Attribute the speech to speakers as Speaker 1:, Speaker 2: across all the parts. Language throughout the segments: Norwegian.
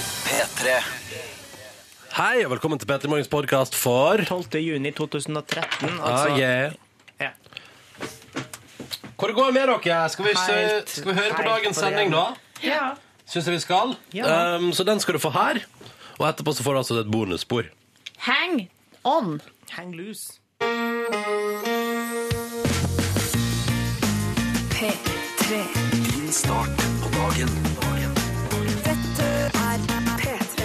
Speaker 1: P3
Speaker 2: Hei, og velkommen til Petter Morgens podkast for
Speaker 3: 12. juni 2013.
Speaker 2: Ah,
Speaker 3: Altså,
Speaker 2: yeah.
Speaker 3: ja.
Speaker 2: Hvor det går med dere? Skal vi,
Speaker 3: Helt-
Speaker 2: skal vi høre på
Speaker 3: helt
Speaker 2: dagens
Speaker 3: på det
Speaker 2: sending, da? Syns jeg vi skal.
Speaker 3: Ja.
Speaker 2: Um, så den skal du få her. Og etterpå så får du altså et bonusspor.
Speaker 4: Hang on.
Speaker 3: Hang loose.
Speaker 5: P3.
Speaker 1: Din start på dagen
Speaker 5: Dette er P3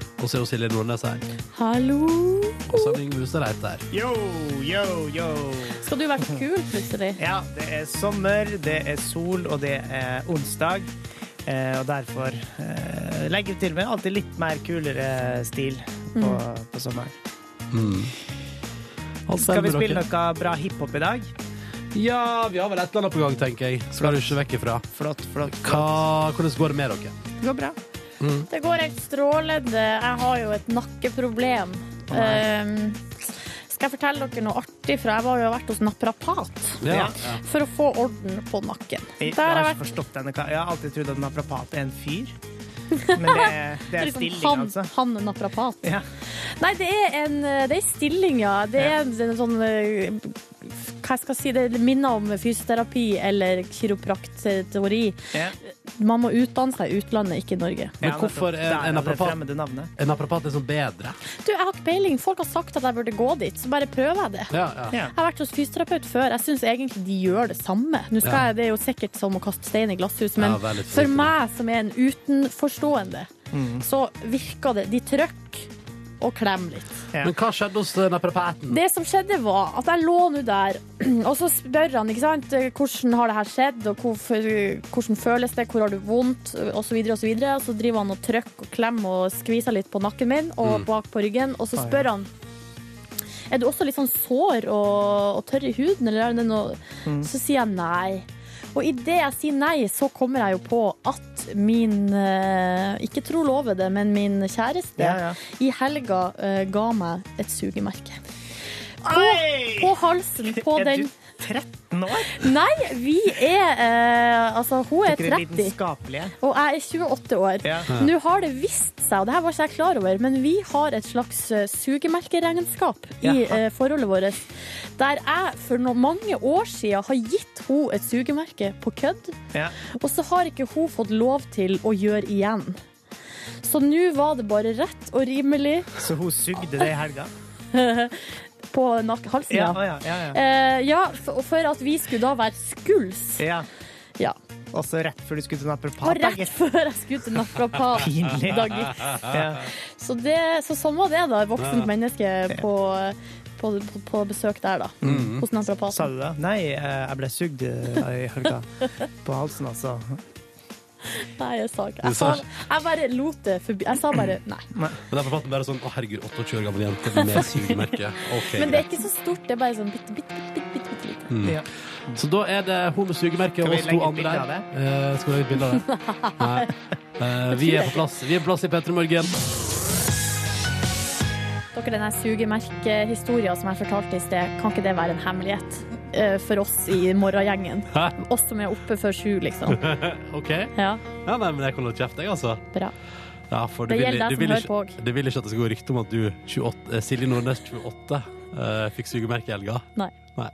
Speaker 2: Og så er jo Silje Nordnes her.
Speaker 4: Hallo.
Speaker 2: Og så er Yngve Hustad Reite her.
Speaker 3: Yo, yo, yo.
Speaker 4: Skal du være kul plutselig?
Speaker 3: Ja, det er sommer, det er sol, og det er onsdag. Eh, og derfor eh, legger vi til med alltid litt mer kulere stil på,
Speaker 4: Mm.
Speaker 3: på sommeren.
Speaker 2: Alt
Speaker 3: Skal vi
Speaker 2: vel med
Speaker 3: spille
Speaker 2: dere?
Speaker 3: noe bra hiphop i dag?
Speaker 2: Ja, vi har vel et eller annet på gang, tenker jeg. Skal du ikke vekk ifra.
Speaker 3: Flott, flott.
Speaker 2: Hva, hvordan går det med dere?
Speaker 3: Det går bra.
Speaker 4: Det går helt strålende. Jeg har jo et nakkeproblem. Ehm, skal jeg fortelle dere noe artig? For jeg var jo og vært hos naprapat
Speaker 3: Ja.
Speaker 4: for å få orden på nakken.
Speaker 3: Jeg, jeg
Speaker 4: Der har
Speaker 3: har
Speaker 4: jeg
Speaker 3: ikke
Speaker 4: vært
Speaker 3: forstått denne ka- Jeg har alltid trodd at naprapat er en fyr. Men det, det er
Speaker 4: liksom
Speaker 3: stilling,
Speaker 4: han,
Speaker 3: altså.
Speaker 4: han er naprapat.
Speaker 3: Ja.
Speaker 4: Nei, det er en det er en stilling, ja. Det er en, en sånn eh, Hva skal jeg si? Det minner om fysioterapi eller kiroprakteori.
Speaker 3: Ja.
Speaker 4: Man må utdanne seg i utlandet, ikke i Norge.
Speaker 2: Men
Speaker 3: Ja,
Speaker 2: hvorfor
Speaker 3: nettopp.
Speaker 2: er
Speaker 3: Der
Speaker 2: en
Speaker 3: det
Speaker 2: naprapat-
Speaker 3: fremmede navnet?
Speaker 2: En naprapat er sånn bedre.
Speaker 4: Du, jeg har ikke peiling. Folk har sagt at jeg burde gå dit, så bare prøver jeg det.
Speaker 2: Ja, ja.
Speaker 3: Ja.
Speaker 4: Jeg har vært hos fysioterapeut før. Jeg syns egentlig de gjør det samme. Nå skal
Speaker 2: Ja.
Speaker 4: jeg, Det er jo sikkert som å kaste stein i glasshus, men
Speaker 2: Ja, vær litt Mm.
Speaker 4: for
Speaker 2: forsiktig.
Speaker 4: meg som er en utenforstående, så virker det De trykk og klem litt.
Speaker 3: Ja.
Speaker 2: Men hva skjedde hos eh, naprapaten?
Speaker 4: Det som skjedde, var at jeg lå nå der, og så spør han ikke sant, hvordan har det her skjedd, og hvorfor, hvordan føles det, hvor har du vondt, og så videre og så videre. Og så driver han og trykker og klemmer og skviser litt på nakken min og bak på ryggen, og så
Speaker 3: Mm. ja.
Speaker 4: spør han er du også litt sånn sår og, og tørr i huden, eller er det noe
Speaker 3: Mm.
Speaker 4: Så sier jeg nei. Og idet jeg sier nei, så kommer jeg jo på at min eh, Ikke tro lovet det, men min kjæreste
Speaker 3: Ja, ja.
Speaker 4: i helga eh, ga meg et sugemerke.
Speaker 3: Oi!
Speaker 4: På halsen på
Speaker 3: er
Speaker 4: den
Speaker 3: du 13 år?
Speaker 4: Nei, vi er eh, Altså, hun er
Speaker 3: Ikke det
Speaker 4: 30,
Speaker 3: vitenskapelige?
Speaker 4: og jeg er 28 år.
Speaker 3: Ja.
Speaker 4: Nå har det vist seg, og det her var ikke jeg klar over, men vi har et slags eh, sugemerkeregnskap i
Speaker 3: Jaha.
Speaker 4: eh, forholdet vårt, der jeg for no mange år siden har gitt henne et sugemerke på kødd,
Speaker 3: Ja.
Speaker 4: og så har ikke hun fått lov til å gjøre igjen. Så nå var det bare rett og rimelig
Speaker 3: Så hun sugde det i helga?
Speaker 4: på nak halsen.
Speaker 3: Ja,
Speaker 4: Ja,
Speaker 3: å ja, ja, ja.
Speaker 4: Eh, ja for, for at vi skulle da være skuls.
Speaker 3: ja.
Speaker 4: Ja.
Speaker 3: Og så rett før du skulle til
Speaker 4: Og
Speaker 3: naprapat?
Speaker 4: rett før jeg skulle til naprapat.
Speaker 3: Pinlig.
Speaker 4: Dag-
Speaker 3: Ja.
Speaker 4: Så, det, så sånn var det, da. Et voksent menneske på, på, på, på besøk der, da.
Speaker 2: Mm.
Speaker 4: Hos
Speaker 3: Sa
Speaker 4: naprapaten.
Speaker 3: du det? Nei, eh, jeg ble sugd eh, i helga. På halsen, altså.
Speaker 4: Nei, jeg sa ikke
Speaker 2: Du
Speaker 4: jeg,
Speaker 2: sa
Speaker 4: sa, jeg bare lot det forbi. Jeg sa bare nei.
Speaker 2: Men naprapaten bare sånn Å, herregud, 28 år gammel jente med sugemerke. Ok, Mm.
Speaker 4: Men det er ikke så stort. Det er bare sånn bitte, bitte, bitte, bitte, bitte lite.
Speaker 3: Ja.
Speaker 2: greit. Så da er det hun med sugemerke
Speaker 3: Skal
Speaker 2: og
Speaker 3: vi
Speaker 2: oss to
Speaker 3: legge et
Speaker 2: andre
Speaker 3: bilde av
Speaker 2: der. Eh, skal vi lage et bilde av det? Nei. Eh, vi er på plass Vi er på plass i P3 Morgen.
Speaker 4: Dere, den her sugemerkehistoria som jeg fortalte i sted, kan ikke det være en hemmelighet eh, for oss i morgengjengen?
Speaker 2: Hæ?
Speaker 4: Oss som er oppe før sju, liksom.
Speaker 2: OK?
Speaker 4: Ja,
Speaker 2: Ja, nei, men jeg kan holde kjeft, jeg, altså.
Speaker 4: bra.
Speaker 2: Ja, for du
Speaker 4: Det
Speaker 2: vil,
Speaker 4: gjelder
Speaker 2: du
Speaker 4: deg
Speaker 2: vil
Speaker 4: som hører
Speaker 2: ikke,
Speaker 4: på òg.
Speaker 2: du vil ikke at det skal gå rykte om at du, 28, eh, Silje Nordnes, 28, eh, fikk sugemerke i helga.
Speaker 4: Nei.
Speaker 2: Nei.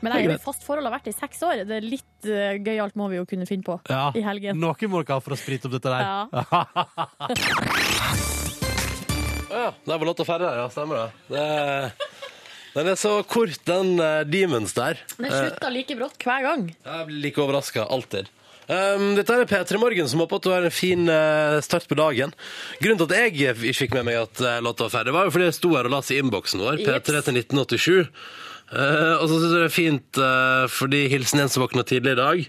Speaker 4: Men jeg er jo i fast forhold og har vært det i seks år. Det er Litt eh, gøyalt må vi jo kunne finne på
Speaker 2: Ja.
Speaker 4: i helgen.
Speaker 2: Noe må dere ha for å sprite opp dette der.
Speaker 4: Ja.
Speaker 2: Ja, det var låta ferdig der, ja. Stemmer det. det. Den er så kort, den eh, Demons der.
Speaker 4: Den slutta like brått hver gang.
Speaker 2: Jeg blir like overraska, alltid. Um, dette er P3 Morgen, som håper at du har en fin eh, start på dagen. Grunnen til at jeg ikke fikk med meg at eh, låta var ferdig, var jo fordi jeg sto her og las i innboksen vår.
Speaker 4: Jeps.
Speaker 2: P3 til 1987. Eh, og så syns jeg det er fint, eh, fordi hilsen en som våkna tidlig i dag.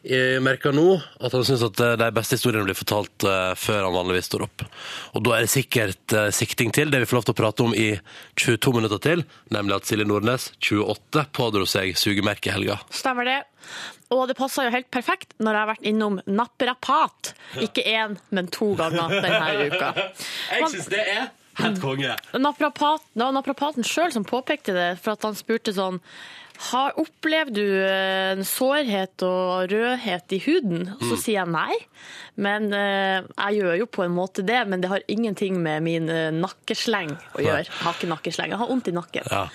Speaker 2: Jeg merker nå at han syns at eh, de beste historiene blir fortalt eh, før han vanligvis står opp. Og da er det sikkert eh, sikting til det vi får lov til å prate om i 22 minutter til, nemlig at Silje Nordnes, 28, pådro seg sugemerket i helga.
Speaker 4: Stemmer det. Og det passer jo helt perfekt når jeg har vært innom naprapat. Ikke én, men to ganger denne uka.
Speaker 2: Jeg syns det er helt konge.
Speaker 4: Naprapat, det var naprapaten sjøl som påpekte det, for at han spurte sånn har, Opplever du eh, en sårhet og rødhet i huden? Og så sier jeg nei. Men eh, jeg gjør jo på en måte det, men det har ingenting med min eh, nakkesleng å gjøre. Jeg har ikke nakkesleng. Jeg har vondt i nakken.
Speaker 2: Ja,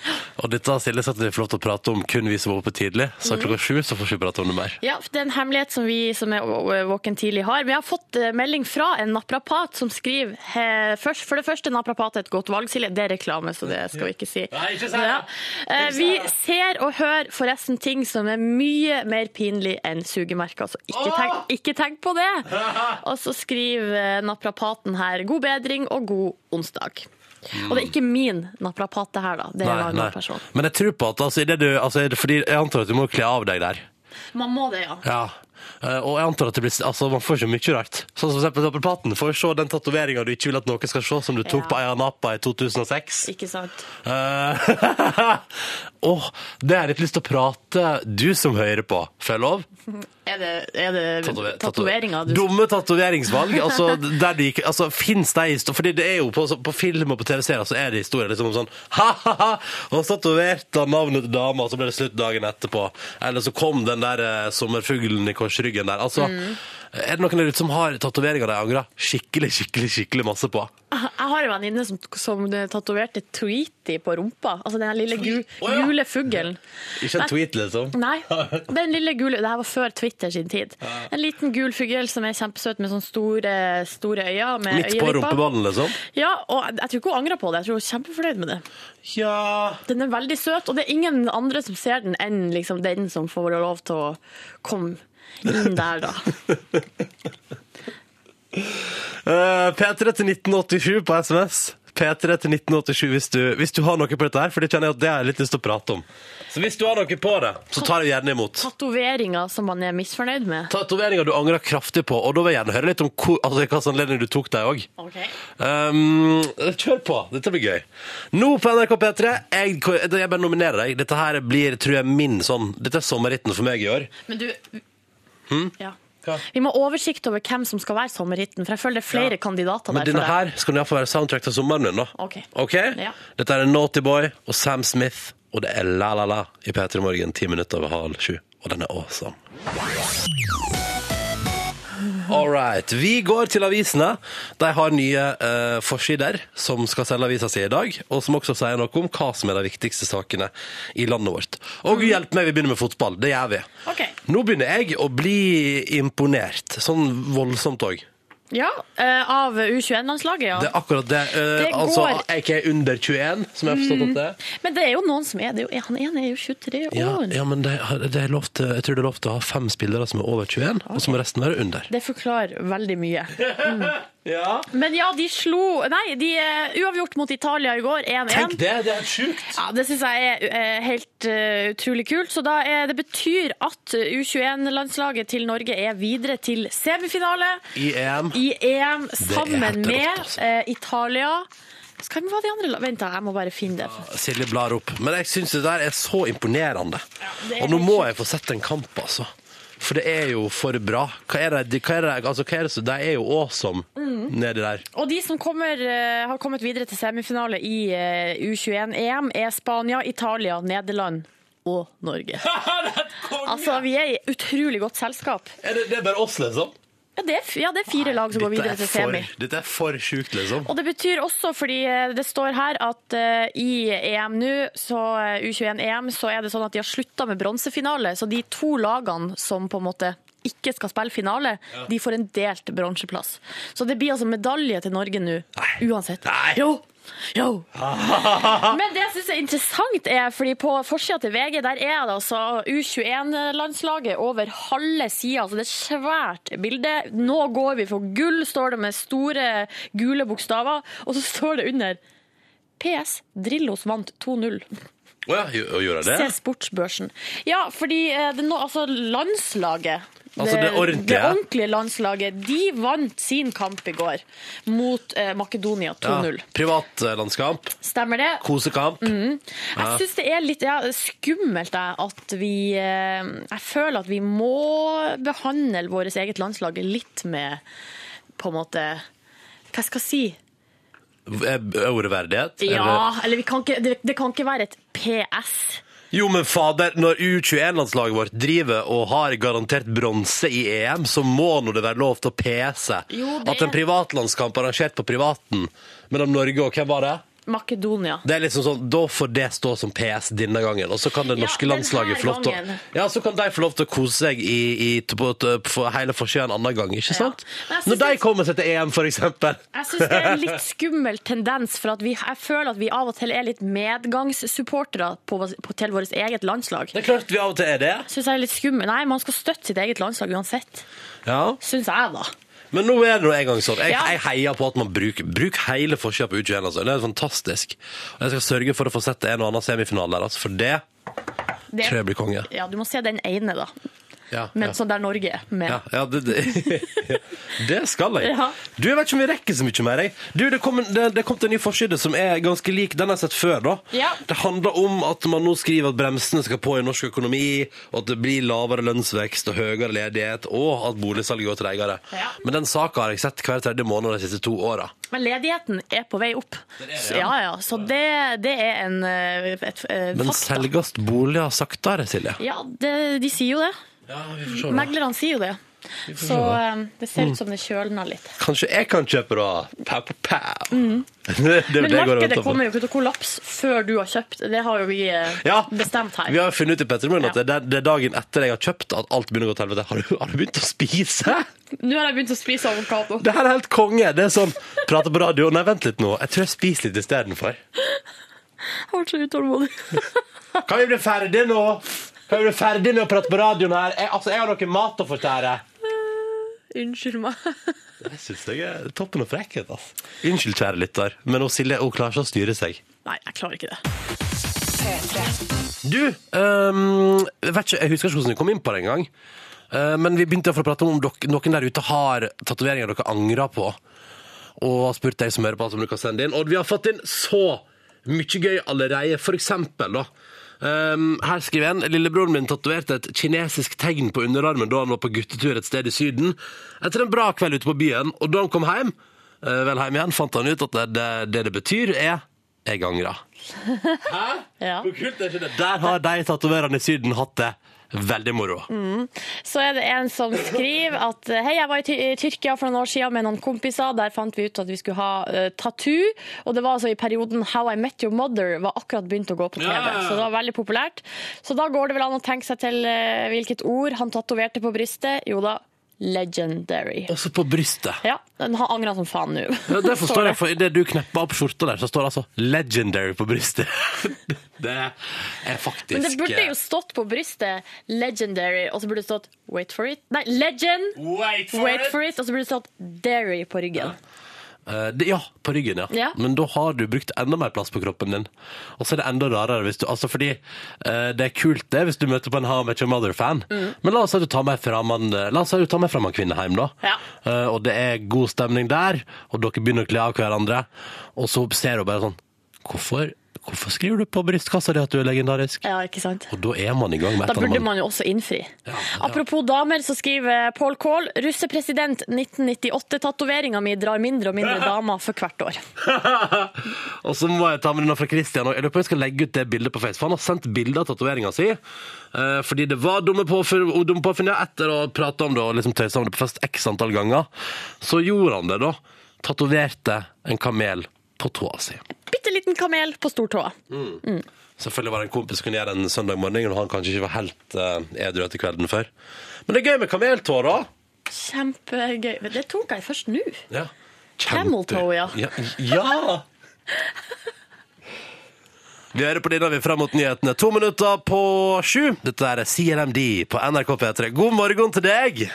Speaker 2: og dette har Silje sagt at vi får lov til å prate om kun vi som var oppe tidlig. Så klokka sju så får vi ikke prate om det mer.
Speaker 4: Ja, for Det er en hemmelighet som vi som er å- å- våken tidlig har. Men jeg har fått eh, melding fra en naprapat som skriver eh, først, For det første, naprapat er et godt valg, Silje. Det er reklame, så det skal vi ikke si.
Speaker 2: Nei, ikke si det.
Speaker 4: Ja. Eh, Vi ser og hører forresten ting som er mye mer pinlig enn sugemerker, så ikke tenk, ikke tenk på det! Og så skriver eh, naprapaten her 'god bedring og god onsdag'.
Speaker 2: Mm.
Speaker 4: Og det er ikke min naprapat, det her, da. Det er en annen person.
Speaker 2: Men jeg tror på at altså, i det du, altså, er det fordi jeg antar at du må kle av deg der.
Speaker 4: Man må det, ja.
Speaker 2: Ja. Eh, Og jeg antar at det blir, altså, man får så mye rart. Sånn som for eksempel Naprapaten. Får se den tatoveringa du ikke vil at noen skal se, som du tok
Speaker 4: Ja.
Speaker 2: på Aya Napa i 2006.
Speaker 4: Ikke sant?
Speaker 2: Eh, Åh, det har jeg litt lyst til å prate Du som hører på, får jeg lov?
Speaker 4: Er det, er det
Speaker 2: Tatover-
Speaker 4: tatoveringer
Speaker 2: tatover-
Speaker 4: du
Speaker 2: Dumme tatoveringsvalg. Altså, der de, ikke- altså, finnes de historier Fordi det er jo på, altså, på film og på TV-serier så er det historier liksom om sånn Ha-ha-ha! Og så tatoverte han navnet til dama, og så ble det slutt dagen etterpå. Eller så kom den der eh, sommerfuglen i korsryggen der. Altså, er det noen der ute som har tatoveringer de angrer skikkelig, skikkelig, skikkelig masse på?
Speaker 4: Jeg har en venninne som, som tatoverte Tweety på rumpa. Altså den her lille gu,
Speaker 2: Å, ja.
Speaker 4: gule fuglen.
Speaker 2: Ikke en tweet, liksom?
Speaker 4: Nei, den lille gule Det her var før Twitter sin tid. En liten gul fugl som er kjempesøt med sånne store, store øyne. Med
Speaker 2: Midt på
Speaker 4: øyevipper.
Speaker 2: rumpeballen, liksom?
Speaker 4: Ja, og jeg tror ikke hun angrer på det. Jeg tror hun er kjempefornøyd med det.
Speaker 2: Ja
Speaker 4: Den er veldig søt, og det er ingen andre som ser den enn liksom den som får lov til å komme inn der, da.
Speaker 2: Eh, P3 til 1987 på SMS. P3 til 1987 hvis du, hvis du har noe på dette her, for det kjenner jeg at det har jeg litt lyst til å prate om. Så hvis du har noe på det, så tar jeg gjerne imot.
Speaker 4: Tatoveringer som man er misfornøyd med.
Speaker 2: Tatoveringer du angrer kraftig på, og da vil jeg gjerne høre litt om hvor, altså, hva slags anledning du tok deg òg.
Speaker 4: Okay.
Speaker 2: Um, kjør på, dette blir gøy. Nå på NRK P3, jeg, jeg bare nominerer deg. Dette her blir, tror jeg, min sånn Dette er sommerhitten for meg i år.
Speaker 4: Men du
Speaker 2: Hm?
Speaker 4: ja. Vi må ha oversikt over hvem som skal være sommerhitten, for jeg føler det er flere kandidater
Speaker 2: Men
Speaker 4: der.
Speaker 2: denne
Speaker 4: for deg.
Speaker 2: her skal du iallfall være soundtrack til sommeren min, da.
Speaker 4: Ok.
Speaker 2: Ok?
Speaker 4: Ja.
Speaker 2: Dette er Naughty Boy og Sam Smith, og det er La La La i P3 Morgen, ti minutter over halv sju. Og den er awesome. All right. Vi går til avisene. De har nye eh, forsider som skal selge avisa si i dag, og som også sier noe om hva som er de viktigste sakene i landet vårt. Og gud hjelpe meg, vi begynner med fotball. Det gjør vi.
Speaker 4: Mm. Ok.
Speaker 2: Nå begynner jeg å bli imponert. Sånn voldsomt òg.
Speaker 4: Ja, eh, av U21-landslaget, ja.
Speaker 2: Det er akkurat det. Eh,
Speaker 4: Det går- Mm.
Speaker 2: altså, ikke under 21, som jeg har forstått at det er.
Speaker 4: Men det er jo noen som er det. er jo- Han ene er jo 23 år.
Speaker 2: Ja, ja, men det, det er lov til, jeg tror det er lov til å ha fem spillere som er over 21, og så må resten være under.
Speaker 4: Det forklarer veldig mye. Mm. Men ja, de slo Nei, de eh, uavgjort mot Italia i går, 1-1.
Speaker 2: Tenk det! Det er helt sjukt!
Speaker 4: Ja, Det syns jeg er eh, helt eh, utrolig kult. Så da er, Det betyr at U21-landslaget til Norge er videre til semifinale
Speaker 2: I EM.
Speaker 4: i EM
Speaker 2: Det er helt
Speaker 4: sammen
Speaker 2: rått,
Speaker 4: med
Speaker 2: altså.
Speaker 4: eh, Italia. Hvem var de andre la- Vent, da, jeg må bare finne det.
Speaker 2: Silje blar opp. Men jeg syns det der er så imponerende.
Speaker 4: det er
Speaker 2: Og nå
Speaker 4: helt
Speaker 2: må jeg få sett en kamp, altså. For det er jo for bra. Hva er det, hva er det, altså, hva er det, som- de er jo awesome
Speaker 4: Mm.
Speaker 2: nedi der.
Speaker 4: Og de som kommer, eh, har kommet videre til semifinale i eh, U21-EM, er Spania, Italia, Nederland og Norge. Altså, vi er i utrolig godt selskap.
Speaker 2: Er det, det er bare oss, liksom?
Speaker 4: Ja, det er, f- ja, det er fire lag som går videre
Speaker 2: er
Speaker 4: til
Speaker 2: for,
Speaker 4: semi.
Speaker 2: dette er for sjukt, liksom.
Speaker 4: Og det betyr også, fordi eh, det står her at eh, i EM nå, så eh, U21-EM, så er det sånn at de har slutta med bronsefinale. Så de to lagene som på en måte ikke skal spille finale, de får en delt bronseplass. Så det blir altså medalje til Norge nå, uansett.
Speaker 2: Nei.
Speaker 4: Jo! Jo!
Speaker 2: Ah.
Speaker 4: Men det jeg syns er interessant, er fordi på forsida til VG der er det altså U21-landslaget over halve sida. Altså det er et svært bilde. Nå går vi for gull, står det med store gule bokstaver. Og så står det under PS Drillos vant 2-0.
Speaker 2: Å ja, gjorde jeg det?
Speaker 4: Se Sportsbørsen. Ja, fordi eh, det nå, altså landslaget
Speaker 2: Altså det
Speaker 4: det
Speaker 2: ordentlige.
Speaker 4: ordentlige landslaget de vant sin kamp i går mot eh, Makedonia 2-0.
Speaker 2: Ja, Privatlandskamp,
Speaker 4: Stemmer det?
Speaker 2: kosekamp.
Speaker 4: Jeg syns det er litt ja, skummelt jeg, at vi eh, Jeg føler at vi må behandle vårt eget landslag litt med på en måte Hva skal jeg si?
Speaker 2: Eh, Ordverdighet. eller-
Speaker 4: Ja, eller vi kan ikke, det, det kan ikke være et PS.
Speaker 2: Jo, men fader, når U21-landslaget vårt driver og har garantert bronse i EM, så må nå det være lov til å pese.
Speaker 4: Jo, det-
Speaker 2: At en privatlandskamp arrangert på privaten mellom Norge og hvem var det?
Speaker 4: Makedonia.
Speaker 2: Det er liksom sånn, Da får det stå som PS denne gangen, og så kan det
Speaker 4: Ja,
Speaker 2: norske
Speaker 4: denne
Speaker 2: landslaget få lov til å
Speaker 4: gangen.
Speaker 2: Ja, så kan de få lov til å kose seg i, i, på, på, på hele forsida en annen gang, ikke sant?
Speaker 4: Men jeg synes
Speaker 2: Når de
Speaker 4: det-
Speaker 2: kommer seg til EM, for eksempel.
Speaker 4: Jeg syns det er en litt skummel tendens, for at vi, jeg føler at vi av og til er litt medgangssupportere på, på, til vårt eget landslag.
Speaker 2: Det er klart vi av og til er det.
Speaker 4: Synes jeg er litt skummel. Nei, man skal støtte sitt eget landslag uansett.
Speaker 2: Ja.
Speaker 4: Syns jeg, da.
Speaker 2: Men nå er det nå en gang sånn. Jeg,
Speaker 4: Ja.
Speaker 2: jeg heier på at man bruker bruk hele forsida på U21. Altså. Det er fantastisk. Og jeg skal sørge for å få sett en og annen semifinale der, altså. for det
Speaker 4: Det,
Speaker 2: tror jeg blir konge.
Speaker 4: ja, du må se den ene, da.
Speaker 2: Ja, ja.
Speaker 4: Men sånn der Norge er med.
Speaker 2: Ja, ja det, det, det skal jeg.
Speaker 4: Ja.
Speaker 2: Du, Jeg vet ikke om vi rekker så mye mer. Jeg. Du, Det kom en, det, det kom til en ny forside som er ganske lik den jeg har sett før. da.
Speaker 4: Ja.
Speaker 2: Det handler om at man nå skriver at bremsene skal på i norsk økonomi, og at det blir lavere lønnsvekst og høyere ledighet, og at boligsalget går tregere.
Speaker 4: Ja.
Speaker 2: Men den saka har jeg sett hver tredje måned de siste to åra.
Speaker 4: Men ledigheten er på vei opp.
Speaker 2: det,
Speaker 4: Så, ja,
Speaker 2: ja.
Speaker 4: ja. Så det, det er en eh, et, eh,
Speaker 2: Men
Speaker 4: fakta.
Speaker 2: selges boliger saktere, Silje?
Speaker 4: Ja, det, de sier jo det.
Speaker 2: Ja, vi får se.
Speaker 4: Meglerne sier jo det. Så eh, det ser
Speaker 2: Mm.
Speaker 4: ut som det kjølner litt.
Speaker 2: Kanskje jeg kan kjøpe da? Pow, pow, pow. det, er jo det
Speaker 4: Mm. Men
Speaker 2: jeg går og
Speaker 4: markedet
Speaker 2: venter på.
Speaker 4: kommer jo ikke til å kollapse før du har kjøpt. Det har jo vi eh,
Speaker 2: Ja,
Speaker 4: bestemt her.
Speaker 2: Vi har jo funnet ut i Petter Morgen at
Speaker 4: Ja.
Speaker 2: det, er- det er dagen etter jeg har kjøpt at alt begynner å gå til helvete. Har du, har du begynt å spise?
Speaker 4: Nå har jeg begynt å spise avokado.
Speaker 2: Det her er helt konge. Det er sånn Prate på radio. Nei, vent litt nå. Jeg tror jeg spiser litt istedenfor.
Speaker 4: Jeg ble så utålmodig.
Speaker 2: Kan vi bli ferdig nå? Kan vi bli ferdig med å prate på radioen her? Jeg, altså, jeg har noe mat å fortære.
Speaker 4: Unnskyld meg.
Speaker 2: Jeg syns jeg er toppen av frekkhet, altså. Unnskyld, kjære lytter, men hun Silje hun klarer ikke å styre seg.
Speaker 4: Nei, jeg klarer ikke det.
Speaker 2: Du, øhm, jeg vet ikke, jeg husker ikke hvordan vi kom inn på det engang. Uh, men vi begynte i hvert fall å prate om om dok- noen der ute har tatoveringer dere angrer på. Og har spurt deg som hører på, som du kan sende inn. Og vi har fått inn så mye gøy allerede. For eksempel, da. øhm, her skriver en Lillebroren min tatoverte et kinesisk tegn på underarmen da han var på guttetur et sted i Syden. Etter en bra kveld ute på byen. Og da han kom hjem, øh, vel hjem igjen, fant han ut at det det, det, det betyr, er 'jeg angrer'.
Speaker 4: Ja.
Speaker 2: Hvor kult er ikke det? Der har de tatoverene i Syden hatt det. Veldig moro.
Speaker 4: Mm. Så er det en som skriver at hei, jeg var i Ty- i Tyrkia for noen år siden med noen kompiser. Der fant vi ut at vi skulle ha eh, tattoo. Og det var altså i perioden How I Met Your Mother var akkurat begynt å gå på TV.
Speaker 2: Ja, ja, ja.
Speaker 4: Så det var veldig populært. Så da går det vel an å tenke seg til eh, hvilket ord han tatoverte på brystet. Jo da, legendary.
Speaker 2: Også på brystet.
Speaker 4: Ja, den har angra som faen nå.
Speaker 2: Ja, det
Speaker 4: Så
Speaker 2: forstår jeg, for Idet du knepper opp skjorta der, så står det altså 'legendary' på brystet. Det er faktisk
Speaker 4: Men det burde jo stått på brystet 'legendary', og så burde det stått 'wait for it'. Nei, 'legend',
Speaker 2: eh, Wait for
Speaker 4: wait
Speaker 2: it!
Speaker 4: for it, og så burde det stått 'dairy' på ryggen.
Speaker 2: Eh, det, ja, på ryggen, ja.
Speaker 4: Ja.
Speaker 2: Men da har du brukt enda mer plass på kroppen din. Og så er det enda rarere hvis du Altså, fordi eh, det er kult det hvis du møter på en How I Met Your Mother-fan,
Speaker 4: Mm.
Speaker 2: men la oss si at du tar med fram en, la oss si at du tar med fram en kvinne hjem, da.
Speaker 4: Ja.
Speaker 2: Eh, og det er god stemning der, og dere begynner å kle av hverandre, og så ser hun bare sånn Hvorfor, hvorfor skriver du på brystkassa di at du er legendarisk?
Speaker 4: Ja, ikke sant?
Speaker 2: Og da er man i gang med et
Speaker 4: Da
Speaker 2: eller annet.
Speaker 4: burde man jo også innfri. Apropos damer, så skriver Paul Kahl russepresident 1998-tatoveringa mi drar mindre og mindre damer for hvert år.
Speaker 2: Og så må jeg ta med denne fra Christian. og Jeg lurer på om jeg skal legge ut det bildet på Face. For han har sendt bilde av tatoveringa si. eh, Fordi det var dumme påfunn og dumme påfunn, ja, etter å prate om det og liksom tøyse om det på fest x antall ganger. Så gjorde han det, da. Tatoverte en kamel på tåa si.
Speaker 4: Bitte liten kamel på stortåa.
Speaker 2: Selvfølgelig var det en kompis som kunne gjøre det en søndag morgen, og han kanskje ikke var helt eh, edru etter kvelden før. Men det er gøy med kameltå, da.
Speaker 4: Kjempegøy. Men det tok jeg først nå.
Speaker 2: Ja.
Speaker 4: Camel toe, ja.
Speaker 2: ja. ja. Vi hører på denne, vi er frem mot nyhetene. To minutter på sju. Dette er CLMD på NRK P3. God morgen til deg!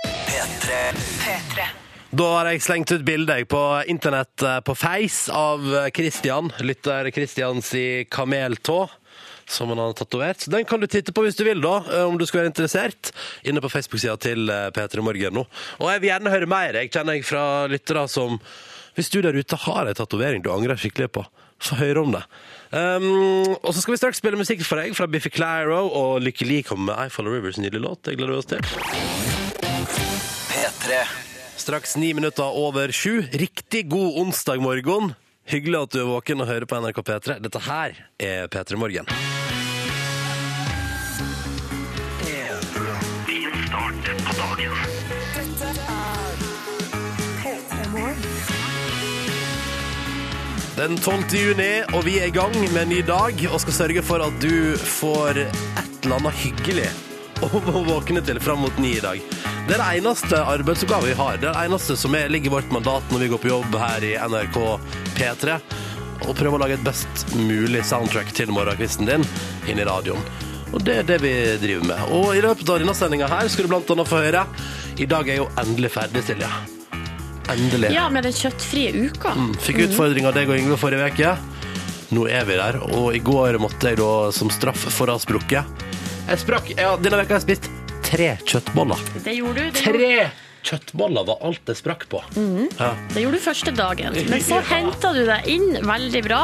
Speaker 1: P3
Speaker 2: Da har jeg slengt ut bilde jeg, på eh, internett eh, på Face av Christian, lytter Christians i kameltå. som han har tatovert. Så den kan du titte på hvis du vil, da, eh, om du skulle være interessert. Inne på Facebook-sida til eh, P3 Morgen nå. Og jeg vil gjerne høre mer, jeg kjenner jeg fra lyttere som Hvis du der ute har ei tatovering du angrer skikkelig på, få høre om det. Um, og så skal vi straks spille musikk for deg fra Biffy Clyro, og Lykke Li kommer med I Follow Rivers nydelig låt. Det gleder vi oss til.
Speaker 1: P3
Speaker 2: Straks ni minutter over sju. Riktig god onsdag morgen. Hyggelig at du er våken og hører på NRK P3. Dette her er P3 Morgen.
Speaker 5: P3 Morgen.
Speaker 2: Den 12. juni, og vi er i gang med en ny dag og skal sørge for at du får et eller annet hyggelig å våkne til fram mot ni i dag. Det er det eneste arbeidsoppgaven vi har. Det er det eneste som er, ligger i vårt mandat når vi går på jobb her i NRK P3. Og prøve å lage et best mulig soundtrack til morgenkvisten din inn i radioen. Og det er det vi driver med. Og i løpet av denne sendinga her skal du blant annet få høre I dag er jeg jo endelig ferdig, Silje. Endelig.
Speaker 4: Ja, med den kjøttfrie uka.
Speaker 2: Fikk utfordring av deg og Yngve forrige uke. Nå er vi der, og i går måtte jeg da som straff for å ha sprukket. Jeg sprakk. Ja, denne veka har jeg spist tre kjøttboller.
Speaker 4: Det gjorde du. Det gjorde,
Speaker 2: Tre kjøttboller var alt jeg sprakk på.
Speaker 4: Mm.
Speaker 2: ja.
Speaker 4: det gjorde du første dagen. Men så henta du deg inn veldig bra.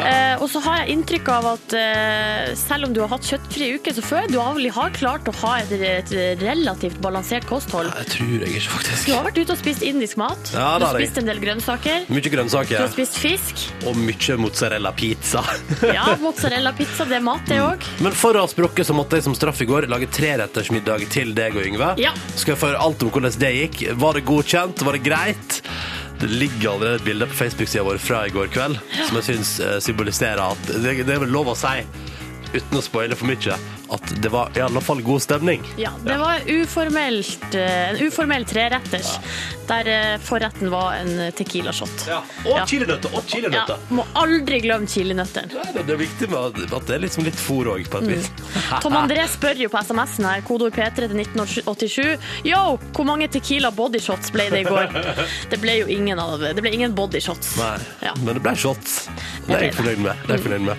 Speaker 4: Eh, og så har jeg inntrykk av at eh, selv om du har hatt kjøttfri uke så før, du har vel har klart å ha et, et relativt balansert kosthold.
Speaker 2: Jeg tror jeg ikke, faktisk.
Speaker 4: Du har vært ute og spist indisk mat.
Speaker 2: Ja,
Speaker 4: du
Speaker 2: det har
Speaker 4: har
Speaker 2: jeg.
Speaker 4: spist en del grønnsaker.
Speaker 2: Mye
Speaker 4: Du har
Speaker 2: grønnsaker
Speaker 4: spist fisk.
Speaker 2: og mye mozzarella-pizza.
Speaker 4: Ja, mozzarella pizza, det er mat, det òg.
Speaker 2: Men for å ha sprukket så måtte jeg som straff i går lage trerettersmiddag til deg og Yngve.
Speaker 4: Ja.
Speaker 2: Skal jeg få høre alt om hvordan det gikk. Var det godkjent? Var det greit? Det ligger allerede et bilde på Facebook-sida vår fra i går kveld som jeg syns eh, symboliserer at det, det er vel lov å si, uten å spoile for mye, at det var i alle fall god stemning.
Speaker 4: Ja, det var uformelt, eh, en uformell treretters, der eh, forretten var en tequila-shot.
Speaker 2: Og
Speaker 4: Ja.
Speaker 2: chilinøtter! Og
Speaker 4: Ja,
Speaker 2: chilinøtter!
Speaker 4: må aldri glemme chilinøttene.
Speaker 2: Nei, Det er viktig med at- at det er liksom litt fôr òg, på et
Speaker 4: Mm.
Speaker 2: vis.
Speaker 4: Tom André spør jo på SMS-en her, kodeord P3 til 1987, yo, hvor mange tequila bodyshots ble det i går? Det ble jo ingen av det. Det ble ingen bodyshots.
Speaker 2: Nei,
Speaker 4: Ja.
Speaker 2: men det ble shots. Det er jeg
Speaker 4: Det Mm. ble
Speaker 2: fornøyd med. Det er jeg fornøyd med.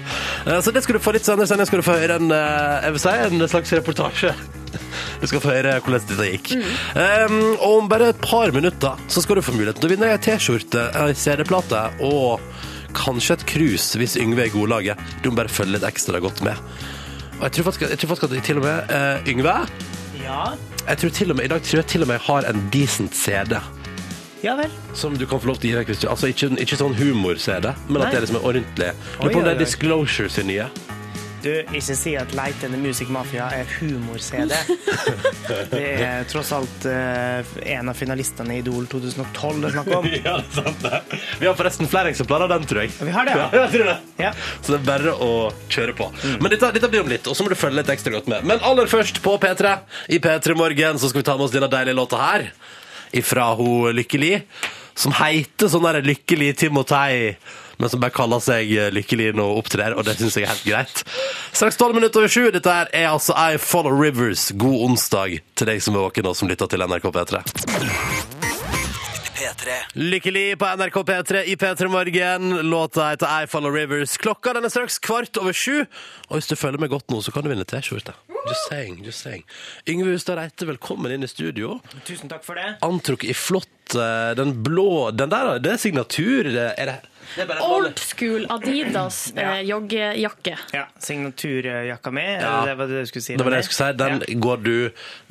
Speaker 2: Eh, Så det skal du få litt senere. Senere skal du få høre en, eh, jeg vil si, en slags reportasje. Du skal få høre hvordan dette gikk.
Speaker 4: Mm.
Speaker 2: Um, og om bare et par minutter så skal du få muligheten til å vinne ei T-skjorte, ei CD-plate og kanskje et krus hvis Yngve er i godlaget. Du må bare følge litt ekstra godt med. Og jeg tror faktisk, jeg tror faktisk at jeg til og med eh, Yngve
Speaker 3: Ja.
Speaker 2: jeg tror til og med, I dag tror jeg til og med jeg har en decent CD.
Speaker 3: ja vel.
Speaker 2: Som du kan få lov til å gi deg, Kristian. Altså, ikke, ikke sånn humor, ser det, men at
Speaker 3: Nei.
Speaker 2: det liksom er ordentlig. Lurer på
Speaker 3: Oi,
Speaker 2: om det
Speaker 3: oi,
Speaker 2: er
Speaker 3: oi.
Speaker 2: Disclosure sin nye.
Speaker 3: Du, ikke si at Leitende Music Mafia er humor-CD. Det er tross alt eh, en av finalistene i Idol 2012 det er snakk om.
Speaker 2: Ja, det er sant det. Vi har forresten flere eksemplarer av den, tror jeg.
Speaker 3: Vi har det, ja.
Speaker 2: jeg tror det.
Speaker 3: Ja.
Speaker 2: Så det er bare å kjøre på. Men dette, dette blir om litt, og så må du følge litt ekstra godt med. Men aller først på P3, i P3 Morgen, så skal vi ta med oss denne deilige låta her. Ifra ho Lykkeli, som heter sånn der Lykkeli Timotei. Men som bare kaller seg eh, Lykkeli når hun opptrer, og det syns jeg er helt greit. Straks tolv minutter over sju. Dette her er altså I Follow Rivers. God onsdag til deg som er våken og som lytter til NRK P3.
Speaker 1: P3
Speaker 2: Lykkelig på NRK P3 i P3 Morgen. Låta heter I Follow Rivers. Klokka den er straks kvart over sju. Og hvis du følger med godt nå, så kan du vinne T-skjorte. Just saying, just saying. Yngve Hustad Reite, velkommen inn i studio.
Speaker 3: Tusen takk for det.
Speaker 2: Antrukket i flott eh, den blå Den der, det er signatur. det Er det Det er bare
Speaker 4: Old school Adidas eh, joggejakke.
Speaker 3: Ja, Signaturjakka mi,
Speaker 2: Ja.
Speaker 3: det var det du skulle si?
Speaker 2: Det var det jeg skulle si. Den, går, du,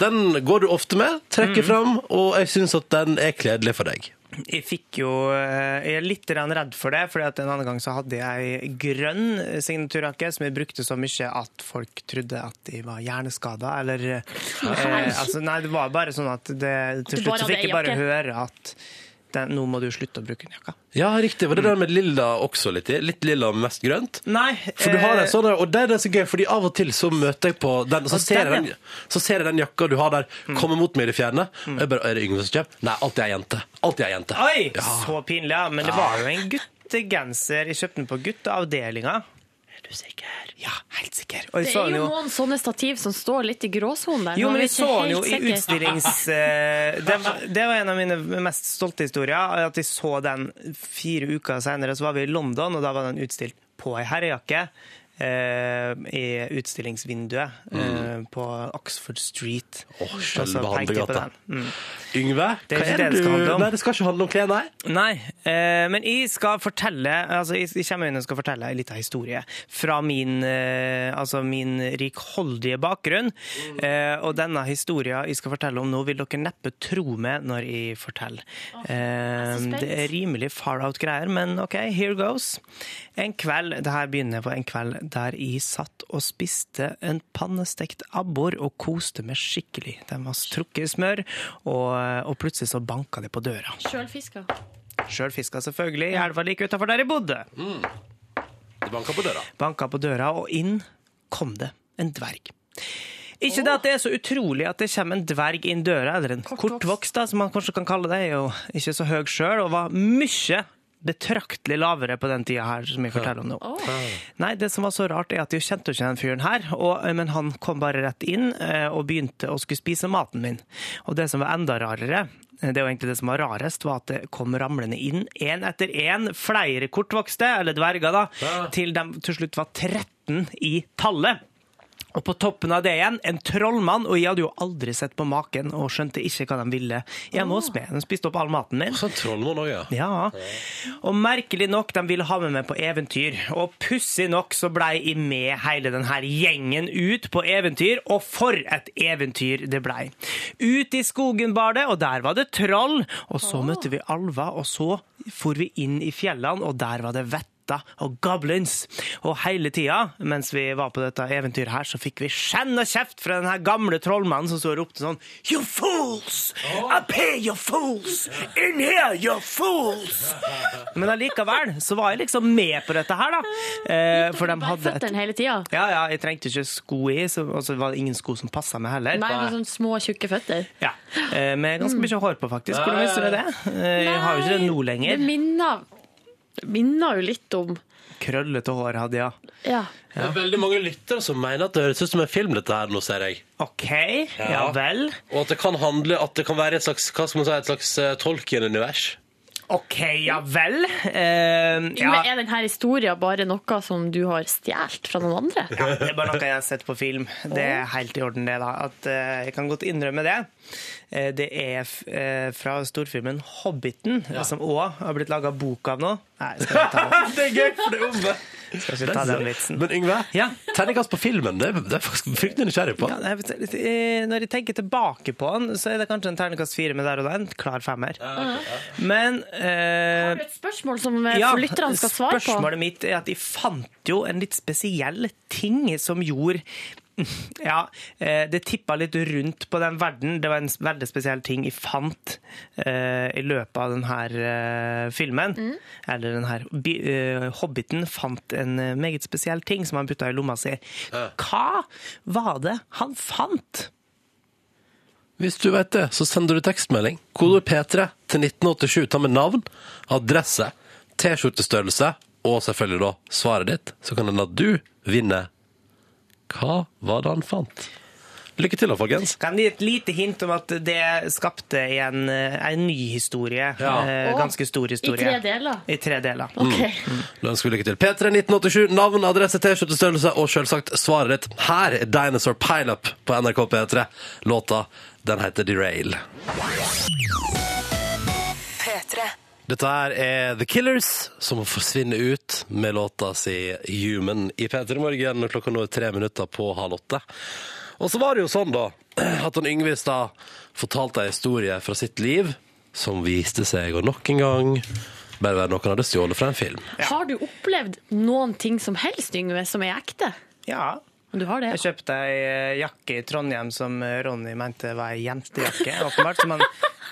Speaker 2: den går du ofte med, trekker fram, og jeg syns at den er kledelig for deg.
Speaker 3: Jeg fikk jo eh, Jeg er litt grann redd for det, for en annen gang så hadde jeg grønn signaturjakke som jeg brukte så mye at folk trodde at jeg var hjerneskada, eller eh, altså, Nei, det var bare sånn at det,
Speaker 4: Du
Speaker 3: til
Speaker 4: bare
Speaker 3: slutt så
Speaker 4: hadde
Speaker 3: fikk jeg
Speaker 4: ei
Speaker 3: bare
Speaker 4: jakke.
Speaker 3: høre at den, nå må du slutte å bruke den jakka.
Speaker 2: Ja, riktig. Var det den med lilla også litt i? Litt lilla, men mest grønt?
Speaker 3: Nei,
Speaker 2: For du har
Speaker 3: eh,
Speaker 2: en sånn, og det er det så gøy, fordi av og til så møter jeg på den, og så
Speaker 3: Og
Speaker 2: ser, jeg
Speaker 3: den, Mm.
Speaker 2: den, så ser jeg den jakka du har der, komme mot meg i det fjerne, og jeg bare, er det Yngve som kommer? Nei, alltid er jeg jente. Alltid er jeg jente.
Speaker 3: Oi!
Speaker 2: Ja.
Speaker 3: Så pinlig, ja. Men det var jo en guttegenser. Jeg kjøpte den på gutteavdelinga. Er du sikker? Ja, helt sikker. Og jeg
Speaker 4: Det
Speaker 3: så
Speaker 4: er
Speaker 3: den
Speaker 4: jo noen sånne stativ som står litt i gråsonen der.
Speaker 3: Jo,
Speaker 4: Nå er
Speaker 3: men
Speaker 4: vi
Speaker 3: jeg
Speaker 4: ikke
Speaker 3: så den jo
Speaker 4: helt
Speaker 3: i
Speaker 4: sikre.
Speaker 3: utstillings... eh, det, var, det var en av mine mest stolte historier, at jeg så den fire uker senere. Så var vi i London, og da var den utstilt på ei herrejakke. eh, i utstillingsvinduet eh, på Oxford Street.
Speaker 2: Åh,
Speaker 3: Og
Speaker 2: Skjølve
Speaker 3: så peker jeg altså, på
Speaker 2: handlegata.
Speaker 3: den. Mm.
Speaker 2: Yngve,
Speaker 3: Det er
Speaker 2: hva
Speaker 3: ikke
Speaker 2: er
Speaker 3: det det skal handle
Speaker 2: du
Speaker 3: om.
Speaker 2: Nei, det skal ikke handle om klær, nei.
Speaker 3: Nei, eh, men jeg skal fortelle altså jeg, jeg kommer inn og skal fortelle en liten historie fra min, eh, altså min rikholdige bakgrunn. Eh, og denne historien jeg skal fortelle om nå, vil dere neppe tro meg når jeg forteller. Eh,
Speaker 4: spent.
Speaker 3: det er rimelig far out-greier, men OK, here goes. En kveld, det her begynner på en kveld der jeg satt og spiste en pannestekt abbor og koste meg skikkelig. Den var strukket i smør, og, og plutselig så banka det på døra.
Speaker 4: Sjølfiska.
Speaker 3: Sjøl fiska selvfølgelig i elva like utafor der jeg bodde.
Speaker 2: Det banker på døra.
Speaker 3: Banka på døra, og inn kom det en dverg. Ikke det at det er så utrolig at det kommer en dverg inn døra, eller en kortvokst, da, som man kanskje kan kalle det, er jo ikke så høy sjøl, og var mye betraktelig lavere på den tida her, som jeg forteller om nå. Nei, det som var så rart, er at jeg kjente jo ikke den fyren her, og, eh, men han kom bare rett inn eh, og begynte å skulle spise maten min. Og det som var enda rarere, eh, det var egentlig det som var rarest, var at det kom ramlende inn én etter én, flere kortvokste, eller dverger, da, til de til slutt var 13 i tallet. Og på toppen av det igjen, en trollmann, og jeg hadde jo aldri sett på maken og skjønte ikke hva de ville hjemme hos meg. De spiste opp all maten min.
Speaker 2: Sånn trollmann òg, ja.
Speaker 3: Ja. Og merkelig nok, de ville ha med meg på eventyr. Og pussig nok så blei jeg med hele den her gjengen ut på eventyr, og for et eventyr det blei. Ut i skogen bar det, og der var det troll. Og så møtte vi alver, og så for vi inn i fjellene, og der var det vett rotter og goblins. Og hele tida mens vi var på dette eventyret her, så fikk vi skjenn og kjeft fra den her gamle trollmannen som står og ropte sånn You fools! Up here, you fools! In here, you fools! Men allikevel så var jeg liksom med på dette her, da. Eh, for de hadde et
Speaker 4: Føttene hele tida.
Speaker 3: ja, ja, jeg trengte ikke sko i, så- og så var det ingen sko som passa meg heller.
Speaker 4: Nei, sånn- med sånne små, tjukke føtter.
Speaker 3: Ja, eh, Med ganske mye hår på, faktisk. Hvordan visste du det? Eh, Jeg har jo ikke det nå
Speaker 4: Det
Speaker 3: lenger.
Speaker 4: minner, minner jo litt om
Speaker 3: Krøllete hår hadde jeg.
Speaker 4: Ja.
Speaker 2: Det er veldig mange lyttere som mener at det høres ut som en film, dette her, nå ser jeg.
Speaker 3: OK, ja
Speaker 2: Ja.
Speaker 3: vel.
Speaker 2: Og at det kan handle At det kan være et slags Hva skal man si Et slags eh, Tolkien-univers.
Speaker 3: OK, ja vel. Eh,
Speaker 4: Yngve,
Speaker 3: ja,
Speaker 4: Er denne historien bare noe som du har stjålet fra noen andre?
Speaker 3: det er bare noe jeg har sett på film. Det er helt i orden, det. da. At, eh, jeg kan godt innrømme det. Eh, det er f eh, fra storfilmen 'Hobbiten', som òg har blitt laga bok av nå. Nei, jeg skal ikke ta, den-
Speaker 2: det er gøy for det omme!
Speaker 3: skal ikke ta den vitsen.
Speaker 2: Men Yngve,
Speaker 3: Ja.
Speaker 2: terningkast på filmen. Det er, det er faktisk fryktelig nysgjerrig på.
Speaker 3: Ja, jeg vet litt, eh, når jeg tenker tilbake på den, så er det kanskje en terningkast fire med der og da. En klar femmer. Men eh,
Speaker 4: Et spørsmål som eh,
Speaker 3: Ja,
Speaker 4: lytterne skal svare på.
Speaker 3: Spørsmålet mitt er at de fant jo en litt spesiell ting som gjorde ja, eh, det tippa litt rundt på den verden. Det var en s- veldig spesiell ting jeg fant eh, i løpet av denne eh, filmen.
Speaker 4: Mm.
Speaker 3: Eller denne uh, Hobbiten fant en eh, meget spesiell ting som han putta i lomma si. Hva var det han fant?
Speaker 2: Hvis du vet det, så sender du tekstmelding. Kodord P3 til 1987. Ta med navn, adresse, T-skjortestørrelse og selvfølgelig da svaret ditt. Så kan det hende at du vinner. Hva var det han fant? Lykke til da, folkens.
Speaker 3: Kan gi et lite hint om at det skapte en, eh, en ny historie.
Speaker 2: Ja.
Speaker 3: eh,
Speaker 4: Å,
Speaker 3: Ganske stor historie.
Speaker 4: I tre deler.
Speaker 3: I tre deler.
Speaker 4: Ok.
Speaker 2: Da ønsker vi lykke til. P3 1987, navn, adresse, T-skjortestørrelse og selvsagt svaret ditt. Her er Dinosaur Pileup på NRK P3. Låta, den heter Derail.
Speaker 5: P3.
Speaker 2: Dette her er The Killers, som forsvinner ut med låta si Human i P3 Morgen når klokka nå er tre minutter på halv åtte. Og så var det jo sånn, da, at han Yngve i stad fortalte ei historie fra sitt liv som viste seg å nok en gang bare være noe han hadde stjålet fra en film.
Speaker 4: Har du opplevd noen ting som helst, Yngve, som er ekte?
Speaker 3: Ja.
Speaker 4: Du har det?
Speaker 3: Jeg kjøpte ei eh, jakke i Trondheim som eh, Ronny mente var ei jentejakke, åpenbart, som han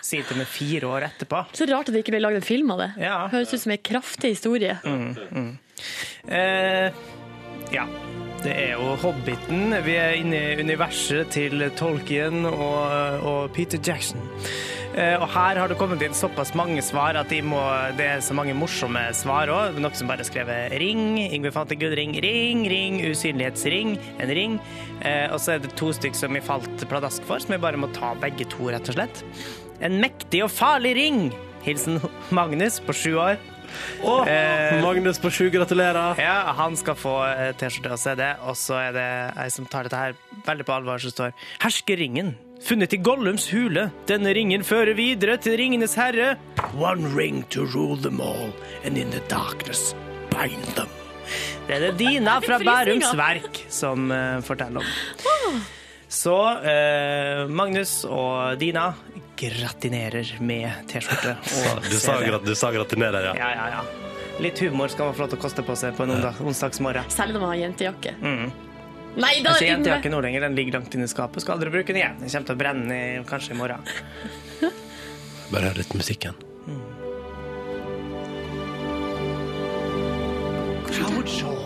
Speaker 3: sier til meg fire år etterpå.
Speaker 4: Så rart at det ikke ble laget en film av det.
Speaker 3: Ja. Mm.
Speaker 4: Høres ut som en kraftig historie.
Speaker 3: Eh, ja. Det er jo Hobbiten. Vi er inne i universet til Tolkien og, og Peter Jackson. Eh, og her har det kommet inn såpass mange svar at de må, det er så mange morsomme svar òg. Noen som bare har skrevet 'ring', Yngve fant en gullring, 'ring', 'ring', usynlighetsring, en ring. Eh, og så er det to stykker som vi falt pladask for, som vi bare må ta begge to, rett og slett. En mektig og farlig ring! Hilsen Magnus på sju år.
Speaker 2: Å, Magnus på sju, gratulerer.
Speaker 3: Ja, han skal få eh, T-skjorte og CD, og så er det ei som tar dette her veldig på alvor, som står Herskeringen, funnet i Gollums hule. Denne ringen fører videre til Ringenes herre. One ring to rule them all, and in the darkness bind them. Det er det Dina fra Bærums Verk som eh, forteller om. Så eh, Magnus og Dina gratinerer med T-skjorte og
Speaker 6: Du sa,
Speaker 3: CD.
Speaker 6: grat du sa gratinerer, ja.
Speaker 3: Ja, ja, ja. Litt humor skal man få lov til å koste på seg på en onsdag, onsdagsmorgen.
Speaker 4: Selv om man har jentejakke. Nei, da
Speaker 3: Mm. Altså, jente har ikke noe lenger, den ligger langt inne i skapet. Skal aldri bruke den igjen. Den kommer til å brenne i, kanskje i morgen.
Speaker 2: Bare hør litt musikken.
Speaker 3: Jojo.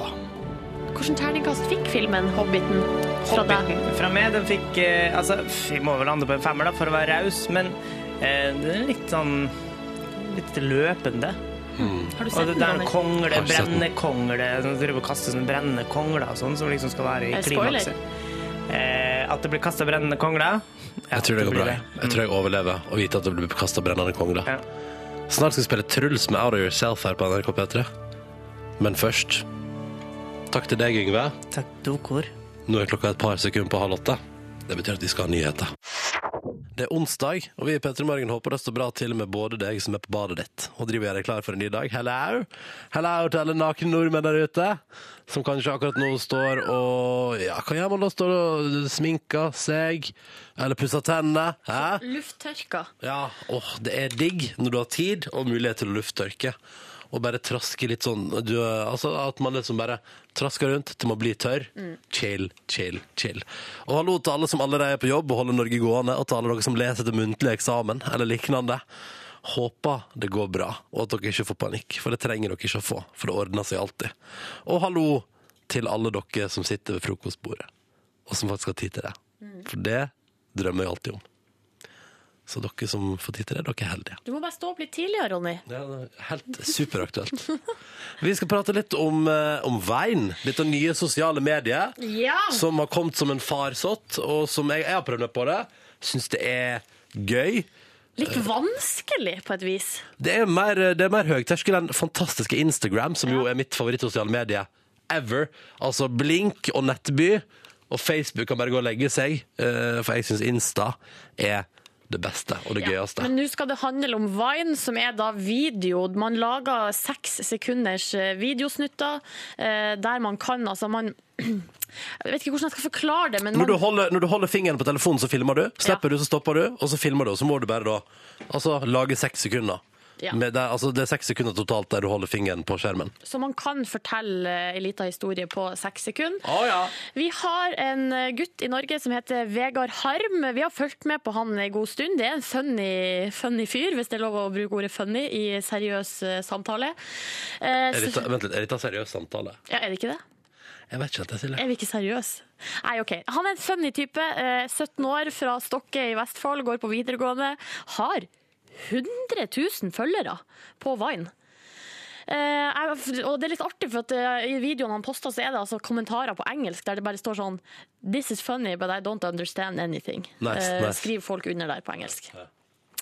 Speaker 4: Hvilken terningkast fikk filmen Hobbiten fra deg?
Speaker 3: Hobbiten fra meg, den fikk eh, Altså, pff, vi må vel lande på en femmer, da, for å være raus, men eh, den er litt sånn Litt løpende.
Speaker 4: Har du
Speaker 3: Og
Speaker 4: sett
Speaker 3: det der
Speaker 4: den? Daniel?
Speaker 3: kongle,
Speaker 2: Har du sett den?
Speaker 3: brennekongle Som driver og kaster sånne brennende kongler og sånn, som liksom skal være i
Speaker 4: Eh, spoiler.
Speaker 3: klimakset. Eh, at det blir kasta brennende kongler? Ja,
Speaker 2: Jeg tror det går
Speaker 3: blir
Speaker 2: bra. Jeg tror jeg overlever å vite at det blir kasta brennende kongle.
Speaker 3: Ja.
Speaker 2: Snart skal vi spille Truls med Out of Yourself her på NRK P3. Men først Takk til deg, Yngve.
Speaker 3: Mm, Takk, dokor.
Speaker 2: Nå er klokka et par sekunder på halv åtte. Det betyr at vi skal ha nyheter. Det er onsdag, og vi i P3 Morgen håper det står bra til med både deg som er på badet ditt, og driver og gjør deg klar for en ny dag. Hello! Hello til alle nakne nordmenn der ute, som kanskje akkurat nå står og Ja, hva gjør man da? Står og sminker seg? Eller pusser tennene? Hæ?
Speaker 4: Lufttørka.
Speaker 2: Ja, åh, det er digg når du har tid og mulighet til å lufttørke. Og bare traske litt sånn du, altså At man liksom bare trasker rundt til man blir tørr. Chill, chill, chill. Og hallo til alle som allerede er på jobb og holder Norge gående, og til alle dere som leser til muntlig eksamen eller liknande. Håper det går bra, og at dere ikke får panikk, for det trenger dere ikke å få. For det ordner seg alltid. Og hallo til alle dere som sitter ved frokostbordet, og som faktisk har tid til det. For det drømmer jeg alltid om. Så dere som får tid til det, dere er heldige.
Speaker 4: Du må bare stå opp litt tidligere, Ronny.
Speaker 2: Det er helt superaktuelt. Vi skal prate litt om, eh, om veien. Dette nye sosiale mediet
Speaker 4: Ja.
Speaker 2: som har kommet som en farsott, og som jeg, jeg har prøvd meg på det. Syns det er gøy.
Speaker 3: Øh.
Speaker 4: Litt vanskelig, på et vis.
Speaker 2: Det er mer, det er mer høyterskel enn fantastiske Instagram, som jo er mitt favorittsosiale medie ever. Altså Blink og Nettby og Facebook kan bare gå og legge seg, eh, for jeg syns Insta er det beste og det gøyeste.
Speaker 4: Men nå skal det handle om Vine, som er da video. Man lager seks sekunders eh, videosnutter eh, der man kan altså man Jeg vet ikke hvordan jeg skal forklare det, men
Speaker 2: Når du,
Speaker 4: man,
Speaker 2: holder, når du holder fingeren på telefonen, så filmer du. Slipper du, så stopper du, og så filmer du. Og så må du bare da altså, lage seks sekunder.
Speaker 4: Ja.
Speaker 2: Med det, altså, det er seks sekunder totalt der du holder fingeren på skjermen.
Speaker 4: så man kan fortelle eh, en liten historie på seks sekunder.
Speaker 2: Å ja.
Speaker 4: Vi har en gutt i Norge som heter Vegard Harm. Vi har fulgt med på han en god stund. Det er en funny, funny fyr, hvis det er lov å bruke ordet funny i seriøs eh, samtale. Eh,
Speaker 2: Er
Speaker 4: så,
Speaker 2: dette, vent litt, er dette en seriøs samtale?
Speaker 4: ja, er det ikke det?
Speaker 2: Jeg vet ikke, dette, Silje.
Speaker 4: Er vi ikke seriøse? Nei, OK. Han er en funny type. eh, 17 år, fra Stokke i Vestfold, går på videregående. Har 100 000 følgere på Vine. Eh, jeg- og det er litt artig, for at eh, i videoen han posta, så er det altså kommentarer på engelsk der det bare står sånn This is funny, but I don't understand anything.
Speaker 2: Nice,
Speaker 4: Eh,
Speaker 2: nice.
Speaker 4: Skriver folk under der på engelsk.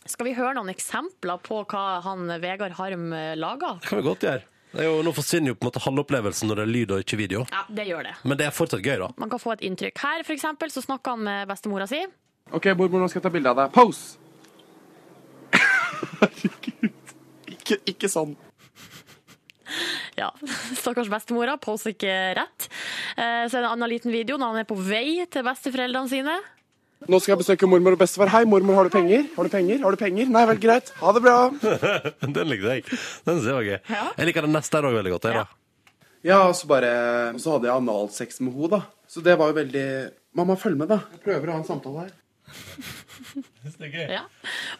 Speaker 4: Skal vi høre noen eksempler på hva han Vegard Harm eh, lager?
Speaker 2: Det kan vi godt gjøre. Det er jo, nå forsvinner jo på en måte halve opplevelsen når det er lyd og ikke video.
Speaker 4: Ja, det gjør det.
Speaker 2: Men det er fortsatt gøy, da.
Speaker 4: Man kan få et inntrykk. Her, for eksempel, så snakker han med bestemora si.
Speaker 7: Ok, Bormor, nå skal jeg ta bilde av deg. Pose! Herregud. Ikke, ikke sånn.
Speaker 4: Ja, Stakkars bestemora poser ikke rett. Eh, Så er det en annen liten video når han er på vei til besteforeldrene sine.
Speaker 7: Nå skal jeg besøke mormor og bestefar. Hei, mormor, har du penger? Har du penger? Har du penger? Nei vel, greit. Ha det bra.
Speaker 2: Den likte jeg. Den synes jeg var gøy.
Speaker 4: Ja.
Speaker 2: Jeg liker den neste her òg veldig godt. Jeg,
Speaker 4: Ja.
Speaker 2: da.
Speaker 7: Ja, og så bare Og så hadde jeg analsex med henne, da. Så det var jo veldig Mamma, følg med, da. Jeg prøver å ha en samtale her.
Speaker 4: Ja.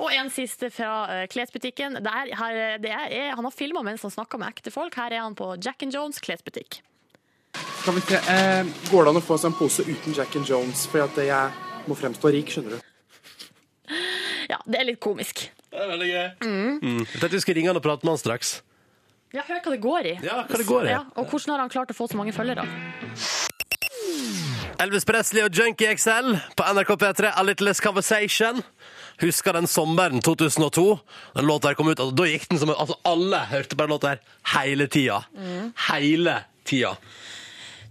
Speaker 4: Og en siste fra eh, klesbutikken. Der, her, eh, det er, han har filma mens han snakker med ekte folk. Her er han på Jack and Jones klesbutikk.
Speaker 7: Skal vi se eh, Går det an å få seg en pose uten Jack and Jones? Fordi at jeg må fremstå rik, skjønner du.
Speaker 4: Ja, det er litt komisk.
Speaker 2: Det er veldig gøy. Mm. Jeg tenkte vi skulle ringe han og prate med han straks.
Speaker 4: Ja, hør hva det går i.
Speaker 2: Ja, hva det går i.
Speaker 4: og hvordan har han klart å få så mange følgere?
Speaker 2: Elvis Presley og Junkie XL på NRK P3, A Little Less Conversation. Husker den sommeren 2002. Den låta her kom ut, altså, da gikk den som en- altså, Alle hørte på den låta her hele tida. Hele tida.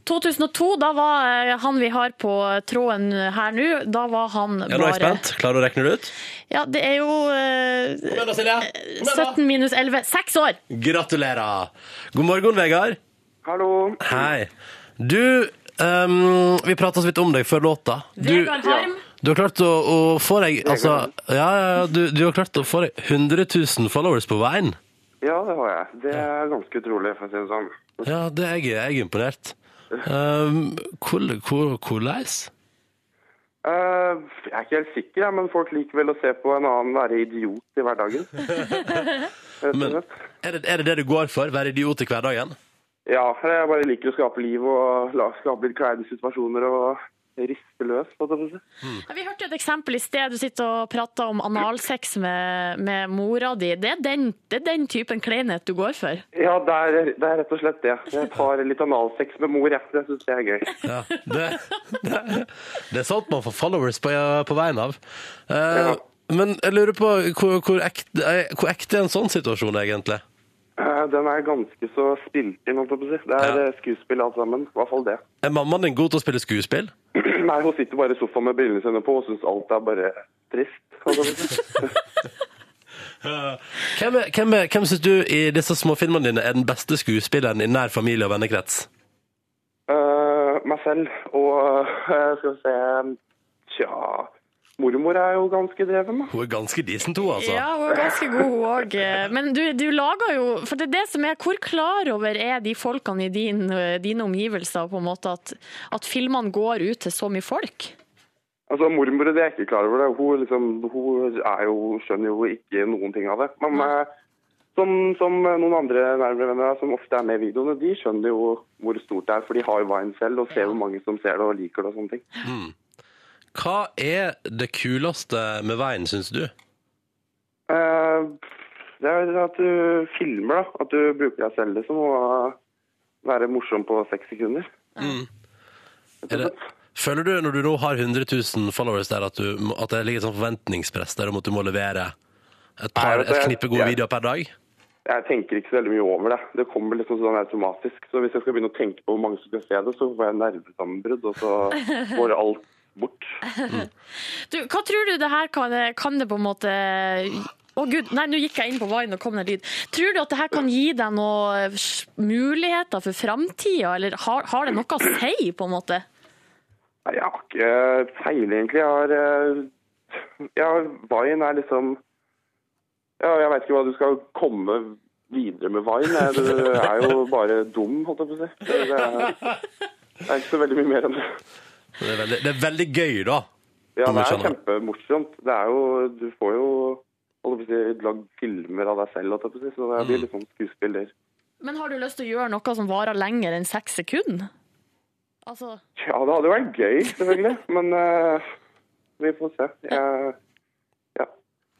Speaker 4: 2002, da var eh, han vi har på tråden her nå, da var han bare
Speaker 2: Ja, nå er jeg spent. Klarer du å regne det ut?
Speaker 4: Ja, det er jo eh,
Speaker 2: Kom igjen da, Silje. Kom igjen da.
Speaker 4: 17 minus 11 Seks år!
Speaker 2: Gratulerer. God morgen, Vegard.
Speaker 7: Hallo.
Speaker 2: Hei. Du, ehm, vi prata så vidt om deg før låta. Du,
Speaker 4: Vegard Harm.
Speaker 2: du har klart å, å få deg altså, ja, ja, ja, du, du har klart å få deg 100 000 followers på veien.
Speaker 6: Ja, det har jeg. Det er ganske utrolig, for å si det sånn.
Speaker 2: Ja, det er jeg, jeg er imponert. Um, hvor- hvor- Hvordan?
Speaker 6: Eh, jeg er ikke helt sikker, jeg, men folk liker vel å se på en annen være idiot i hverdagen. Rett og
Speaker 2: Men-
Speaker 6: slett.
Speaker 2: Er, det- er det det du går for? Være idiot i hverdagen?
Speaker 6: Ja, jeg bare liker å skape liv og la, skape litt kleine situasjoner og riste løs. holdt jeg på å si.
Speaker 4: Ja, Vi hørte et eksempel i sted. Du sitter og prater om analsex med, med mora di. Det er, den, det er den typen kleinhet du går for.
Speaker 6: Ja, det er, det er rett og slett det. Jeg tar litt analsex med mor, jeg. Jeg syns det er gøy.
Speaker 2: Ja, det, det, det er sånt man får followers på, på veien av. Eh,
Speaker 6: Ja.
Speaker 2: Men jeg lurer på hvor, hvor, ekte, eh, hvor ekte er en sånn situasjon egentlig?
Speaker 6: Eh, Den er ganske så spilt inn, holdt jeg på å si. Det er
Speaker 2: Ja.
Speaker 6: eh, skuespill alt sammen. I hvert fall det.
Speaker 2: Er mammaen din god til å spille skuespill?
Speaker 6: Nei, hun sitter bare i sofaen med brillene sine på og syns alt er bare trist. holdt jeg på å si.
Speaker 2: Hvem, er- hvem, er- hvem syns du i disse småfilmene dine er den beste skuespilleren i nær familie og vennekrets?
Speaker 6: Eh, meg selv og eh, skal vi se Tja Mormor er jo ganske dreven, da.
Speaker 2: Hun er ganske decent, hun, altså.
Speaker 4: Ja, hun er ganske god, hun òg. Men du, du lager jo For det er det som er Hvor klar over er de folkene i din, dine omgivelser på en måte at, at filmene går ut til så mye folk?
Speaker 6: Altså, Mormor det er jeg ikke klar over. det. Hun, liksom, hun er jo, skjønner jo ikke noen ting av det. Men eh, som, som noen andre nærmere venner av, som ofte er med i videoene, de skjønner jo hvor stort det er. For de har jo veien selv og ser hvor mange som ser det og liker det. og sånne ting.
Speaker 2: Hva er det kuleste med veien, syns du?
Speaker 6: Eh, det er at du filmer, da. At du bruker deg selv liksom, og være morsom på seks sekunder.
Speaker 2: Mm. Er det, føler du, når du nå har 100 000 followers der, at, du, må- at det ligger et sånt forventningspress der om at du må levere et, par,
Speaker 6: Nei, altså,
Speaker 2: et
Speaker 6: jeg-
Speaker 2: knippe gode
Speaker 6: jeg-
Speaker 2: videoer per dag?
Speaker 6: Jeg tenker ikke så veldig mye over det. Det kommer liksom sånn automatisk. Så hvis jeg skal begynne å tenke på hvor mange som skal se det, så får jeg nervesammenbrudd, og så går alt bort.
Speaker 4: Du, hva tror du det her kan, kan det på en måte å gud, nei, nå gikk jeg inn på Vine og kom det en lyd. Tror du at det her kan gi deg noen muligheter for framtida, eller har, har det noe å si, på en måte?
Speaker 6: Nei, jeg har ikke peiling, egentlig. Jeg har eh, Ja, Vine er liksom Ja, jeg veit ikke hva du skal komme videre med Vine. Du er jo bare dum, holdt jeg på å si. Det er, det er ikke så veldig mye mer enn det.
Speaker 2: Det er veldig, det er veldig gøy, da.
Speaker 6: Ja,
Speaker 2: Du må
Speaker 6: det er
Speaker 2: skjønne.
Speaker 6: kjempemorsomt. Det er jo Du får jo holdt jeg på å si, lagd filmer av deg selv, holdt jeg på å si. Så det
Speaker 2: Mm.
Speaker 6: blir litt sånn skuespiller.
Speaker 4: Men har du lyst til å gjøre noe som varer lenger enn seks sekunder? Altså,
Speaker 6: Ja, det hadde jo vært gøy, selvfølgelig. Men eh, vi får se. Jeg,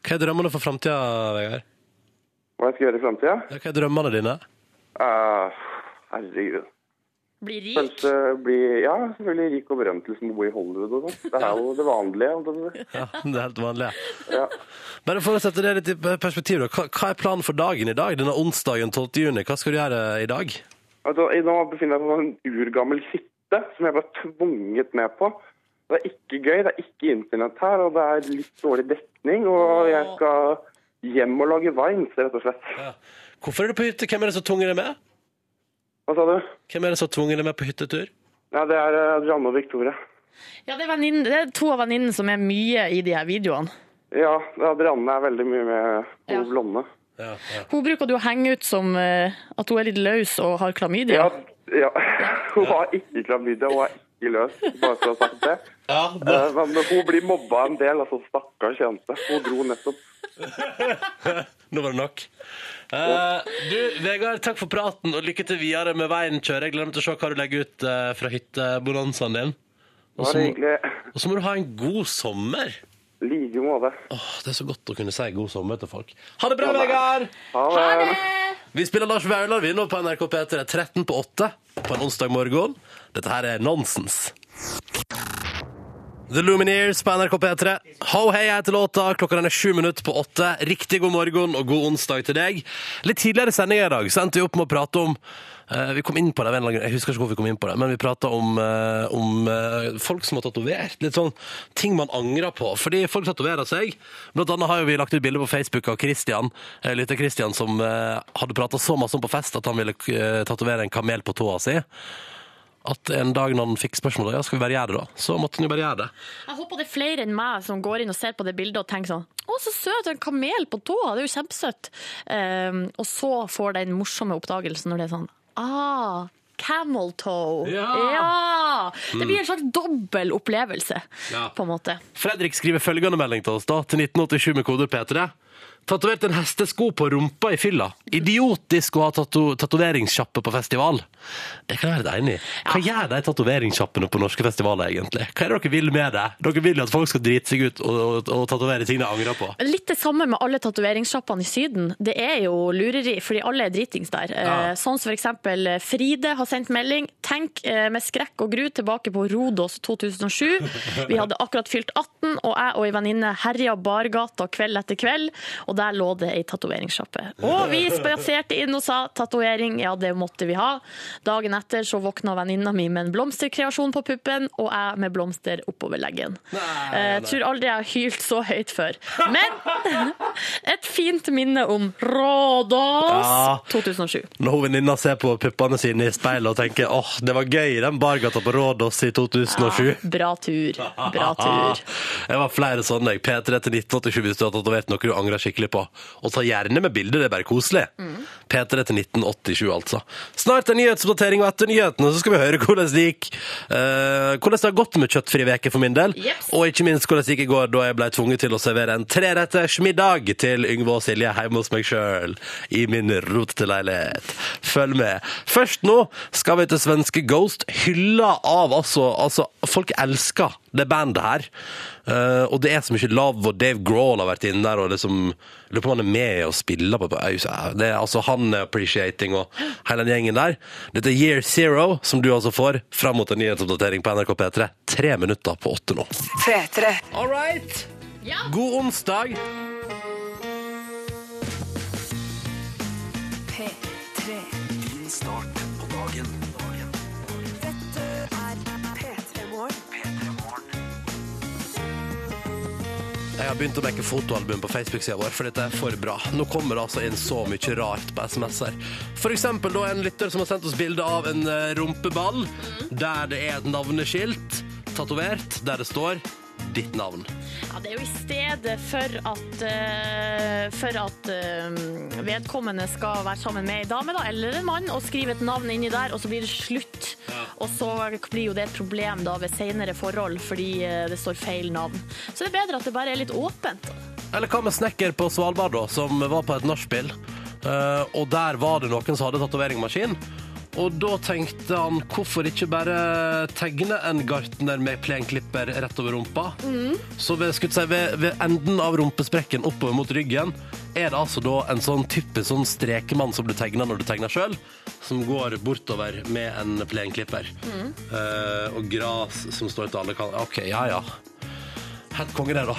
Speaker 2: Hva er drømmene for framtida, Vegard?
Speaker 6: hva jeg skal gjøre i framtida?
Speaker 2: Ja, Hva er drømmene dine?
Speaker 6: herregud.
Speaker 4: bli rik?
Speaker 6: Kanskje bli ja, selvfølgelig rik og berømt liksom, å bo i Hollywood og sånn. Det er jo det vanlige. holdt jeg på å si.
Speaker 2: Ja, det er helt vanlig.
Speaker 6: Ja.
Speaker 2: Bare for å sette det litt i perspektiv, da. Hva, hva er planen for dagen i dag? Denne onsdagen 12. juni, hva skal du gjøre i dag?
Speaker 6: Altså, jeg- nå befinner jeg meg på en urgammel hytte som jeg ble tvunget med på. Det er ikke gøy, det er ikke internett her, og det er litt dårlig dekning. Og jeg skal hjem og lage vines, rett og slett.
Speaker 2: Hvorfor er du på hytte? Hvem er det som tvinger deg med?
Speaker 6: Hva sa du?
Speaker 2: Hvem er det som tvinger deg med på hyttetur?
Speaker 6: Ja, det er eh, Adrianne og Victoria.
Speaker 4: Ja, det er, venninnen- det er to av venninnene som er mye i de her videoene.
Speaker 6: Ja, Adrianne er veldig mye med
Speaker 4: Ja.
Speaker 6: hun blonde.
Speaker 2: Ja, ja.
Speaker 4: Hun bruker du å henge ut som eh, at hun er litt løs og har klamydia.
Speaker 6: Ja, ja. Hun har ikke klamydia, hun er ikke løs, bare for å ha sagt det. Eh, Men hun blir mobba en del, altså stakkars jente. Hun dro nettopp.
Speaker 2: Nå var det nok. Eh, du, Vegard, takk for praten, og lykke til videre med veien kjøre. Jeg gleder meg til å se hva du legger ut eh, fra hyttebonanzaen din. Og så
Speaker 6: Det var
Speaker 2: må-
Speaker 6: egentlig
Speaker 2: og så må du ha en god sommer.
Speaker 6: like måte.
Speaker 2: Åh, det er så godt å kunne si god sommer til folk. Ha det bra, Vegard!
Speaker 6: Ha det!
Speaker 2: Vi spiller Lars Vaular, vi nå på NRK P3 13 på 8 på en onsdag morgen. Dette her er nonsens. The Lumineers på NRK P3. Ho hei heter låta. Klokka den er sju minutter på åtte. Riktig god morgen og god onsdag til deg. Litt tidligere i sendinga i dag så endte vi opp med å prate om eh, Vi kom inn på det, av en eller annen grunn. jeg husker ikke hvorfor vi kom inn på det, men vi prata om, eh, om eh, folk som har tatovert. Litt sånn ting man angrer på. Fordi folk tatoverer seg. Blant annet har jo vi lagt ut bilde på Facebook av Christian, eh, lytter Christian som eh, hadde prata så masse om på fest at han ville eh, tatovere en kamel på tåa si. At en dag når han fikk spørsmålet ja, skal vi bare gjøre det, da, så måtte han jo bare gjøre det.
Speaker 4: Jeg håper det er flere enn meg som går inn og ser på det bildet og tenker sånn Å, så søt! En kamel på tåa! Det er jo kjempesøtt! Um, og så får den morsomme oppdagelsen når det er sånn Ah, camel toe!
Speaker 2: Ja!
Speaker 4: Ja! Det blir en slags dobbel opplevelse,
Speaker 2: Ja.
Speaker 4: på en måte.
Speaker 2: Fredrik skriver følgende melding til oss da, til 1987 med koder P3. Tatovert en hestesko på rumpa i fylla. Idiotisk å ha tato tatoveringssjappe på festival. Det kan jeg være enig i. Hva gjør de tatoveringssjappene på norske festivaler, egentlig? Hva er det dere vil med det? Dere vil jo at folk skal drite seg ut og, og, og tatovere ting de angrer på.
Speaker 4: Litt det samme med alle tatoveringssjappene i Syden. Det er jo lureri, fordi alle er dritings der. Eh, Sånn som for eksempel Fride har sendt melding. Tenk eh, med skrekk og gru tilbake på Rodos 2007. Vi hadde akkurat fylt 18, og jeg og ei venninne herja bargata kveld etter kveld, og der lå det ei tatoveringssjappe. Og vi spaserte inn og sa tatovering, ja det måtte vi ha. Dagen etter så våkna venninna mi med en blomsterkreasjon på puppen, og jeg med blomster oppover leggen. Eh, tror aldri jeg har hylt så høyt før. Men et fint minne om Rådås
Speaker 2: Ja.
Speaker 4: 2007.
Speaker 2: Når hun venninna ser på puppene sine i speilet og tenker åh, det var gøy i den bargata på Rådås i 2007.
Speaker 4: Bra tur. Bra tur.
Speaker 2: Jeg var flere sånne. jeg. P3 til 1987 hvis du har tatovert noe du angrer skikkelig på. Og ta gjerne med bilde, det er bare koselig.
Speaker 4: Mm.
Speaker 2: P3 til 1987, altså. Snart en nyhetsoppdatering, og etter nyhetene så skal vi høre hvordan det gikk. eh, hvordan det har gått med kjøttfri veke for min del,
Speaker 4: Jeps.
Speaker 2: og ikke minst hvordan det gikk i går da jeg ble tvunget til å servere en treretters middag til Yngve og Silje hjemme hos meg sjøl i min rotete leilighet. Følg med. Først nå skal vi til svenske Ghost, hylla av altså, altså Folk elsker det bandet her. Eh, og det er så mye Love og Dave Grohl har vært inne der og liksom Lurer på om han er med og spiller på på- det er, Altså, han er appreciating og hele den gjengen der. Dette er Year Zero, som du altså får fram mot en nyhetsoppdatering på NRK P3. Tre minutter på åtte nå.
Speaker 5: P3.
Speaker 2: All right. God onsdag.
Speaker 5: P3.
Speaker 1: Din start på dagen. dagen.
Speaker 5: Dette er P3 Morgen.
Speaker 1: P3 morgen.
Speaker 2: Jeg har begynt å mekke fotoalbum på Facebook-sida vår, for dette er for bra. Nå kommer det altså inn så mye rart på SMS-er. For eksempel da en lytter som har sendt oss bilde av en eh, rumpeball, der det er et navneskilt tatovert, der det står ditt navn.
Speaker 4: Ja, det er jo i stedet for at, eh, for at eh, vedkommende skal være sammen med ei dame da, eller en mann og skrive et navn inni der, og så blir det slutt. Og så blir jo det et problem da ved senere forhold fordi eh, det står feil navn. Så det er bedre at det bare er litt åpent.
Speaker 2: Eller hva med snekker på Svalbard, da, som var på et nachspiel. Eh, og der var det noen som hadde tatoveringsmaskin. Og da tenkte han hvorfor ikke bare tegne en gartner med plenklipper rett over rumpa? Så ved, skulle jeg si, ved, ved enden av rumpesprekken oppover mot ryggen er det altså da en sånn typisk sånn strekemann som du tegner når du tegner sjøl, som går bortover med en plenklipper. Eh, og gras som står til alle kanter. OK, ja ja. Helt konge det, da.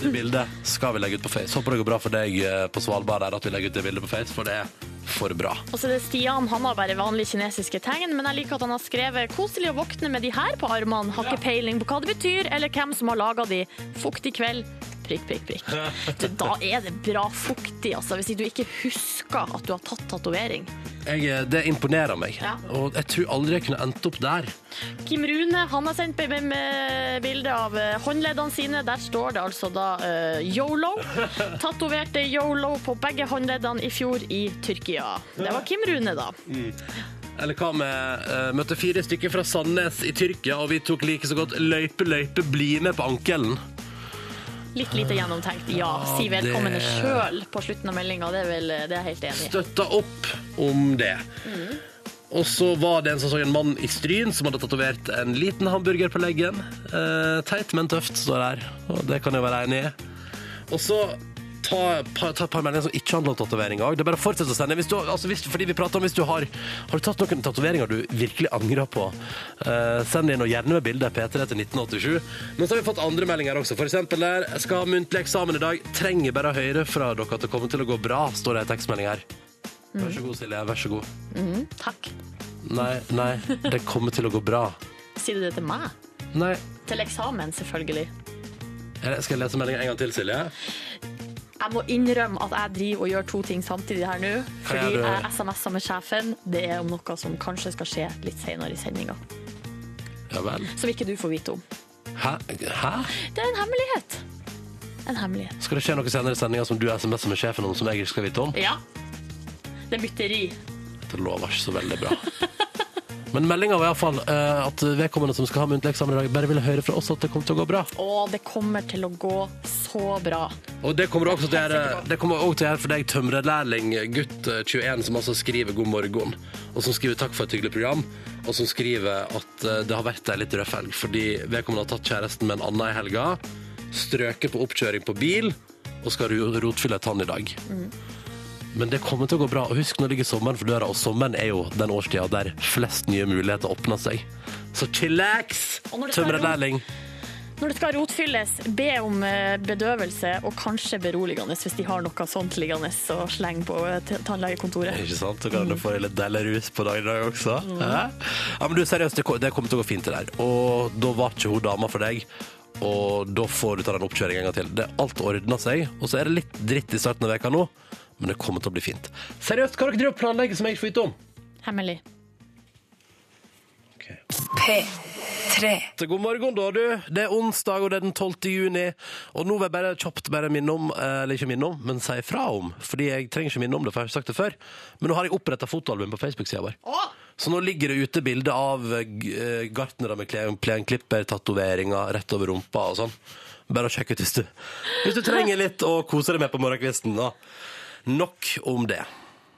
Speaker 2: Det bildet skal vi legge ut på Face. Håper det går bra for deg eh, på Svalbard der at vi legger ut det bildet på Face, for det er for bra.
Speaker 4: Og så er Altså, det Stian, han har bare vanlige kinesiske tegn, men jeg liker at han har skrevet 'koselig å våkne med de her på armene', har ikke peiling på hva det betyr, eller hvem som har laga de. Fuktig kveld. Prikk, prikk, prikk. Du, da er det bra fuktig, altså, hvis du ikke husker at du har tatt tatovering.
Speaker 2: Jeg, eh, det imponerer meg.
Speaker 4: Ja.
Speaker 2: Og jeg tror aldri jeg kunne endt opp der.
Speaker 4: Kim Rune han har sendt meg med bilde av eh, håndleddene sine. Der står det altså da eh, Yolo. Tatoverte Yolo på begge håndleddene i fjor i Tyrkia. Det var Kim Rune, da.
Speaker 2: Eller hva med uh, Møtte fire stykker fra Sandnes i Tyrkia, og vi tok like så godt løype, løype, bli med på ankelen.
Speaker 4: Litt lite gjennomtenkt. Ja, si velkommende
Speaker 2: det-
Speaker 4: sjøl på slutten av meldinga. Det, er vel- det er jeg helt enig i.
Speaker 2: støtta opp om det. Og så var det en som så en mann i Stryn som hadde tatovert en liten hamburger på leggen. Eh, teit, men tøft, står det her. Og det kan jeg være enig i. Og så ta, pa- ta et par meldinger som ikke handler om tatoveringer òg. Det er bare å fortsette å sende. Hvis du, altså hvis, fordi vi prater om hvis du har, har du tatt noen tatoveringer du virkelig angrer på, eh, send inn og gjerne med bilde P3 til 1987. Men så har vi fått andre meldinger også. For eksempel der jeg skal ha muntlig eksamen i dag. Trenger bare å høre fra dere at det kommer til å gå bra, står det i tekstmelding her. Vær så god, Silje. Vær så god.
Speaker 4: Takk.
Speaker 2: Nei, nei, det kommer til å gå bra.
Speaker 4: Sier du det til meg?
Speaker 2: Nei.
Speaker 4: Til eksamen, selvfølgelig.
Speaker 2: Er det- Skal jeg lese meldinga en gang til, Silje?
Speaker 4: Jeg må innrømme at jeg driver og gjør to ting samtidig her nå.
Speaker 2: gjør
Speaker 4: Fordi
Speaker 2: du?
Speaker 4: jeg SMS-er med sjefen. Det er om noe som kanskje skal skje litt senere i sendinga.
Speaker 2: Ja vel.
Speaker 4: Som ikke du får vite om.
Speaker 2: Hæ? Hæ?
Speaker 4: Det er en hemmelighet. En hemmelighet.
Speaker 2: Skal det skje noe senere i sendinga som du SMS-er med sjefen om, som jeg ikke skal vite om?
Speaker 4: Ja. Det er mytteri.
Speaker 2: Det lover ikke så veldig bra. Men meldinga var iallfall uh, at vedkommende som skal ha muntlig eksamen i dag, bare ville høre fra oss at det kom til å gå bra.
Speaker 4: Å, det kommer til å gå så bra.
Speaker 2: Og det kommer også til å gjøre, det kommer også til å gjøre for deg, tømrerlærling gutt eh, 21, som altså skriver 'god morgen', og som skriver 'takk for et hyggelig program', og som skriver at eh, det har vært ei litt røff helg fordi vedkommende har tatt kjæresten med en annen i helga, strøket på oppkjøring på bil og skal ro- rotfylle et tann i dag. Men det kommer til å gå bra. Og husk, nå ligger sommeren for døra, og sommeren er jo den årstida der flest nye muligheter åpner seg. Så chillax,
Speaker 4: Og når det skal
Speaker 2: tømrerlærling.
Speaker 4: Når det skal rotfylles, be om eh, bedøvelse og kanskje beroligende hvis de har noe sånt liggende å slenge på eh, t- tannlegekontoret.
Speaker 2: Ikke sant? Så kan du få deg litt deilig rus på dagen i dag også. Hæ? Ja, men du, seriøst, det kom- det kommer til å gå fint det der. Og da var ikke hun dama for deg. Og da får du ta den oppkjøringen en gang til. Det, alt ordner seg, og så er det litt dritt i starten av veka nå, men det kommer til å bli fint. Seriøst, hva har dere drevet og planlegger som jeg ikke får vite om?
Speaker 4: Hemmelig.
Speaker 5: P3.
Speaker 2: God morgen, da, du. Det er onsdag, og det er den 12. juni. Og nå vil jeg bare kjapt bare minne om, eh, eller ikke minne om, men si fra om. Fordi jeg trenger ikke minne om det, for jeg har ikke sagt det før. Men nå har jeg oppretta fotoalbum på Facebook-sida vår. Så nå ligger det ute bilder av eh, g- eh, gartnere med kle- plenklipper, tatoveringer rett over rumpa og sånn. Bare å sjekke ut hvis du, hvis du trenger litt å kose deg med på morgenkvisten. Da. Nok om det.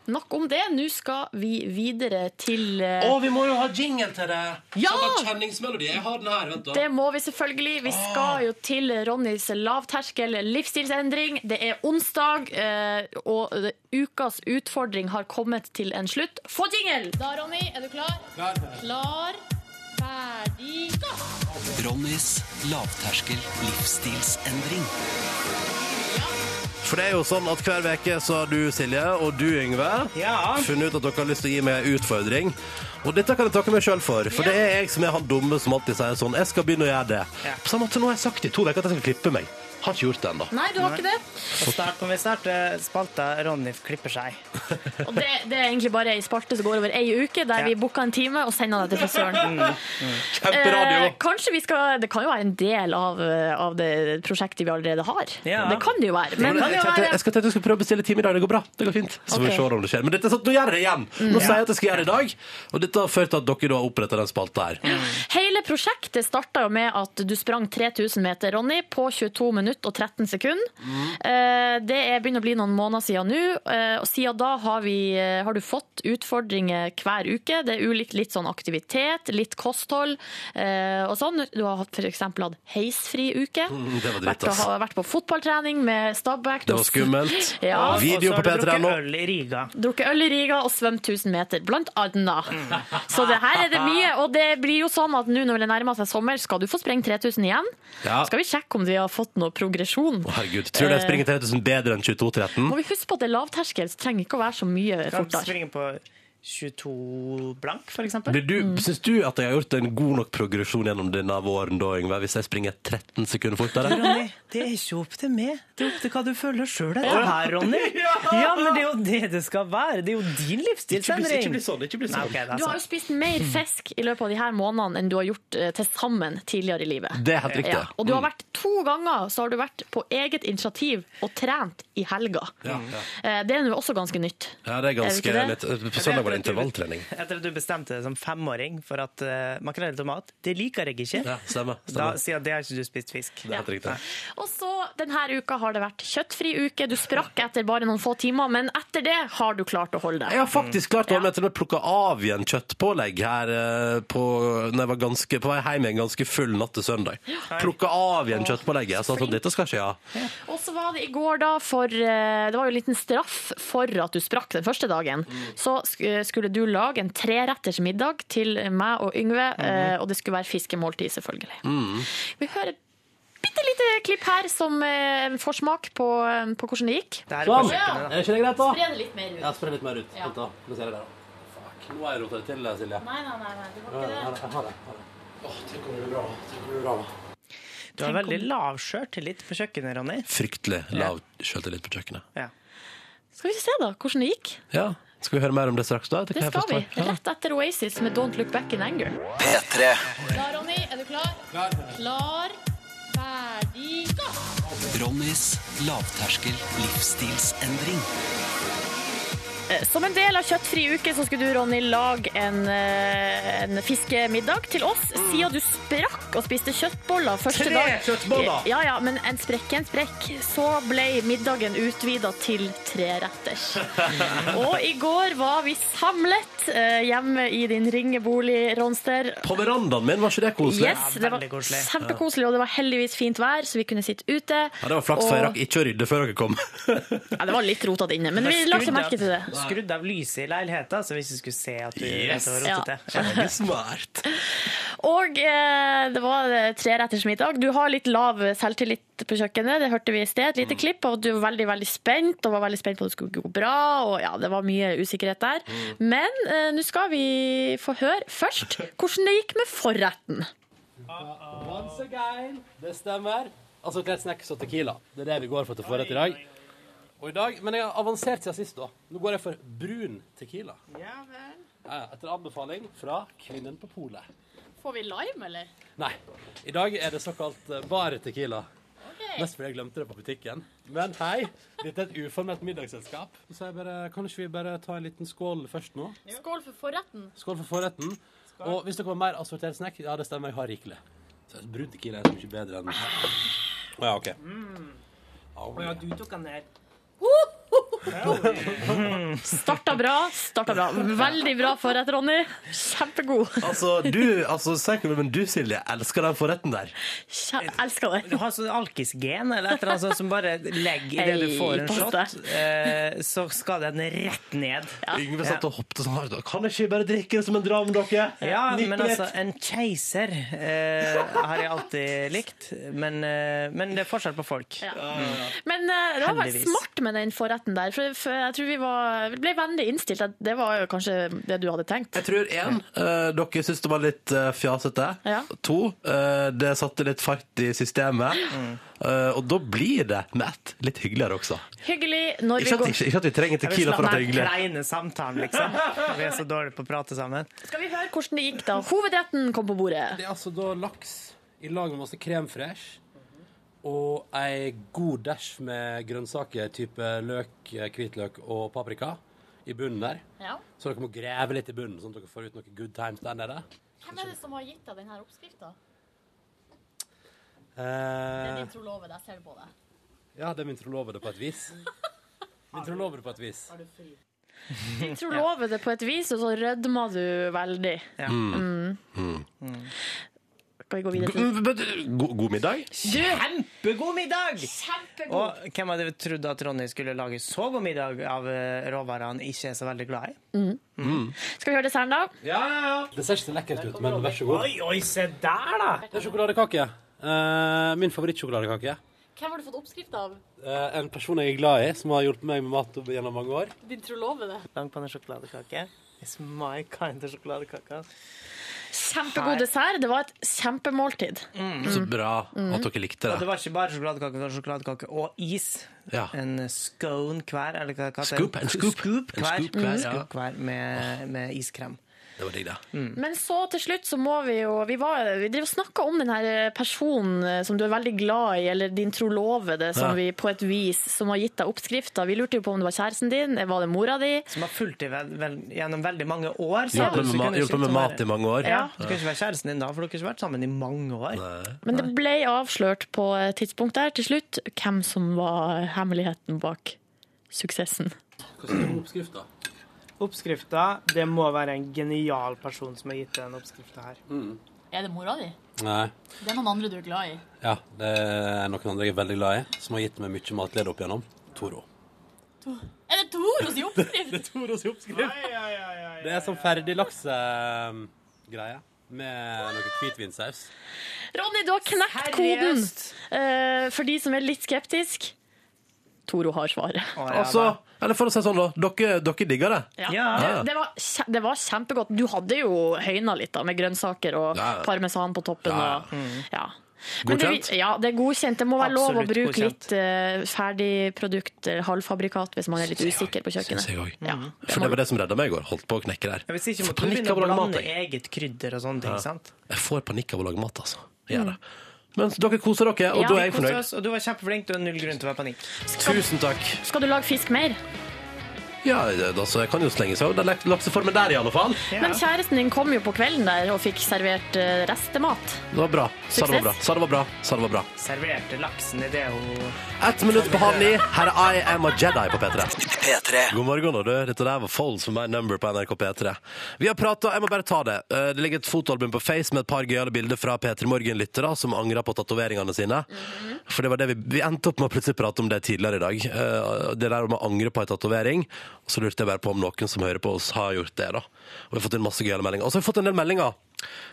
Speaker 4: Nok om det. Nå skal vi videre til eh,
Speaker 2: vi må jo ha jingle til det!
Speaker 4: Ja!
Speaker 2: Sånn Kjenningsmelodi. Jeg har den her. Vent, da.
Speaker 4: Det må vi selvfølgelig. Vi skal jo til Ronnys lavterskel livsstilsendring. Det er onsdag, eh, og eh, ukas utfordring har kommet til en slutt. Få jingle! Da, Ronny, er du klar? Klar. ferdig, gå!
Speaker 1: Ronnys lavterskel livsstilsendring.
Speaker 2: For det er jo sånn at hver veke så har du, Silje, og du, Yngve,
Speaker 3: Ja.
Speaker 2: funnet ut at dere har lyst til å gi meg en utfordring. Og dette kan jeg takke meg sjøl for, for det er jeg som er han dumme som alltid sier sånn. Jeg skal begynne å gjøre det.
Speaker 3: Ja.
Speaker 2: På samme måte nå har jeg sagt i to uker at jeg skal klippe meg. Har ikke gjort det ennå.
Speaker 4: Nei, du har ikke det.
Speaker 3: Og snart kommer vi starter spalta Ronny klipper seg.
Speaker 4: Og det, det er egentlig bare ei spalte som går over ei uke, der
Speaker 3: Ja.
Speaker 4: vi booker en time og sender deg til frisøren.
Speaker 2: Kjemperadio!
Speaker 4: Eh, kanskje vi skal Det kan jo være en del av, eh, av det prosjektet vi allerede har.
Speaker 3: Ja.
Speaker 4: Det kan det jo være. Men,
Speaker 2: Jeg skal, jeg skal, jeg skal prøve å bestille time i dag. Det går bra. Det går fint. Så får vi
Speaker 4: Ok.
Speaker 2: se om det skjer. Men dette er sånn, nå gjør jeg det igjen!
Speaker 3: Mm.
Speaker 2: Nå sier jeg at jeg skal gjøre det i dag, og dette har ført til at dere da har oppretta den spalta her.
Speaker 4: Hele prosjektet starta jo med at du sprang 3000 meter, Ronny, på 22 minutter og 13 sekunder.
Speaker 2: Mm.
Speaker 4: Eh, Det er begynner å bli noen måneder siden nå, eh, og siden da har, vi, eh, har du fått utfordringer hver uke. Det er ulikt litt sånn aktivitet, litt kosthold eh, og sånn. Du har hatt f.eks. hatt heisfri uke.
Speaker 2: Mm, det var dritt,
Speaker 4: vært, og,
Speaker 2: ass.
Speaker 4: har vært på fotballtrening med Stabæk.
Speaker 2: Det var skummelt.
Speaker 4: Ja,
Speaker 3: Og
Speaker 2: Video
Speaker 3: så
Speaker 2: på
Speaker 3: har du
Speaker 2: P3 nå.
Speaker 3: drukket øl i Riga.
Speaker 4: drukket øl i Riga og svømt 1000 meter, blant annet. Så det her er det mye, og det blir jo sånn at nå når det nærmer seg sommer, skal du få sprengt 3000 igjen.
Speaker 2: Ja.
Speaker 4: Skal vi sjekke om vi har fått noe progresjon?
Speaker 2: Å, herregud. Tror du
Speaker 4: Eh.
Speaker 2: jeg springer 3000 bedre enn 22.13?
Speaker 4: Må vi huske på at det er lavterskel, så trenger ikke å være så mye
Speaker 3: Kan
Speaker 4: fortere.
Speaker 3: springe på 22 blank, for eksempel.
Speaker 2: Blir du, Syns du at jeg har gjort en god nok progresjon gjennom denne våren, da, Yngve, hvis jeg springer 13 sekunder fortere?
Speaker 3: Ronny, det er ikke opp til meg. Det er opp til hva du føler sjøl dette her, Ronny. Ja, men det er jo det det skal være. Det er jo din livsstilsendring.
Speaker 2: sånn. ikke bli
Speaker 3: Nei, ok, det er
Speaker 4: Du har
Speaker 3: sant.
Speaker 4: jo spist mer fisk i løpet av de her månedene enn du har gjort eh, til sammen tidligere i livet.
Speaker 2: Det er helt riktig.
Speaker 4: Ja, og du har vært to ganger så har du vært på eget initiativ og trent i helga.
Speaker 2: Ja, ja.
Speaker 4: Eh, Det er nå også ganske nytt.
Speaker 2: Ja, det er ganske
Speaker 4: Er det
Speaker 2: litt eh, På søndag var det intervalltrening.
Speaker 3: Etter at du bestemte deg som femåring for at uh, makrell i tomat, det liker jeg ikke.
Speaker 2: Ja, stemmer.
Speaker 3: Da
Speaker 2: stemmer.
Speaker 3: sier jeg at det har ikke du spist fisk.
Speaker 2: Det er helt riktig.
Speaker 4: Og så denne uka har det vært kjøttfri uke. Du sprakk etter bare noen få timer, men etter det har du klart å holde
Speaker 2: Jeg
Speaker 4: deg.
Speaker 2: har faktisk klart å være med til å plukke av igjen kjøttpålegg her eh, på, når jeg var ganske, på vei hjem en ganske full natt til søndag. Plukka av igjen kjøttpålegget. Jeg sa sånn, dette skal ikke jeg ha.
Speaker 4: Og så var det i går da for eh, Det var jo en liten straff for at du sprakk den første dagen. Så sk- eh, skulle du lage en treretters middag til meg og Yngve, eh, og det skulle være fiskemåltid, selvfølgelig. Vi hører et bitte lite klipp her som eh, en forsmak på, eh, på hvordan det gikk.
Speaker 3: Det er på
Speaker 2: Sånn.
Speaker 3: kjøkkenet,
Speaker 2: Er ikke det greit, da?
Speaker 4: Spre det litt mer ut.
Speaker 2: Ja, spre litt mer ut.
Speaker 4: Ja.
Speaker 2: Vent, da. Nå ser jeg det, da. Fuck. Nå har jeg rota det til, Silje.
Speaker 4: Nei, nei, nei, nei, det var
Speaker 2: Jeg
Speaker 4: ikke
Speaker 2: har
Speaker 4: det.
Speaker 2: det. Jeg har det. Jeg har det. Åh, tenk om det blir bra. Tenk om det blir bra.
Speaker 3: da. Du har veldig lav sjøltillit på kjøkkenet, Ronny.
Speaker 2: Fryktelig lav sjøltillit på kjøkkenet.
Speaker 3: Ja.
Speaker 4: Skal vi se da hvordan det gikk?
Speaker 2: Ja. Skal vi høre mer om det straks, da?
Speaker 4: Det skal vi. Rett etter Oasis med Don't Look Back in Anger.
Speaker 1: P3.
Speaker 4: Klar, Ronny? Er du klar? Klar. ferdig, gå!
Speaker 1: Ronnys lavterskel livsstilsendring.
Speaker 4: Eh, Som en del av Kjøttfri uke så skulle du, Ronny, lage en, eh, en fiskemiddag til oss.
Speaker 2: Mm.
Speaker 4: Siden du sprakk og spiste kjøttboller første
Speaker 3: Tre
Speaker 4: dag
Speaker 3: kjøttboller!
Speaker 4: Ja, ja, men en sprekk er en sprekk. Så ble middagen utvida til treretters. Og i går var vi samlet eh, hjemme i din ringebolig, Ronster.
Speaker 2: På verandaen min, var ikke det koselig?
Speaker 4: Yes, det var
Speaker 3: veldig koselig.
Speaker 4: kjempekoselig, og det var heldigvis fint vær, så vi kunne sitte ute.
Speaker 2: Ja, det var flaks, for jeg
Speaker 4: Og-
Speaker 2: rakk ikke å rydde før dere kom.
Speaker 4: Ja, det var litt rotete inne, men vi la ikke
Speaker 3: Skrudd av-
Speaker 4: merke til det.
Speaker 3: Skrudd av lyset i leiligheten, så vi ikke skulle se at du
Speaker 2: Yes.
Speaker 3: at det var rotete.
Speaker 2: Veldig smart.
Speaker 4: Og eh, det var eh, tre retters middag. Du har litt lav selvtillit på kjøkkenet, det hørte vi i sted. Et lite klipp, og du var veldig veldig spent og var veldig spent på at det skulle gå bra. og ja, Det var mye usikkerhet der. Men eh, nå skal vi få høre først hvordan det gikk med forretten.
Speaker 2: Once again, det stemmer. Altså Klein Snacks og Tequila. Det er det vi går for til forrett i dag. Og i dag, Men jeg har avansert siden sist, da. Nå går jeg for brun Tequila. Ja vel. Etter anbefaling fra kvinnen på polet.
Speaker 4: Får vi lime, eller?
Speaker 2: Nei. I dag er det såkalt eh, bare tequila. Mest fordi jeg glemte det på butikken. Men hei, dette er et uformelt middagsselskap. Så sa jeg bare, kan ikke vi bare ta en liten skål først nå?
Speaker 4: Skål for forretten.
Speaker 2: Skål for forretten. Og hvis det kommer mer assortert snack, ja, det stemmer, jeg har rikelig. Så brun tequila er så mye bedre enn Å ja, OK.
Speaker 8: Mm.
Speaker 2: Au, ja.
Speaker 3: Du tok han ned.
Speaker 4: Starta bra, starta bra. Veldig bra forrett, Ronny. Kjempegod.
Speaker 8: Altså, du, altså, si hva du vil, men du, Silje, elsker den forretten der.
Speaker 4: Kjæ elsker
Speaker 3: Du
Speaker 4: det.
Speaker 3: har sånn alkisgen eller et eller annet sånt som bare legger i det du
Speaker 4: Hei,
Speaker 3: får en
Speaker 4: pass
Speaker 3: shot, eh, så skal den rett ned.
Speaker 8: Yngve satt og hoppet sånn hardt. Kan jeg ikke bare drikke det som en dram, dere?
Speaker 3: Ja,
Speaker 8: Nikk,
Speaker 3: men
Speaker 8: nikk.
Speaker 3: altså, en keiser eh, har jeg alltid likt, men, eh, men det er forskjell på folk.
Speaker 4: Men eh, det var veldig
Speaker 3: Heldigvis.
Speaker 4: smart med den forretten der. For, for jeg tror vi, var, vi ble vennlig innstilt. at Det var jo kanskje det du hadde tenkt.
Speaker 8: Jeg tror én, eh, dere syntes det var litt eh, fjasete.
Speaker 4: Ja.
Speaker 8: To, eh, det satte litt fart i systemet. Eh, og da blir det med ett litt hyggeligere også.
Speaker 4: Hyggelig når vi
Speaker 8: Ikke at,
Speaker 4: går.
Speaker 8: ikke, ikke at vi trenger
Speaker 3: Jeg vil
Speaker 8: tequila for at
Speaker 3: snakke
Speaker 8: det er
Speaker 3: om
Speaker 8: hyggelig.
Speaker 3: kleine samtalen, liksom. Vi er så dårlige på å prate sammen.
Speaker 4: Skal vi høre hvordan det gikk da hovedretten kom på bordet?
Speaker 2: Det er altså da laks i lag med masse krem fresh. Og ei god dash med grønnsaker, type løk, eh, hvitløk og paprika, i bunnen der.
Speaker 4: Ja.
Speaker 2: Så dere må grave litt i bunnen, sånn at dere får ut noe good times der nede.
Speaker 4: Hvem er det som har gitt deg denne oppskrifta?
Speaker 2: Eh,
Speaker 4: trolove, jeg ser på deg.
Speaker 2: ja, det er min trolovede på et vis. Min trolovede på et vis.
Speaker 4: Jeg tror lover det på et vis, og så rødmer du veldig.
Speaker 3: Ja.
Speaker 4: Mm. Skal vi gå videre til
Speaker 8: Mm, men- God, god middag.
Speaker 3: Kjempegod middag!
Speaker 4: Kjempegod!
Speaker 3: Og hvem hadde trodd at Ronny skulle lage så god middag av eh, råvarer han ikke er så veldig glad i?
Speaker 4: Skal vi høre desserten, da?
Speaker 2: Det ser ikke så lekkert ut, men vær så god.
Speaker 3: oi, se der, da!
Speaker 2: Det er sjokoladekake. Eh, min favorittsjokoladekake.
Speaker 4: Hvem har du fått oppskrift av?
Speaker 2: Eh, en person jeg er glad i, som har hjulpet meg med mat opp gjennom mange år.
Speaker 4: Din trolove, det.
Speaker 3: Langpanne sjokoladekake. It's my kind of sjokoladekake.
Speaker 4: Kjempegod dessert. Det var et kjempemåltid.
Speaker 8: Mm. Så bra at dere likte
Speaker 3: Det
Speaker 8: det.
Speaker 3: var ikke bare sjokoladekake, det var sjokoladekake og is.
Speaker 8: Ja.
Speaker 3: En scone hver, eller hva hva heter det?
Speaker 8: Scoop, en scoop. En
Speaker 3: hver.
Speaker 8: scoop hver,
Speaker 3: Mm.
Speaker 8: ja.
Speaker 3: Scoop hver med, med iskrem.
Speaker 8: Det var digg, det.
Speaker 4: Men så til slutt så må vi jo Vi, var, vi drev og snakka om den her personen eh, som du er veldig glad i, eller din trolovede, som
Speaker 8: Ja.
Speaker 4: vi på et vis som har gitt deg oppskrifta. Vi lurte jo på om det var kjæresten din, eh, var det mora di?
Speaker 3: Som har fulgt deg vel, vel, gjennom veldig mange år. sa du,
Speaker 8: Hjulpet med,
Speaker 3: så kunne
Speaker 8: ma-
Speaker 3: ikke
Speaker 8: hjulpet
Speaker 3: du
Speaker 8: med mat i
Speaker 3: være-
Speaker 8: mange år.
Speaker 3: Ja, Du kan ikke være kjæresten din da, for dere har ikke vært sammen i mange år.
Speaker 4: Men det ble avslørt på et tidspunkt der til slutt hvem som var hemmeligheten bak suksessen.
Speaker 2: Hva står det på oppskrifta?
Speaker 9: Oppskrifta Det må være en genial person som har gitt den oppskrifta her.
Speaker 4: Er det mora di?
Speaker 9: Nei.
Speaker 10: Det er noen andre du er glad i.
Speaker 9: Ja, det er noen andre jeg er veldig glad i, som har gitt meg mye matglede opp igjennom. Toro.
Speaker 10: Er det Toros i oppskrift?
Speaker 9: det er Toros i oppskrift. Det er sånn ferdig laksegreie med noe hvitvinsaus.
Speaker 4: Ronny, du har knekt koden Eh, for de som er litt skeptiske. Toro har svaret.
Speaker 2: Altså, eller for å si sånn, da. Dere, dere digger det.
Speaker 4: Ja. Det, det, var, kje- det var kjempegodt. Du hadde jo høyna litt da, med grønnsaker og
Speaker 2: Ja, ja.
Speaker 4: parmesan på toppen.
Speaker 2: Ja,
Speaker 4: Og, ja. Men
Speaker 2: Godkjent?
Speaker 4: Det, ja, det er godkjent. Det må være lov å
Speaker 3: Absolutt
Speaker 4: bruke
Speaker 3: godkjent.
Speaker 4: litt eh, ferdig produkt, eh, halvfabrikat, hvis man er litt usikker på
Speaker 2: Synes
Speaker 4: kjøkkenet.
Speaker 2: jeg også.
Speaker 4: Ja.
Speaker 2: For det var det som redda meg i går. Holdt på å knekke der.
Speaker 3: Ja, Hvis ikke må
Speaker 2: Får
Speaker 3: du
Speaker 2: panikk av
Speaker 3: begynne å
Speaker 2: å lage mat.
Speaker 3: blande
Speaker 2: Jeg.
Speaker 3: eget krydder og sånne ting. sant?
Speaker 2: jeg får panikk av å lage mat, altså. Jeg
Speaker 3: Mm.
Speaker 2: gjør det. Men dere koser dere, og
Speaker 4: Ja,
Speaker 2: da
Speaker 4: vi
Speaker 2: er jeg
Speaker 3: Koste
Speaker 2: fornøyd.
Speaker 3: oss, og du var kjempeflink. Du har null grunn til å være i panikk.
Speaker 2: Tusen takk.
Speaker 4: Skal du lage fisk mer?
Speaker 2: Ja, det- altså, jeg kan jo slenge seg over den lak- lakseformen der, i alle fall.
Speaker 4: Men kjæresten din kom jo på kvelden der og fikk servert eh, restemat.
Speaker 2: Det var bra. Sa det var bra.
Speaker 4: Suksess.
Speaker 2: Sa det var bra. Sa det var bra.
Speaker 3: Serverte laksen i det hun
Speaker 2: Ett minutt på halv ni. Her er I Am A Jedi på P3.
Speaker 11: P3.
Speaker 2: God morgen, og du. Dette der var Fold som er number på NRK P3. Vi har pratet, jeg må bare ta det. Eh, Det ligger et fotoalbum på Face med et par gøyale bilder fra P3 Morgen-lyttere som angrer på tatoveringene sine. For det var det vi, vi endte opp med å plutselig prate om det tidligere i dag. Eh, Det der om å angre på en tatovering. Og så lurte jeg bare på om noen som hører på oss har gjort det, da. Og vi har fått inn masse gøyale meldinger. Og så har vi fått en del meldinger,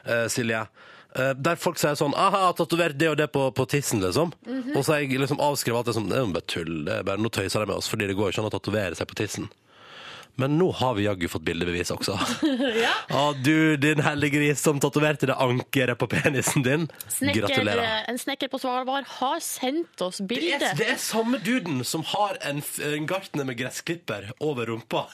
Speaker 2: eh, Silje. eh, Der folk sier sånn Aha, tatovert det og det på, på tissen, liksom. Og så har jeg liksom avskrevet at det er sånn Det er jo bare tull. Det er bare, nå tøyser de med oss, fordi det går jo ikke an å tatovere seg på tissen. Men nå har vi jaggu fått bildebevis også. ja. du, din hellige gris som tatoverte det ankeret på penisen din.
Speaker 4: Snekker, eh,
Speaker 2: Gratulerer.
Speaker 4: En snekker på Svalbard har sendt oss
Speaker 2: Det
Speaker 4: bilde.
Speaker 2: er, det er samme duden som har en, f- en gartner med gressklipper over rumpa.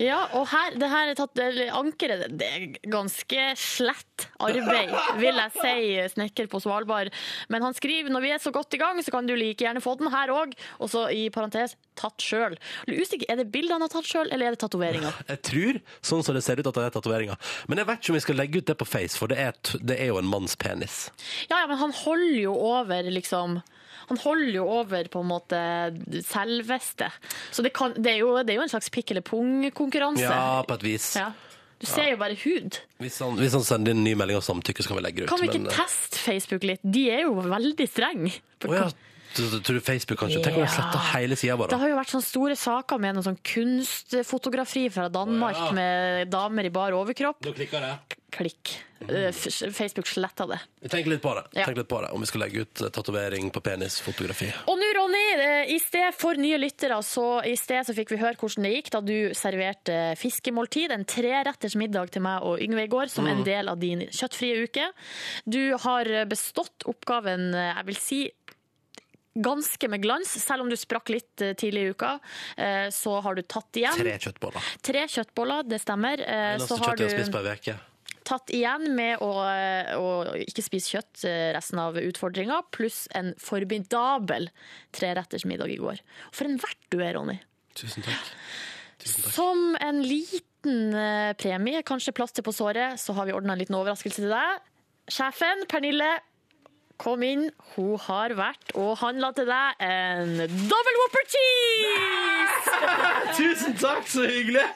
Speaker 4: Ja, og her, det her er tatt, eller ankeret, det er ganske slett arbeid, vil jeg si, snekker på Svalbard. Men han skriver, når vi er så godt i gang, så kan du like gjerne få den her også, og så i parentes, tatt selv. Jeg er Usikker, er det bildet han har tatt selv, eller er det tatueringer?
Speaker 2: Jeg tror, sånn som det ser ut, at det er tatoveringer. Men jeg vet ikke om vi skal legge ut det på Face, for det er, t- det er jo en manns penis.
Speaker 4: Ja, ja, men han holder jo over, liksom, han holder jo over på en måte selveste. Så det, kan, det, er, jo, det er jo en slags pikk eller pung-konkurranse.
Speaker 2: Ja, på et vis.
Speaker 4: Ja. Du ser jo bare hud.
Speaker 2: Hvis, han, hvis han sender inn ny melding og samtykke, så kan vi legge det ut.
Speaker 4: Kan vi ikke
Speaker 2: men, eh,
Speaker 4: teste Facebook litt? De er jo veldig strenge.
Speaker 2: Å ja. Du, du, tror du Facebook kanskje? Tenk om jeg sletter hele sida vår.
Speaker 4: Det har jo vært sånne store saker med noe sånn kunstfotografi fra Danmark
Speaker 2: Å, ja.
Speaker 4: med damer i bar overkropp.
Speaker 2: Nå klikker det.
Speaker 4: Klikk. Eh, f- Facebook sletta det.
Speaker 2: Tenk litt på det.
Speaker 4: Ja.
Speaker 2: Tenk litt på det. Om vi skal legge ut eh, tatovering på penisfotografi.
Speaker 4: Og nå, Ronny, eh, i sted for nye lyttere, så i sted så fikk vi høre hvordan det gikk da du serverte eh, fiskemåltid, en treretters middag til meg og Yngve i går, som
Speaker 2: Mm.
Speaker 4: en del av din kjøttfrie uke. Du har eh, bestått oppgaven, eh, jeg vil si, ganske med glans, selv om du sprakk litt eh, tidlig i uka, eh, så har du tatt igjen.
Speaker 2: Tre kjøttboller.
Speaker 4: Tre kjøttboller, det stemmer. Eh,
Speaker 2: Eneste
Speaker 4: Så har
Speaker 2: kjøttet jeg har spist
Speaker 4: du
Speaker 2: på ei uke.
Speaker 4: tatt igjen med å, å ikke spise kjøtt eh, resten av utfordringa, pluss en formidabel treretters middag i går. Og for en vert du er, Ronny.
Speaker 2: Tusen takk.
Speaker 4: Som en liten eh, premie, kanskje plaster på såret, så har vi ordna en liten overraskelse til deg. Sjefen, Pernille, kom inn. Hun har vært og handla til deg en double whopper cheese!
Speaker 2: Tusen takk, så hyggelig!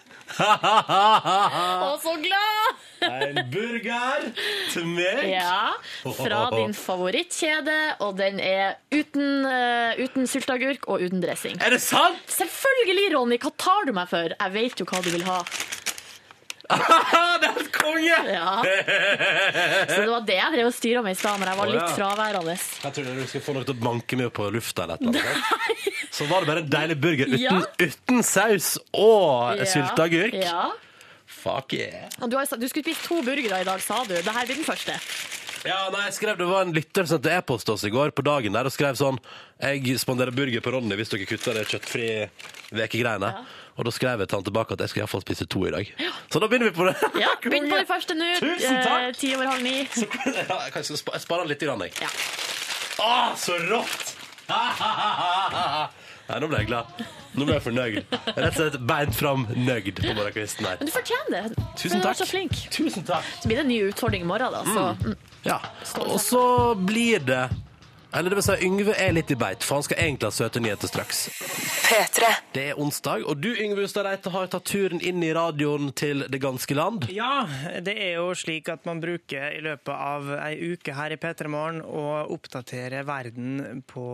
Speaker 4: Å, så glad!
Speaker 2: en burger til meg.
Speaker 4: Ja, fra din favorittkjede, og den er uten, eh, uten sylteagurk og uten dressing.
Speaker 2: Er det sant?!
Speaker 4: Selvfølgelig, Ronny! Hva tar du meg for? Jeg vet jo hva du vil ha.
Speaker 2: det er helt konge!
Speaker 4: Ja. Så det var det jeg drev og styra med i stad, når jeg var
Speaker 2: Å,
Speaker 4: litt
Speaker 2: ja.
Speaker 4: fraværende.
Speaker 2: Jeg trodde du skulle få noe til å banke meg opp på lufta. eller et eller annet. Så var det bare en deilig burger uten,
Speaker 4: Ja.
Speaker 2: uten saus og
Speaker 4: Ja.
Speaker 2: sylteagurk.
Speaker 4: Ja.
Speaker 2: Fuck yeah!
Speaker 4: Og du, har, jo sagt- du skulle spise to burgere i dag, sa du. Dette blir den første.
Speaker 2: Ja, nei, jeg skrev, Det var en lytter som sendte e-post til oss i går på dagen der og skrev sånn Jeg spanderer burger på Ronny hvis dere kutter det kjøttfri vekegreiene. Og da skrev jeg til han tilbake at jeg skal iallfall spise to i dag. Så da begynner vi på det.
Speaker 4: Ja, Begynn på den første nå.
Speaker 2: Tusen takk.
Speaker 4: Eh, Ti over halv ni.
Speaker 2: Så, ja, jeg kan- jeg spa- jeg sparer den litt, grann, jeg.
Speaker 4: Ja.
Speaker 2: Å, så rått! Nei, nå ble jeg glad. Nå ble jeg fornøyd. Rett og slett beint fram nøyd på morgenkvisten her.
Speaker 4: Men du fortjener det.
Speaker 2: Tusen
Speaker 4: Du var
Speaker 2: takk.
Speaker 4: så flink.
Speaker 2: Tusen takk.
Speaker 4: Så blir det en ny utfordring i morgen, da. Så. Mm.
Speaker 2: Ja. Og så blir det Eller det vil si, Yngve er litt i beit, for han skal egentlig ha søte nyheter straks.
Speaker 12: P3.
Speaker 2: Det er onsdag, og du Yngve Ustad Reite har tatt turen inn i radioen til det ganske land.
Speaker 3: Ja, det er jo slik at man bruker i løpet av ei uke her i P3 Morgen å oppdatere verden på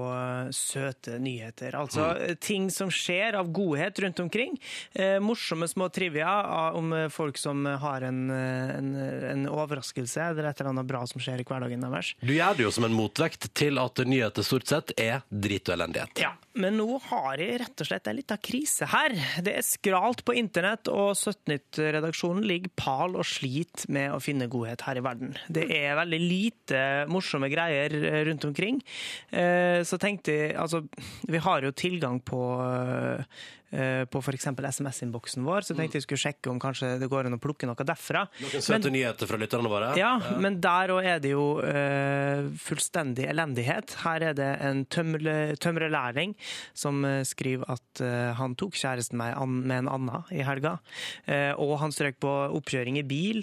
Speaker 3: søte nyheter. Altså ting som skjer av godhet rundt omkring. Eh, morsomme små trivia av- om eh, folk som har en, eh, en, en overraskelse eller et eller annet bra som skjer i hverdagen deres.
Speaker 2: Du gjør det jo som en motvekt til at nyheter stort sett er drit og elendighet.
Speaker 3: Ja, Men nå har jeg rett og slett en liten krise her. Det er skralt på internett, og 17nytt-redaksjonen ligger pal og sliter med å finne godhet her i verden. Det er veldig lite morsomme greier eh, rundt omkring. Eh, Så tenkte jeg Altså, vi har jo tilgang på eh, på f.eks. SMS-innboksen vår, så tenkte jeg skulle sjekke om kanskje det går an å plukke noe derfra.
Speaker 2: Noen søte nyheter fra lytterne våre.
Speaker 3: Ja, men der òg er det jo eh, fullstendig elendighet. Her er det en tømre, tømrelærling som eh, skriver at eh, han tok kjæresten meg an, med en annen i helga, eh, og han strøk på oppkjøring i bil.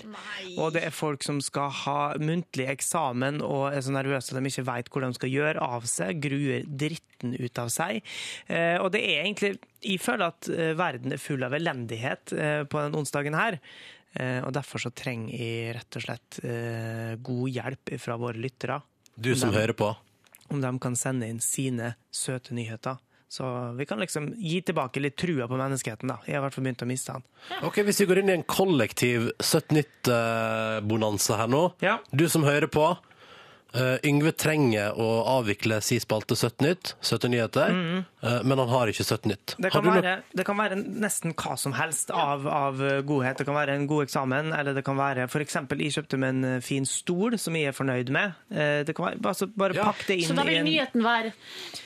Speaker 3: Og det er folk som skal ha muntlig eksamen og er så nervøse at de ikke veit hvor de skal gjøre av seg, gruer dritten ut av seg. Eh, og det er egentlig Jeg føler at eh, verden er full av elendighet eh, på den onsdagen her. Eh, Og derfor så trenger jeg rett og slett eh, god hjelp fra våre lyttere.
Speaker 2: Du som
Speaker 3: Om de-
Speaker 2: hører på.
Speaker 3: Om de kan sende inn sine søte nyheter. Så vi kan liksom gi tilbake litt trua på menneskeheten, da. Jeg har i hvert fall begynt å miste den.
Speaker 2: Ok, Hvis vi går inn i en kollektiv 17-nytt-bonanza her nå Du som hører på. eh, Yngve trenger å avvikle si spalte 17 nytt, 17 nyheter,
Speaker 3: Mhm.
Speaker 2: eh, men han har ikke 17 nytt.
Speaker 3: Det
Speaker 2: Har
Speaker 3: kan,
Speaker 2: du noe-
Speaker 3: være, det kan være nesten hva som helst av, av eh, godhet. Det kan være en god eksamen, eller det kan være f.eks. jeg kjøpte meg en eh, fin stol som jeg er fornøyd med. Eh, Det kan være, altså bare pakk det inn
Speaker 4: Så da
Speaker 3: i
Speaker 4: vil
Speaker 3: en
Speaker 4: nyheten være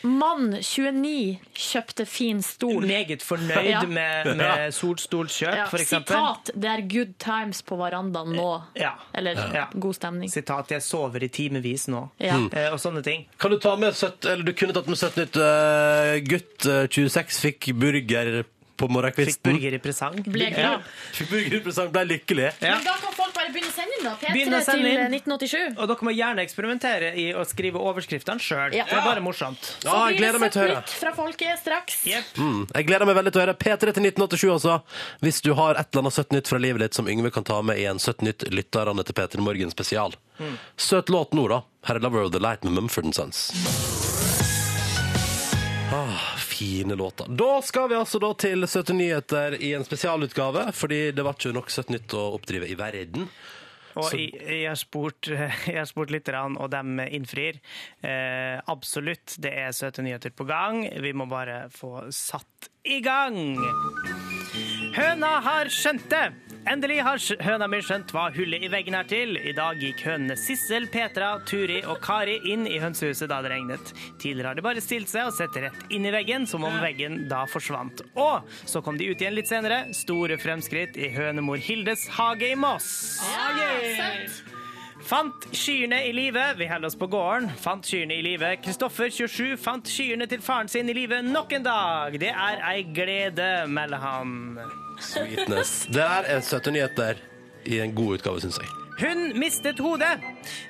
Speaker 4: Mann 29 kjøpte fin stol.
Speaker 3: Meget fornøyd
Speaker 4: Ja.
Speaker 3: med,
Speaker 4: Ja.
Speaker 3: med solstolkjøp,
Speaker 4: Ja,
Speaker 3: for eksempel.
Speaker 4: Sitat 'Det er good times på verandaen nå'.
Speaker 3: Ja.
Speaker 4: Eller
Speaker 3: Ja.
Speaker 4: god stemning.
Speaker 3: Sitat 'jeg sover i timevis nå',
Speaker 4: Ja.
Speaker 3: eh, og sånne ting.
Speaker 2: Kan du ta med 17, eller du kunne tatt med 17 nytt eh, gutt eh, 26 fikk burger på morgenkvisten.
Speaker 3: Fikk burger i presang.
Speaker 4: Ble glad.
Speaker 2: Fikk burger i presang, ble lykkelig.
Speaker 4: Men da kan folk bare begynne å sende inn, da.
Speaker 3: Begynn å
Speaker 4: P3 til
Speaker 3: sende inn.
Speaker 4: 1987.
Speaker 3: Og dere må gjerne eksperimentere i å skrive overskriftene sjøl.
Speaker 4: Ja.
Speaker 3: Det er bare morsomt.
Speaker 2: Ja, jeg gleder meg til å høre.
Speaker 4: nytt fra folket straks.
Speaker 2: Mm. Jeg gleder meg veldig til å høre P3 til 1987, altså. Hvis du har et eller annet 17 nytt fra livet ditt som Yngve kan ta med i en 17 nytt lytterne til P3 Morgen spesial.
Speaker 13: Mm.
Speaker 2: Søt låt nå, da. Her er Lover of the Light med Mumford Sons. Ah, fine låter. Da skal vi altså da til 17 nyheter i en spesialutgave, fordi det var ikke nok 17 nytt å oppdrive i verden.
Speaker 3: Og
Speaker 2: Så-
Speaker 3: jeg, jeg har spurt, jeg har spurt litt, og de innfrir. Eh, absolutt, det er søte nyheter på gang. Vi må bare få satt i gang. Høna har skjønt det! Endelig har skj- høna mi skjønt hva hullet i veggen er til. I dag gikk hønene Sissel, Petra, Turi og Kari inn i hønsehuset da det regnet. Tidligere har de bare stilt seg og sett rett inn i veggen, som om veggen da forsvant. Og så kom de ut igjen litt senere. Store fremskritt i hønemor Hildes hage i Moss. Fant kyrne i live. Vi holder oss på gården. Fant kyrne i live. Kristoffer, 27, fant kyrne til faren sin i live nok en dag. Det er ei glede, melder han.
Speaker 2: Sweetness. Det der er 17 nyheter i en god utgave, syns jeg.
Speaker 3: Hun mistet hodet.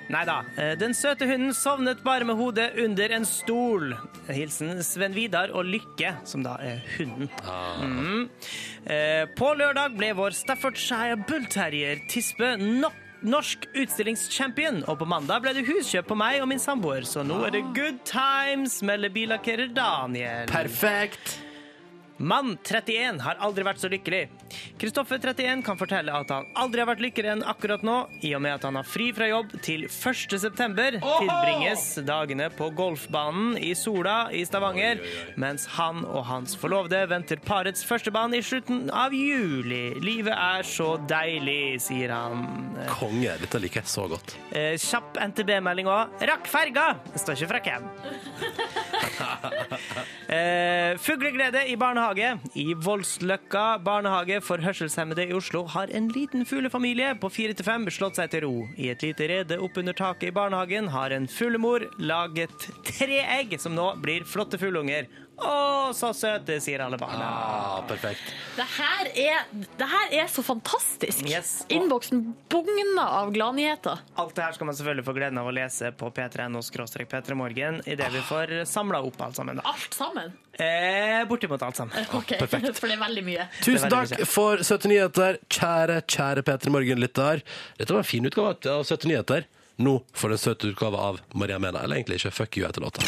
Speaker 3: Nei da. eh, Den søte hunden sovnet bare med hodet under en stol. Hilsen Sven Vidar og Lykke, som da er hunden. Mm. Eh, På lørdag ble vår Staffordshire Bullterrier Tispe nok norsk utstillingschampion, og på mandag ble det huskjøp på meg og min samboer, så nå er det good times, melder billakkerer Daniel.
Speaker 2: Perfekt.
Speaker 3: Mann 31 har aldri vært så lykkelig. Kristoffer 31 kan fortelle at han aldri har vært lykkeligere enn akkurat nå, i og med at han har fri fra jobb til 1. september. Tilbringes dagene på golfbanen i Sola i Stavanger, mens han og hans forlovede venter parets førstebarn i slutten av juli. Livet er så deilig, sier han.
Speaker 2: Konge. Dette liker jeg så godt.
Speaker 3: Eh, kjapp NTB-melding òg. Rakk ferga! Det står ikke fra hvem. Eh, fugleglede i barnehage. I Voldsløkka barnehage for hørselshemmede i Oslo har en liten fuglefamilie på fire til fem slått seg til ro. I et lite rede oppunder taket i barnehagen har en fuglemor laget tre egg, som nå blir flotte fugleunger. Å, så søte, sier alle barna.
Speaker 2: perfekt.
Speaker 4: Det her er, det her er så fantastisk.
Speaker 3: Yes.
Speaker 4: Innboksen bugner av gladnyheter.
Speaker 3: Alt det her skal man selvfølgelig få gleden av å lese på p3.no p3morgen idet vi får samla opp alt sammen. da.
Speaker 4: Alt sammen.
Speaker 3: Eh, bortimot alt sammen.
Speaker 4: Ok,
Speaker 2: perfekt.
Speaker 4: For det er veldig mye.
Speaker 2: Tusen
Speaker 3: Det er veldig
Speaker 2: takk
Speaker 3: mye.
Speaker 2: for Søte nyheter, kjære, kjære Peter Morgen-lytter. Dette var en fin utgave av Søte nyheter. Nå får du en søt utgave av Maria Mena. Eller egentlig ikke. Fuck you etter låta.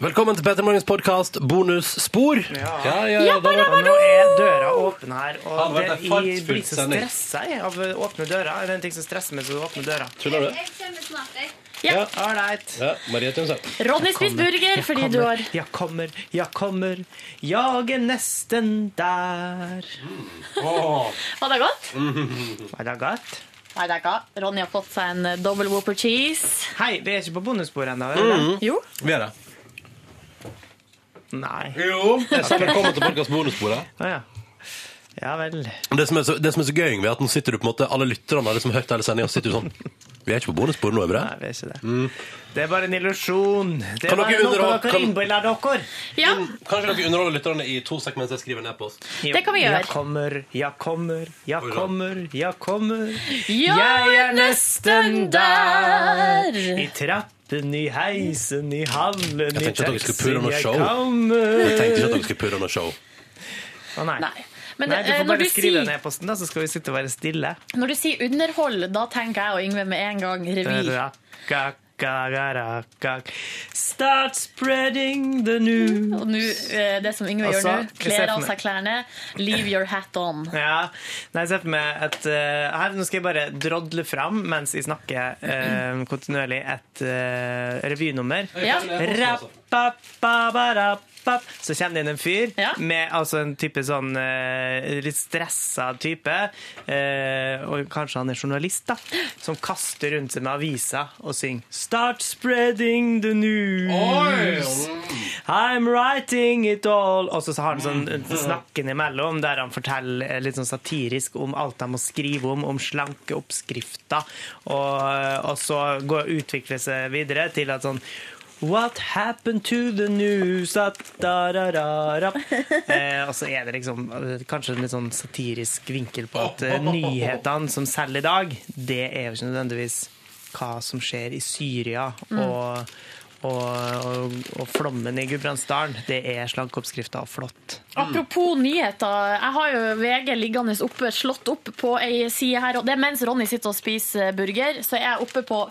Speaker 2: Velkommen til Peter Morgens podkast Bonusspor. Ja, ja, ja, det var-
Speaker 3: Og nå er døra åpen her, og
Speaker 2: Hadde vært
Speaker 3: det,
Speaker 2: en fartsfull
Speaker 3: jeg blir så
Speaker 2: sending.
Speaker 3: stressa jeg, av å åpne døra. Det er en ting som stresser meg, så du åpner døra.
Speaker 2: Tuller du?
Speaker 14: kommer snart, jeg.
Speaker 2: Ja.
Speaker 3: All right.
Speaker 2: ja. Maria Tønsen.
Speaker 4: Ronny spiser burger fordi du har
Speaker 3: Jeg kommer, jeg kommer, jeg er nesten der.
Speaker 4: Var det godt?
Speaker 3: Var det godt?
Speaker 4: Nei, det er ikke. Ronny har fått seg en eh, double whopper cheese.
Speaker 3: Hei, vi er ikke på bonussporet ennå? er vi
Speaker 2: Mm.
Speaker 3: det?
Speaker 4: Jo.
Speaker 2: Vi er det.
Speaker 3: Nei.
Speaker 2: Jo. Jeg sa velkommen til podkast Bonussporet.
Speaker 3: Å ja. Ja vel.
Speaker 2: Det som er så, det som er så gøy, Yngve, er at nå sitter du på en måte, alle lytterne har liksom hørt hele sendinga og sitter jo sånn Vi er ikke på bonussporet nå, er vi det?
Speaker 3: Nei, vi er ikke det. Det er bare en illusjon.
Speaker 2: Mm. Kan
Speaker 3: Det er bare
Speaker 2: dere
Speaker 3: noe
Speaker 2: underholde-
Speaker 3: dere
Speaker 2: kan-
Speaker 3: innbiller dere.
Speaker 4: Ja,
Speaker 3: Mm.
Speaker 2: Kanskje dere underholder lytterne i to sek mens jeg skriver ned på oss.
Speaker 4: Det kan vi gjøre.
Speaker 3: Jeg kommer, jeg kommer, jeg kommer, jeg kommer.
Speaker 4: Ja,
Speaker 3: Jeg er nesten der.
Speaker 4: der.
Speaker 3: I trappen, i heisen, i hallen, i
Speaker 2: Jeg tenkte at dere skulle purre
Speaker 3: taxien,
Speaker 2: noe
Speaker 3: jeg
Speaker 2: show. Jeg
Speaker 3: kommer.
Speaker 2: tenkte ikke at dere skulle purre noe show.
Speaker 3: Å nei.
Speaker 4: Nei. Men
Speaker 3: Nei, du
Speaker 4: eh,
Speaker 3: får
Speaker 4: når,
Speaker 3: bare
Speaker 4: du
Speaker 3: skrive
Speaker 4: sier,
Speaker 3: ned posten, da, så skal vi sitte og være stille.
Speaker 4: når du sier underhold, da tenker jeg og Yngve med en gang revy.
Speaker 3: Rakakararak. Start spreading the news.
Speaker 4: Og nå, eh, det som Yngve gjør nå,
Speaker 3: Altså, jeg ser
Speaker 4: kler av
Speaker 3: for meg-
Speaker 4: seg klærne, leave your hat on.
Speaker 3: Ja. Nei, se for meg et eh, her, Nå skal jeg bare drodle fram mens jeg snakker eh, kontinuerlig et eh, revynummer.
Speaker 4: Ja.
Speaker 3: Rappapaparappap. Så kommer det inn en fyr
Speaker 4: Ja.
Speaker 3: med altså en type sånn eh, litt stressa type, eh, og kanskje han er journalist, da, som kaster rundt seg med avisa og synger 'Start spreading the news'. I'm writing it all. Og så har han sånn snakken imellom, der han forteller eh, litt sånn satirisk om alt de må skrive om, om slanke oppskrifter, og, og så går, utvikler seg videre til at sånn What happened to the news? Da, da, da, da, da. Eh, og så er det liksom eh, kanskje en litt sånn satirisk vinkel på at eh, nyhetene som selger i dag, det er jo ikke nødvendigvis hva som skjer i Syria og, og, og, og flommen i Gudbrandsdalen. Det er slankeoppskrifter og flott.
Speaker 4: Apropos nyheter, jeg har jo VG liggende oppe, slått opp på ei side her. Og det er mens Ronny sitter og spiser burger, så er jeg oppe på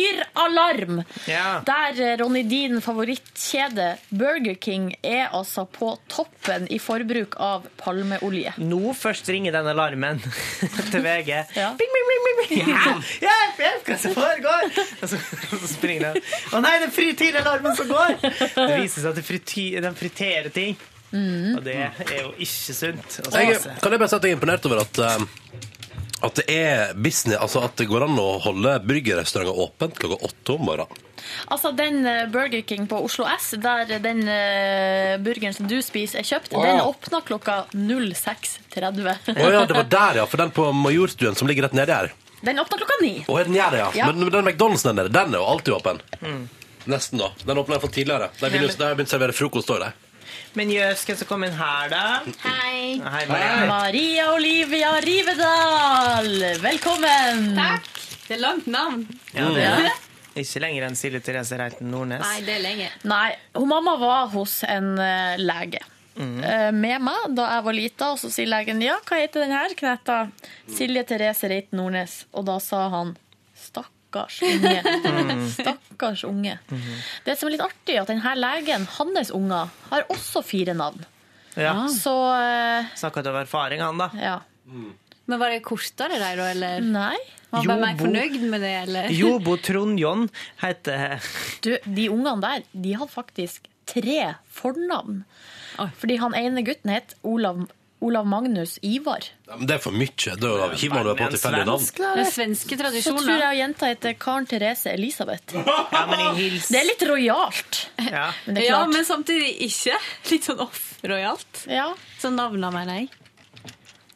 Speaker 4: frityralarm.
Speaker 3: Ja.
Speaker 4: Der eh, Ronny, din favorittkjede Burger King er altså på toppen i forbruk av palmeolje.
Speaker 3: Nå først ringer den alarmen til VG.
Speaker 4: Ja.
Speaker 3: Bing, bing, bing, bing, bing. Ja, hjelp, hjelp, hva som foregår? Og så, så springer den. Å nei, det er frityralarmen som går! Det viser seg at det frity, den friterer ting. Og det er jo ikke sunt. Mm. å
Speaker 2: Jeg,
Speaker 3: spise.
Speaker 2: kan jeg bare si at jeg er imponert over at eh, at det er business, altså at det går an å holde burgerrestauranter åpent klokka åtte om morgenen.
Speaker 4: Altså, den eh, Burger King på Oslo S, der den eh, burgeren som du spiser, er kjøpt,
Speaker 2: Wow.
Speaker 4: den åpna klokka 06.30.
Speaker 2: Å ja, det var der, ja. For den på Majorstuen som ligger rett nedi her.
Speaker 4: Den åpna klokka ni.
Speaker 2: Å, er den gjør det, ja. Mm.
Speaker 4: Ja.
Speaker 2: Men den McDonald'sen den der, den er jo alltid åpen. Nesten, da. Den åpna iallfall tidligere. De vil jo- de har begynt å servere frokost òg, de.
Speaker 3: Men jøss, hvem som kom inn her, da?
Speaker 14: Hei.
Speaker 3: Hei, Maria.
Speaker 4: Maria Olivia Rivedal, velkommen!
Speaker 14: Takk. Det er langt navn.
Speaker 3: Ja, det er ikke lenger enn Silje Therese Reiten Nordnes.
Speaker 14: det er lenge.
Speaker 4: Nei, hun mamma var hos en eh, lege eh, med meg da jeg var lita, og så sier legen ja, hva heter den her knetta? Silje Therese Reiten Nordnes. Og da sa han stakkars unge. Stakkars unge. Det som er litt artig, er at denne legen, hans unger, har også fire navn.
Speaker 3: Ja.
Speaker 4: Så eh,
Speaker 3: Snakket av erfaring, han, da.
Speaker 4: ja.
Speaker 12: Men var det kortere der, da,
Speaker 9: Mm.
Speaker 12: eller?
Speaker 4: Nei.
Speaker 12: Var bare
Speaker 3: Jo,
Speaker 12: mer
Speaker 3: bo-
Speaker 12: fornøyd med det, eller?
Speaker 3: Jobo Trond John heter
Speaker 4: Du, de ungene der, de hadde faktisk tre fornavn.
Speaker 12: Oi.
Speaker 4: Fordi han ene gutten het Olav, Olav Magnus Ivar.
Speaker 2: Ja, men det er for mye. Da hiver man over på tilfeldige navn.
Speaker 12: Den svenske
Speaker 4: Så tror
Speaker 12: tradisjonen. da.
Speaker 4: jeg jenta heter Karen Therese Elisabeth.
Speaker 3: Ja, men jeg hilser
Speaker 4: Det er litt rojalt.
Speaker 3: ja.
Speaker 4: Men det er
Speaker 12: Ja,
Speaker 4: klart.
Speaker 12: men samtidig ikke. Litt sånn off-rojalt.
Speaker 4: Ja,
Speaker 12: Så navna, mener jeg.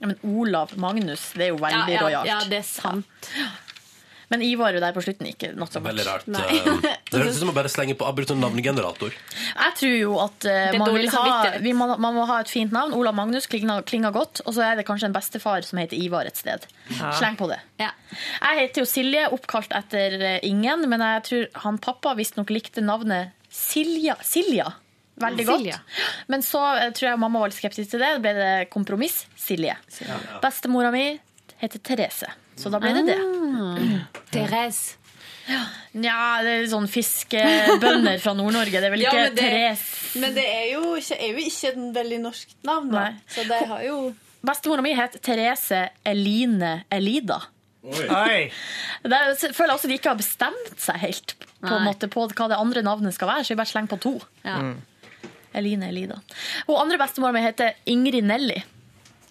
Speaker 4: Ja, men Olav Magnus, det er jo
Speaker 12: Ja,
Speaker 4: veldig
Speaker 12: ja,
Speaker 4: rojalt.
Speaker 12: ja, det er sant.
Speaker 4: Men Ivar er jo der på slutten, ikke not so much.
Speaker 8: Veldig rart.
Speaker 4: Nei.
Speaker 8: eh, Det høres ut som å bare slenge på Abruton navnegenerator.
Speaker 4: Jeg tror jo at eh,
Speaker 12: Det er
Speaker 4: man, vil
Speaker 12: dårlig
Speaker 4: ha,
Speaker 12: samvittighet.
Speaker 4: vi må, man må ha et fint navn. Ola Magnus klinger, klinger godt. Og så er det kanskje en bestefar som heter Ivar et sted.
Speaker 12: Ja.
Speaker 4: Sleng på det. Jeg heter jo Silje, oppkalt etter eh, ingen, men jeg tror han pappa visstnok likte navnet Silja. Silja. Veldig godt.
Speaker 12: Silja.
Speaker 4: Men så eh, tror jeg mamma var litt skeptisk til det. Da ble det kompromiss. Silje. Bestemora mi heter Therese. Så da ble det det.
Speaker 12: Ah. Therese.
Speaker 4: Nja, det er sånn fiskebønder fra Nord-Norge. Det er vel ikke Therese.
Speaker 9: men det er jo ikke, er jo ikke et veldig norsk navn, da.
Speaker 4: Nei.
Speaker 9: Så de har jo
Speaker 4: Bestemora mi het Therese Eline Elida.
Speaker 3: Oi.
Speaker 4: Det er, jeg føler også de ikke har bestemt seg helt på, en
Speaker 12: Nei.
Speaker 4: måte, på hva det andre navnet skal være, så vi bare slenger på to. Eline Elida. Og andre bestemora mi heter Ingrid Nelly.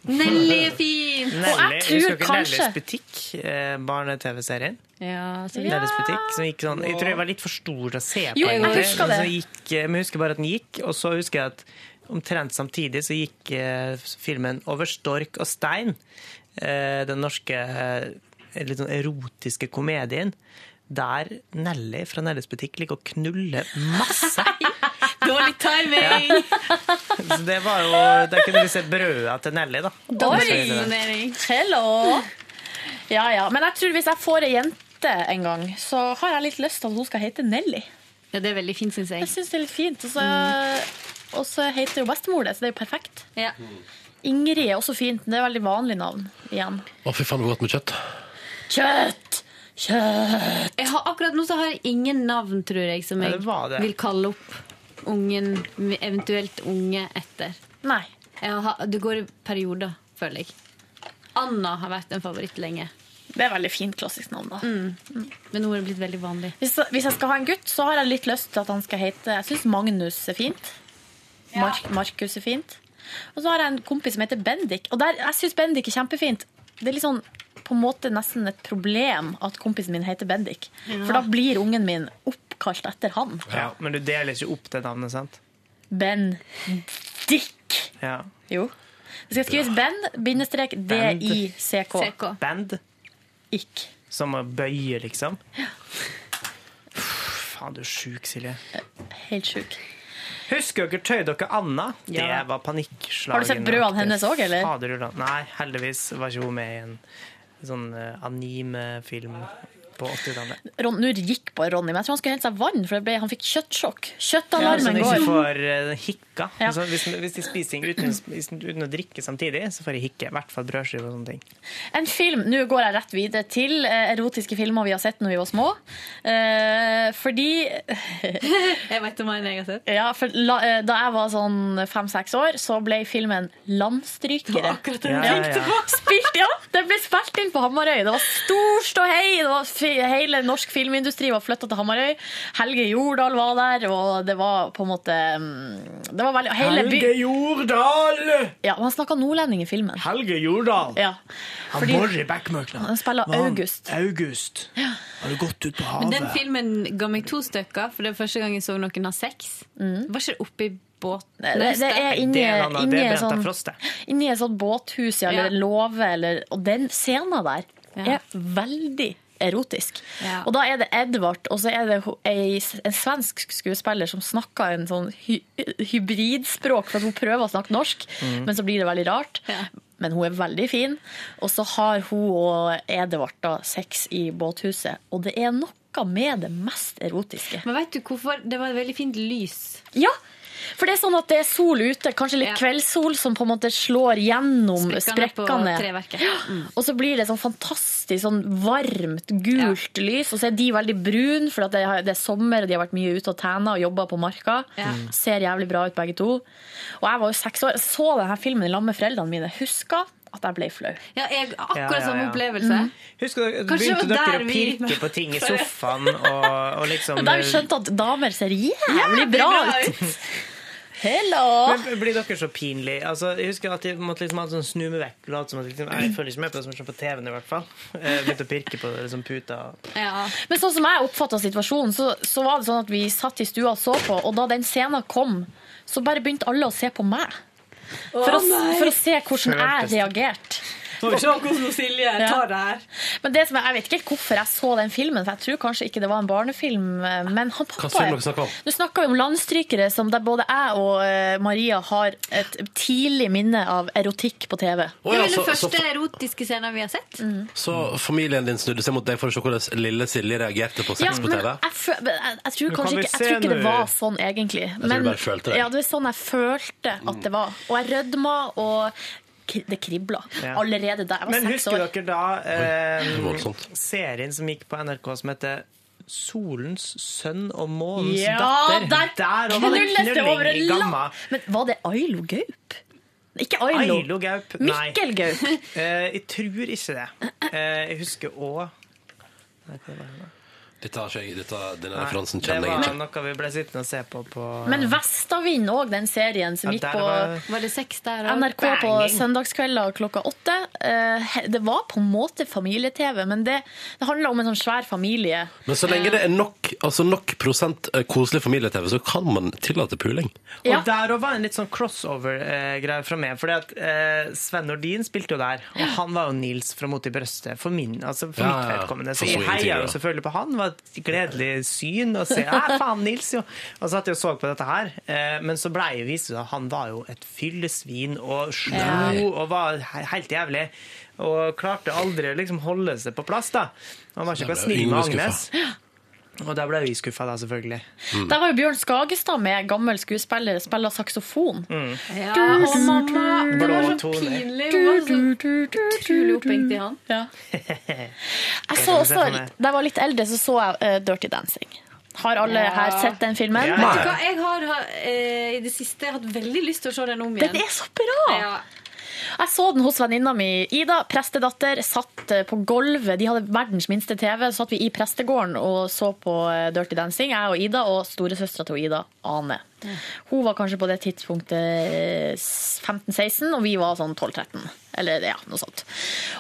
Speaker 12: Nelly er fin!
Speaker 3: Nelly,
Speaker 4: jeg tror
Speaker 3: husker dere
Speaker 4: kanskje-
Speaker 3: Nellys butikk? Eh, Barne-TV-serien.
Speaker 12: Ja, så
Speaker 4: Ja.
Speaker 3: Nellys butikk som gikk sånn, Jeg tror jeg var litt for stor til å se på.
Speaker 4: Jo, jeg
Speaker 3: egentlig,
Speaker 4: husker
Speaker 3: men så
Speaker 4: det.
Speaker 3: Gikk, eh, men jeg husker bare at den gikk, og så husker jeg at omtrent samtidig så gikk eh, filmen Over stork og stein, eh, den norske eh, litt sånn erotiske komedien, der Nelly fra Nellys butikk liker å knulle masse.
Speaker 12: Dårlig timing!
Speaker 3: Så det var jo, Der kunne vi se brøda til Nelly, da.
Speaker 4: Oi! Hello! Ja, ja. Men jeg tror hvis jeg får ei jente en gang, så har jeg litt lyst til at hun skal hete Nelly.
Speaker 12: Ja, det er veldig fint, syns jeg.
Speaker 4: Jeg syns det er litt fint. Og så, Mm. og så heter jo bestemor det, så det er jo perfekt.
Speaker 12: Ja.
Speaker 4: Ingrid er også fint. men Det er veldig vanlig navn igjen.
Speaker 8: Å, fy faen, det var godt med kjøtt.
Speaker 4: Kjøtt! Kjøtt!
Speaker 12: Jeg har, akkurat nå så har jeg ingen navn, tror jeg, som
Speaker 3: Ja,
Speaker 12: jeg
Speaker 3: det var det.
Speaker 12: vil kalle opp ungen, eventuelt unge, etter.
Speaker 4: Nei.
Speaker 12: Jeg har, det går i perioder, føler jeg. Anna har vært en favoritt lenge,
Speaker 4: Det er veldig fint klassisk navn, da.
Speaker 12: men nå er det blitt veldig vanlig.
Speaker 4: Hvis, hvis jeg skal ha en gutt, så har jeg litt lyst til at han skal hete Jeg syns Magnus er fint. Mark, Markus er fint. Og så har jeg en kompis som heter Bendik. Og der, jeg syns Bendik er kjempefint. Det er litt sånn på en måte nesten et problem at kompisen min heter Bendik. For da blir ungen min oppkalt etter han.
Speaker 3: Ja, men du deler ikke opp det navnet, sant?
Speaker 4: Bendik.
Speaker 3: Ja.
Speaker 4: Jo. Det skal skrives Ben-D-I-C-K.
Speaker 12: CK.
Speaker 3: Band.
Speaker 4: Ikk.
Speaker 3: Som å bøye, liksom? Uff, Faen, du er sjuk, Silje.
Speaker 4: Helt sjuk.
Speaker 3: Husker dere Tøy dere Anna?
Speaker 4: Ja.
Speaker 3: Det var panikkslagen.
Speaker 4: Har du sett brødene hennes også, eller?
Speaker 3: Fader, Ulla. Nei, heldigvis var ikke hun med i en sånn eh, anime-film på 80-tallet.
Speaker 4: Ron, nå gikk bare Ronny, men jeg tror han skulle hente seg vann, for det ble, han fikk kjøttsjokk.
Speaker 3: Ja, så
Speaker 4: Kjøttalarmen
Speaker 3: de ikke
Speaker 4: går.
Speaker 3: får eh, hikka.
Speaker 4: Ja.
Speaker 3: Så hvis, hvis de spiser ting uten, uten å drikke samtidig, så får de hikke. I hvert fall brødskiver og sånne ting.
Speaker 4: En film, nå går jeg rett videre til eh, erotiske filmer vi har sett når vi var små. Eh, fordi
Speaker 12: Jeg vet om en jeg har sett.
Speaker 4: ja, for la, eh, da jeg var sånn fem-seks år, så ble filmen 'Landstrykere'.
Speaker 12: Akkurat
Speaker 3: Ja,
Speaker 12: den
Speaker 3: ja,
Speaker 12: tenkte
Speaker 3: ja.
Speaker 12: på.
Speaker 4: Spilt, ja! Den ble spilt inn på Hamarøy. Det var stor ståhei. Det var fi- hele norsk filmindustri var flytta til Hamarøy. Helge Jordal var der, og det var på en måte mm, Det var veldig hele by,
Speaker 3: Jordal!
Speaker 4: ja, og Han snakka nordlending i filmen.
Speaker 3: Helge Jordal!
Speaker 4: Ja. Fordi
Speaker 3: bor i Bekkmørkland.
Speaker 4: han spiller August.
Speaker 3: August. Har du gått ut på havet?
Speaker 12: Den filmen ga meg to stykker, for det er første gang jeg så noen ha sex. Var ikke det oppi båt?
Speaker 4: Mm. Det, det
Speaker 12: Nei,
Speaker 4: er inni
Speaker 3: Det er en annen-
Speaker 4: inni
Speaker 3: det er
Speaker 4: en
Speaker 3: Bente
Speaker 4: sånn,
Speaker 3: Frost, det.
Speaker 4: inni en sånn båthus ja, eller
Speaker 12: Ja.
Speaker 4: låve, eller Og den scenen der
Speaker 12: Ja.
Speaker 4: er veldig erotisk.
Speaker 12: Ja.
Speaker 4: Og da er det Edvard, og så er det ho- ei, en svensk skuespiller som snakker en sånn hy, hybridspråk, for at hun prøver å snakke norsk, men så blir det veldig rart.
Speaker 12: Ja.
Speaker 4: Men hun er veldig fin. Og så har hun og Edvard da sex i båthuset, og det er noe med det mest erotiske.
Speaker 12: Men vet du hvorfor? Det var et veldig fint lys.
Speaker 4: Ja, for det er sånn at det er sol ute, kanskje litt
Speaker 12: Ja.
Speaker 4: kveldssol som på en måte slår gjennom
Speaker 12: Sprekkene på
Speaker 4: sprekkene.
Speaker 12: treverket. Mm.
Speaker 4: Ja. Og så blir det sånn fantastisk sånn varmt, gult lys, og så er de veldig brun, for at det har- det er sommer, og de har vært mye ute og tæna og jobba på marka.
Speaker 12: Ja.
Speaker 4: Ser jævlig bra ut begge to. Og jeg var jo seks år, så denne filmen i lag med foreldrene mine, huska at jeg ble flau.
Speaker 12: Ja, jeg, akkurat
Speaker 3: Ja, ja,
Speaker 12: samme
Speaker 3: ja.
Speaker 12: opplevelse.
Speaker 4: Mm.
Speaker 3: Husker dere,
Speaker 12: Kanskje
Speaker 3: Begynte
Speaker 12: det var
Speaker 3: dere
Speaker 12: der
Speaker 3: å
Speaker 12: vi-
Speaker 3: pirke på ting i sofaen og, og liksom
Speaker 4: Men da har vi skjønt at damer ser jævlig bra ut! Hello!
Speaker 3: eh, Men Blir dere så pinlig? Altså, jeg husker at jeg måtte liksom ha en sånn snu meg vekk. og Late som at liksom, jeg følger ikke med på det som skjer på TV-en, i hvert fall. Eh, Begynte å pirke på liksom, puta.
Speaker 12: Ja.
Speaker 4: Men sånn som jeg oppfatta situasjonen, så, så var det sånn at vi satt i stua og så på, og da den scenen kom, så bare begynte alle å se på meg. For, å, for å se hvordan jeg
Speaker 3: Føltes det.
Speaker 4: reagerte.
Speaker 9: Må vi se hvordan Silje tar det her.
Speaker 4: Men det som er, jeg vet ikke helt hvorfor jeg så den filmen, for jeg tror kanskje ikke det var en barnefilm. eh, Men han pappa
Speaker 8: Hva film dere snakker om?
Speaker 4: Nå snakker vi om landstrykere, som der både jeg og eh, Maria har et tidlig minne av erotikk på TV.
Speaker 8: Å, ja, Det er vel den så- første
Speaker 12: Første erotiske scenen vi har sett.
Speaker 4: Mm.
Speaker 8: Så familien din snudde seg mot deg for å se hvordan lille Silje reagerte på
Speaker 4: Ja,
Speaker 8: sex på
Speaker 4: men
Speaker 8: TV?
Speaker 4: jeg, fø- men jeg, jeg tror
Speaker 8: Nå kan
Speaker 4: kanskje
Speaker 8: vi
Speaker 4: ikke, jeg
Speaker 8: se
Speaker 4: tror ikke
Speaker 8: nå.
Speaker 4: det var sånn, egentlig.
Speaker 8: tror du bare følte det.
Speaker 4: Ja, det var sånn jeg følte at det var. Og jeg rødma, og kri- det kribla
Speaker 3: Ja.
Speaker 4: allerede da jeg var
Speaker 3: Men
Speaker 4: seks
Speaker 3: husker
Speaker 4: år.
Speaker 3: dere da eh,
Speaker 8: Oi, voldsomt.
Speaker 3: serien som gikk på NRK som heter Solens sønn og månens
Speaker 4: Ja,
Speaker 3: datter?
Speaker 4: der
Speaker 3: og var det
Speaker 4: knulles det over en
Speaker 3: knulling i
Speaker 4: lapp.
Speaker 3: gamma.
Speaker 4: Men var det Ailo Gaup? Ikke Ailo.
Speaker 3: Ailo Gaup. Nei.
Speaker 4: Mikkel Gaup.
Speaker 3: Eh, jeg tror ikke det. Eh, jeg husker òg
Speaker 8: Dette har ikke jeg, dette, denne
Speaker 3: Nei,
Speaker 8: referansen
Speaker 3: Det
Speaker 8: kjenner jeg
Speaker 3: var
Speaker 8: ikke.
Speaker 3: noe vi ble sittende og se på på
Speaker 4: Men Vestavind òg, den serien som
Speaker 3: Ja,
Speaker 4: gikk
Speaker 3: der
Speaker 4: på
Speaker 3: var-
Speaker 12: Var det sex der også?
Speaker 4: NRK på
Speaker 12: Banging.
Speaker 4: søndagskvelder klokka åtte. Eh, he- Det var på en måte familie-TV, men det, det handla om en sånn svær familie.
Speaker 8: Men så lenge det er nok, altså nok prosent eh, koselig familie-TV, så kan man tillate puling.
Speaker 3: Og der òg var en litt sånn crossover-greie fra meg. Fordi at eh, Sven Nordin spilte jo der, og han var jo Nils fra Mot i brøstet for min, altså for
Speaker 8: Ja, ja,
Speaker 3: mitt
Speaker 8: ja.
Speaker 3: vedkommende.
Speaker 8: For
Speaker 3: Så
Speaker 8: så
Speaker 3: jeg heia
Speaker 8: intriger,
Speaker 3: jo
Speaker 8: da.
Speaker 3: selvfølgelig på han. Det var et gledelig syn å se. Ja, faen, Nils, jo! Og satt jeg og så på dette her. Eh, men så blei jo vist at han var jo et fyllesvin og slo
Speaker 15: Ja.
Speaker 3: og var he- helt jævlig. Og klarte aldri å liksom holde seg på plass, da. Han var
Speaker 8: Så
Speaker 3: ikke noe
Speaker 8: der ble
Speaker 3: snill med
Speaker 8: Yngve
Speaker 3: Agnes. Og der ble vi skuffa, da, selvfølgelig.
Speaker 4: Der var jo Bjørn Skagestad med, gammel skuespiller, spiller saksofon.
Speaker 12: Ja,
Speaker 4: Du,
Speaker 12: og
Speaker 4: du,
Speaker 12: mamma,
Speaker 4: du.
Speaker 12: Mm. det var
Speaker 3: Blå
Speaker 12: så
Speaker 3: toner.
Speaker 12: pinlig. Hun var så utrolig opphengt i han.
Speaker 4: Jeg så også, da jeg var litt eldre, så så jeg eh, Dirty Dancing. Har alle
Speaker 12: Ja.
Speaker 4: her sett den filmen?
Speaker 12: Vet du hva, jeg har eh, i det siste hatt veldig lyst til å se den om igjen.
Speaker 4: Den er så bra! Jeg så den hos venninna mi Ida, prestedatter. Satt eh, på gulvet, de hadde verdens minste TV. Så satt vi i prestegården og så på eh, Dirty Dancing, jeg og Ida og storesøstera til Ida, Ane. Hun var kanskje på det tidspunktet eh, 15-16, og vi var sånn 12-13. Eller ja, noe sånt.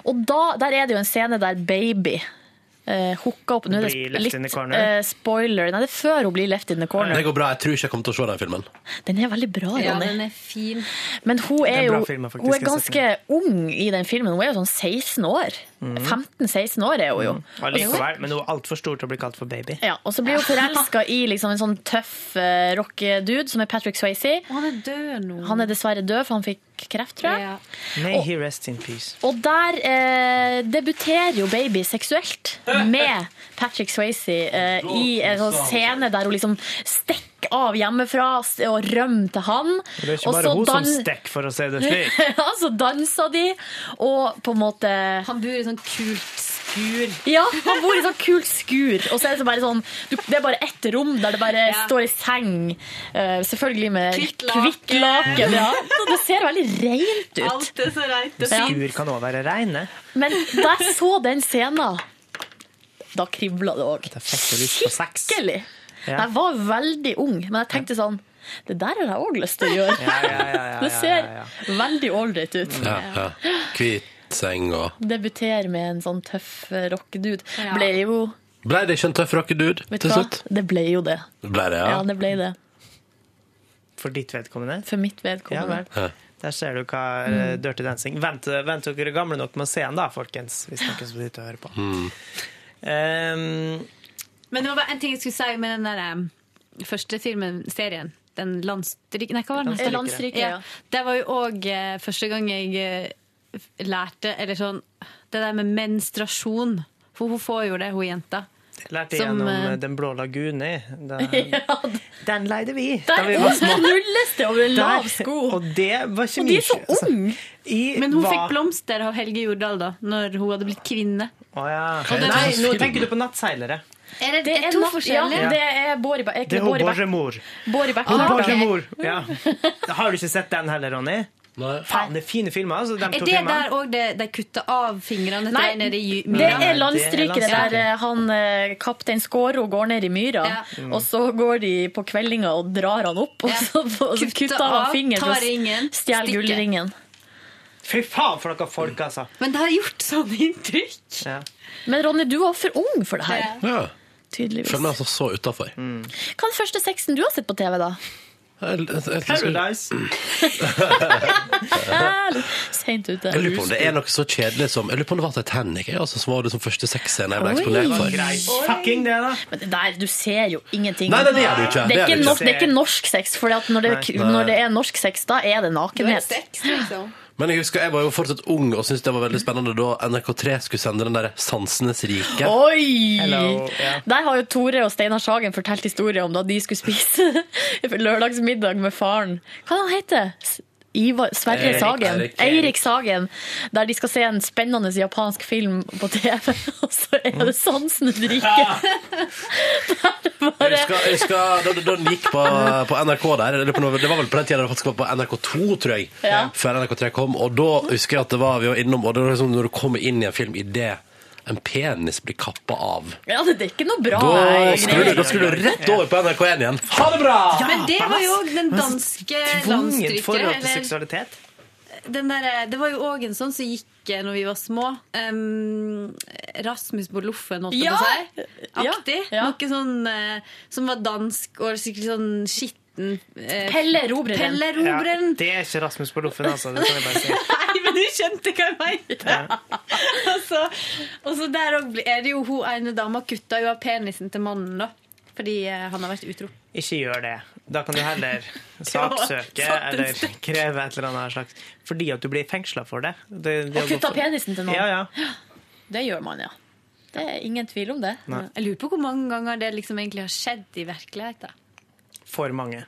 Speaker 4: Og da, der er det jo en scene der baby eh, hooka opp Nå er det
Speaker 8: Blir
Speaker 4: sp-
Speaker 8: left in the
Speaker 4: litt
Speaker 8: corner.
Speaker 4: eh, spoiler. Nei, det er før hun blir left in the corner.
Speaker 8: Det går bra. Jeg tror ikke jeg kommer til å se den filmen.
Speaker 4: Den er veldig bra, Ronny.
Speaker 12: Ja, den er fin.
Speaker 4: Men hun
Speaker 8: Det
Speaker 4: er,
Speaker 8: er bra
Speaker 4: jo
Speaker 8: filmer, faktisk,
Speaker 4: hun er
Speaker 8: jeg har sett
Speaker 4: ganske ung i den filmen. Hun er jo sånn 16 år.
Speaker 3: Mhm.
Speaker 4: 15-16 år er hun jo.
Speaker 3: Ja, likevel, men hun er altfor stor til å bli kalt for baby.
Speaker 4: Ja, og så blir hun forelska i liksom en sånn tøff uh, rockedude som er Patrick Swayze.
Speaker 12: Han er død nå.
Speaker 4: Han er dessverre død, for han fikk kreft, tror jeg.
Speaker 3: May he rest in peace.
Speaker 4: Og der eh, debuterer jo Baby seksuelt med Patrick Swayze eh, i en sånn scene der hun liksom stikker av hjemmefra og rømmer til han.
Speaker 3: Og Det er ikke
Speaker 4: Og
Speaker 3: bare
Speaker 4: så
Speaker 3: hun som
Speaker 4: dan-
Speaker 3: stikker, for å si det slik.
Speaker 4: ja, så dansa de, og på en måte
Speaker 12: Han bor i sånn kult skur.
Speaker 4: Ja, han bor i sånn kult skur. Og så er det så bare sånn du, Det er bare ett rom der det bare
Speaker 12: Ja.
Speaker 4: står i seng. eh, selvfølgelig med
Speaker 12: Kvitt
Speaker 4: kvitt
Speaker 12: laken.
Speaker 4: laken. ja. Så det ser veldig rent ut.
Speaker 12: Alt er så reint og
Speaker 4: Ja.
Speaker 12: fint.
Speaker 3: Skur kan òg være reine.
Speaker 4: Men da jeg så den scenen, da kribla det òg. Skikkelig.
Speaker 3: Ja.
Speaker 4: Jeg var veldig ung, men jeg tenkte sånn Det der har jeg òg lyst til å gjøre.
Speaker 8: Ja, ja, ja, ja,
Speaker 4: Det
Speaker 8: ja,
Speaker 4: ser
Speaker 8: ja,
Speaker 4: veldig ålreit ut.
Speaker 8: Ja, ja. Hvit seng og
Speaker 4: Debutere med en sånn tøff eh, rockedude. Ble jo
Speaker 8: Ble det ikke en tøff rockedude
Speaker 4: Vet
Speaker 8: til
Speaker 4: du hva?
Speaker 8: slutt?
Speaker 4: Det ble jo det.
Speaker 8: Ble det,
Speaker 4: Ja,
Speaker 8: ja?
Speaker 4: det ble det.
Speaker 3: For ditt vedkommende.
Speaker 4: For mitt
Speaker 3: Ja,
Speaker 12: Mm.
Speaker 4: vedkommende.
Speaker 3: vel. Der ser du hva eh, Dirty Dancing Vent, vent dere er gamle nok med å se den, da, folkens. Hvis dere skal sitte og høre på. Ehm,
Speaker 12: Men det var bare en ting jeg skulle si med den der em, første filmen, serien. Den landstryk... Nei, hva var den?
Speaker 4: Landstrykere. Landstrykere, ja.
Speaker 12: Det var jo òg eh, første gang jeg eh, lærte Eller sånn Det der med menstruasjon. For hun får jo det, hun jenta.
Speaker 3: lærte
Speaker 12: Som,
Speaker 3: gjennom
Speaker 12: eh,
Speaker 3: eh, Den blå lagune. Da,
Speaker 12: Den
Speaker 3: leide vi.
Speaker 12: Der
Speaker 3: da vi var små.
Speaker 4: knulles det over en lav
Speaker 3: Der.
Speaker 4: sko.
Speaker 3: Og det var ikke
Speaker 12: Og de er
Speaker 3: mye-
Speaker 12: så
Speaker 3: altså,
Speaker 4: ung.
Speaker 3: i-
Speaker 12: Men hun
Speaker 3: var-
Speaker 12: fikk blomster av Helge Jordal da Når hun hadde blitt kvinne.
Speaker 3: Å ja.
Speaker 12: Og
Speaker 3: Eh,
Speaker 12: det-
Speaker 3: Nei, nå tenker du på nattseilere.
Speaker 12: Er det,
Speaker 4: er
Speaker 12: to
Speaker 4: natt-
Speaker 12: forskjellige?
Speaker 4: Ja, det er Bård Ba- er
Speaker 3: Det
Speaker 4: ikke det
Speaker 3: er hun
Speaker 4: Bård Ba-
Speaker 3: Borgemor.
Speaker 4: Bård Beck.
Speaker 3: Hun
Speaker 4: Ah, ok.
Speaker 3: Borgemor.
Speaker 12: Mm.
Speaker 3: Ja. Har du ikke sett den heller, Ronny? Faen, det er fine filmer. Altså, de
Speaker 12: Er
Speaker 3: to
Speaker 12: det
Speaker 3: filmene.
Speaker 12: der òg de kutter av fingrene til
Speaker 4: Nei,
Speaker 12: en nede i ju-
Speaker 4: det
Speaker 12: myra?
Speaker 4: er landstrykere der eh, han eh, kaptein Skåro går ned i myra,
Speaker 12: Ja.
Speaker 4: og så går de på kveldinga og drar han opp, og så, og så kutter han av fingeren
Speaker 12: tar
Speaker 4: for
Speaker 12: ringen,
Speaker 4: å stjele
Speaker 12: stikker.
Speaker 4: gullringen.
Speaker 3: Fy faen for dere folk, altså.
Speaker 12: Men det har gjort sånn inntrykk.
Speaker 3: Ja.
Speaker 4: Men Ronny, du var for ung for det her.
Speaker 8: Ja.
Speaker 4: Tydeligvis.
Speaker 8: Føler meg altså så utafor.
Speaker 4: Hva er den første sexen du har sett på TV, da?
Speaker 8: liksom-
Speaker 3: Paradise.
Speaker 4: Seint ute.
Speaker 2: Jeg lurer på om det er noe så kjedelig som Jeg lurer på om det var Titanic jeg, altså, som var det som første sexscene jeg ble eksponert for.
Speaker 3: Fucking det, da.
Speaker 12: Eh,
Speaker 4: Men det der, du ser jo ingenting.
Speaker 2: Nei, nei, det gjør du ikke.
Speaker 4: Det
Speaker 2: Det
Speaker 4: er
Speaker 2: gjør du ikke.
Speaker 4: ikke, norsk, det er ikke norsk sex. For når, det-
Speaker 2: Nei.
Speaker 4: når det er norsk sex, da er det nakenhet.
Speaker 2: Men jeg husker jeg var jo fortsatt ung og syntes det var veldig spennende da NRK3 skulle sende den der Sansenes rike.
Speaker 4: Oi!
Speaker 2: Hello, ja.
Speaker 4: Der har jo Tore og Steinar Sagen fortalt historier om da de skulle spise lørdagsmiddag med faren. Hva er det han heter S- Ivar, Sverre
Speaker 16: Eirik,
Speaker 4: Sagen.
Speaker 16: Eirik, Eirik.
Speaker 4: Eirik Sagen. Der de skal se en spennende japansk film på TV, og så er det sansen du drikker.
Speaker 2: Jeg husker, jeg husker da, da, da den gikk på, på NRK der eller på, noe- Det var vel på den tida det faktisk var på NRK2, tror jeg.
Speaker 4: Ja.
Speaker 2: Før NRK3 kom. Og da husker jeg at det var vi var innom Og det var liksom når du kommer inn i en film idet en penis blir kappa av
Speaker 4: Ja, det er ikke noe bra.
Speaker 2: Da
Speaker 4: greier.
Speaker 2: skulle, du, da skulle du rett over på NRK1 igjen. Ha det bra!
Speaker 12: Men det var jo òg den danske
Speaker 3: Tvunget
Speaker 12: landstryker.
Speaker 3: forhold til
Speaker 12: Eller
Speaker 3: seksualitet.
Speaker 12: den der, det var jo òg en sånn som gikk eh, når vi var små. Em, Rasmus på loffen, holdt jeg
Speaker 16: Ja!
Speaker 12: på å si. Aktig. Noe sånn eh, som var dansk og sikkert sånn skitten eh,
Speaker 16: Pelle Robreren.
Speaker 12: Pelle Robreren.
Speaker 3: Ja, det er ikke Rasmus på loffen, altså. Det kan jeg bare si.
Speaker 12: Nei, men du skjønte hva jeg mente! Altså, og, så, og så der òg ble- er det jo hun ene dama kutta jo av penisen til mannen, da. Fordi eh, han har vært utro.
Speaker 3: Ikke gjør det. Da kan du heller saksøke
Speaker 12: satt en
Speaker 3: eller kreve et eller annet slags Fordi at du blir fengsla for det. det, det
Speaker 4: Og kutta penisen til noen.
Speaker 3: Ja, ja.
Speaker 4: Det gjør man, ja. Det er ingen tvil om det.
Speaker 3: Nei.
Speaker 12: Jeg lurer på hvor mange ganger det liksom egentlig har skjedd i virkeligheten.
Speaker 3: For mange.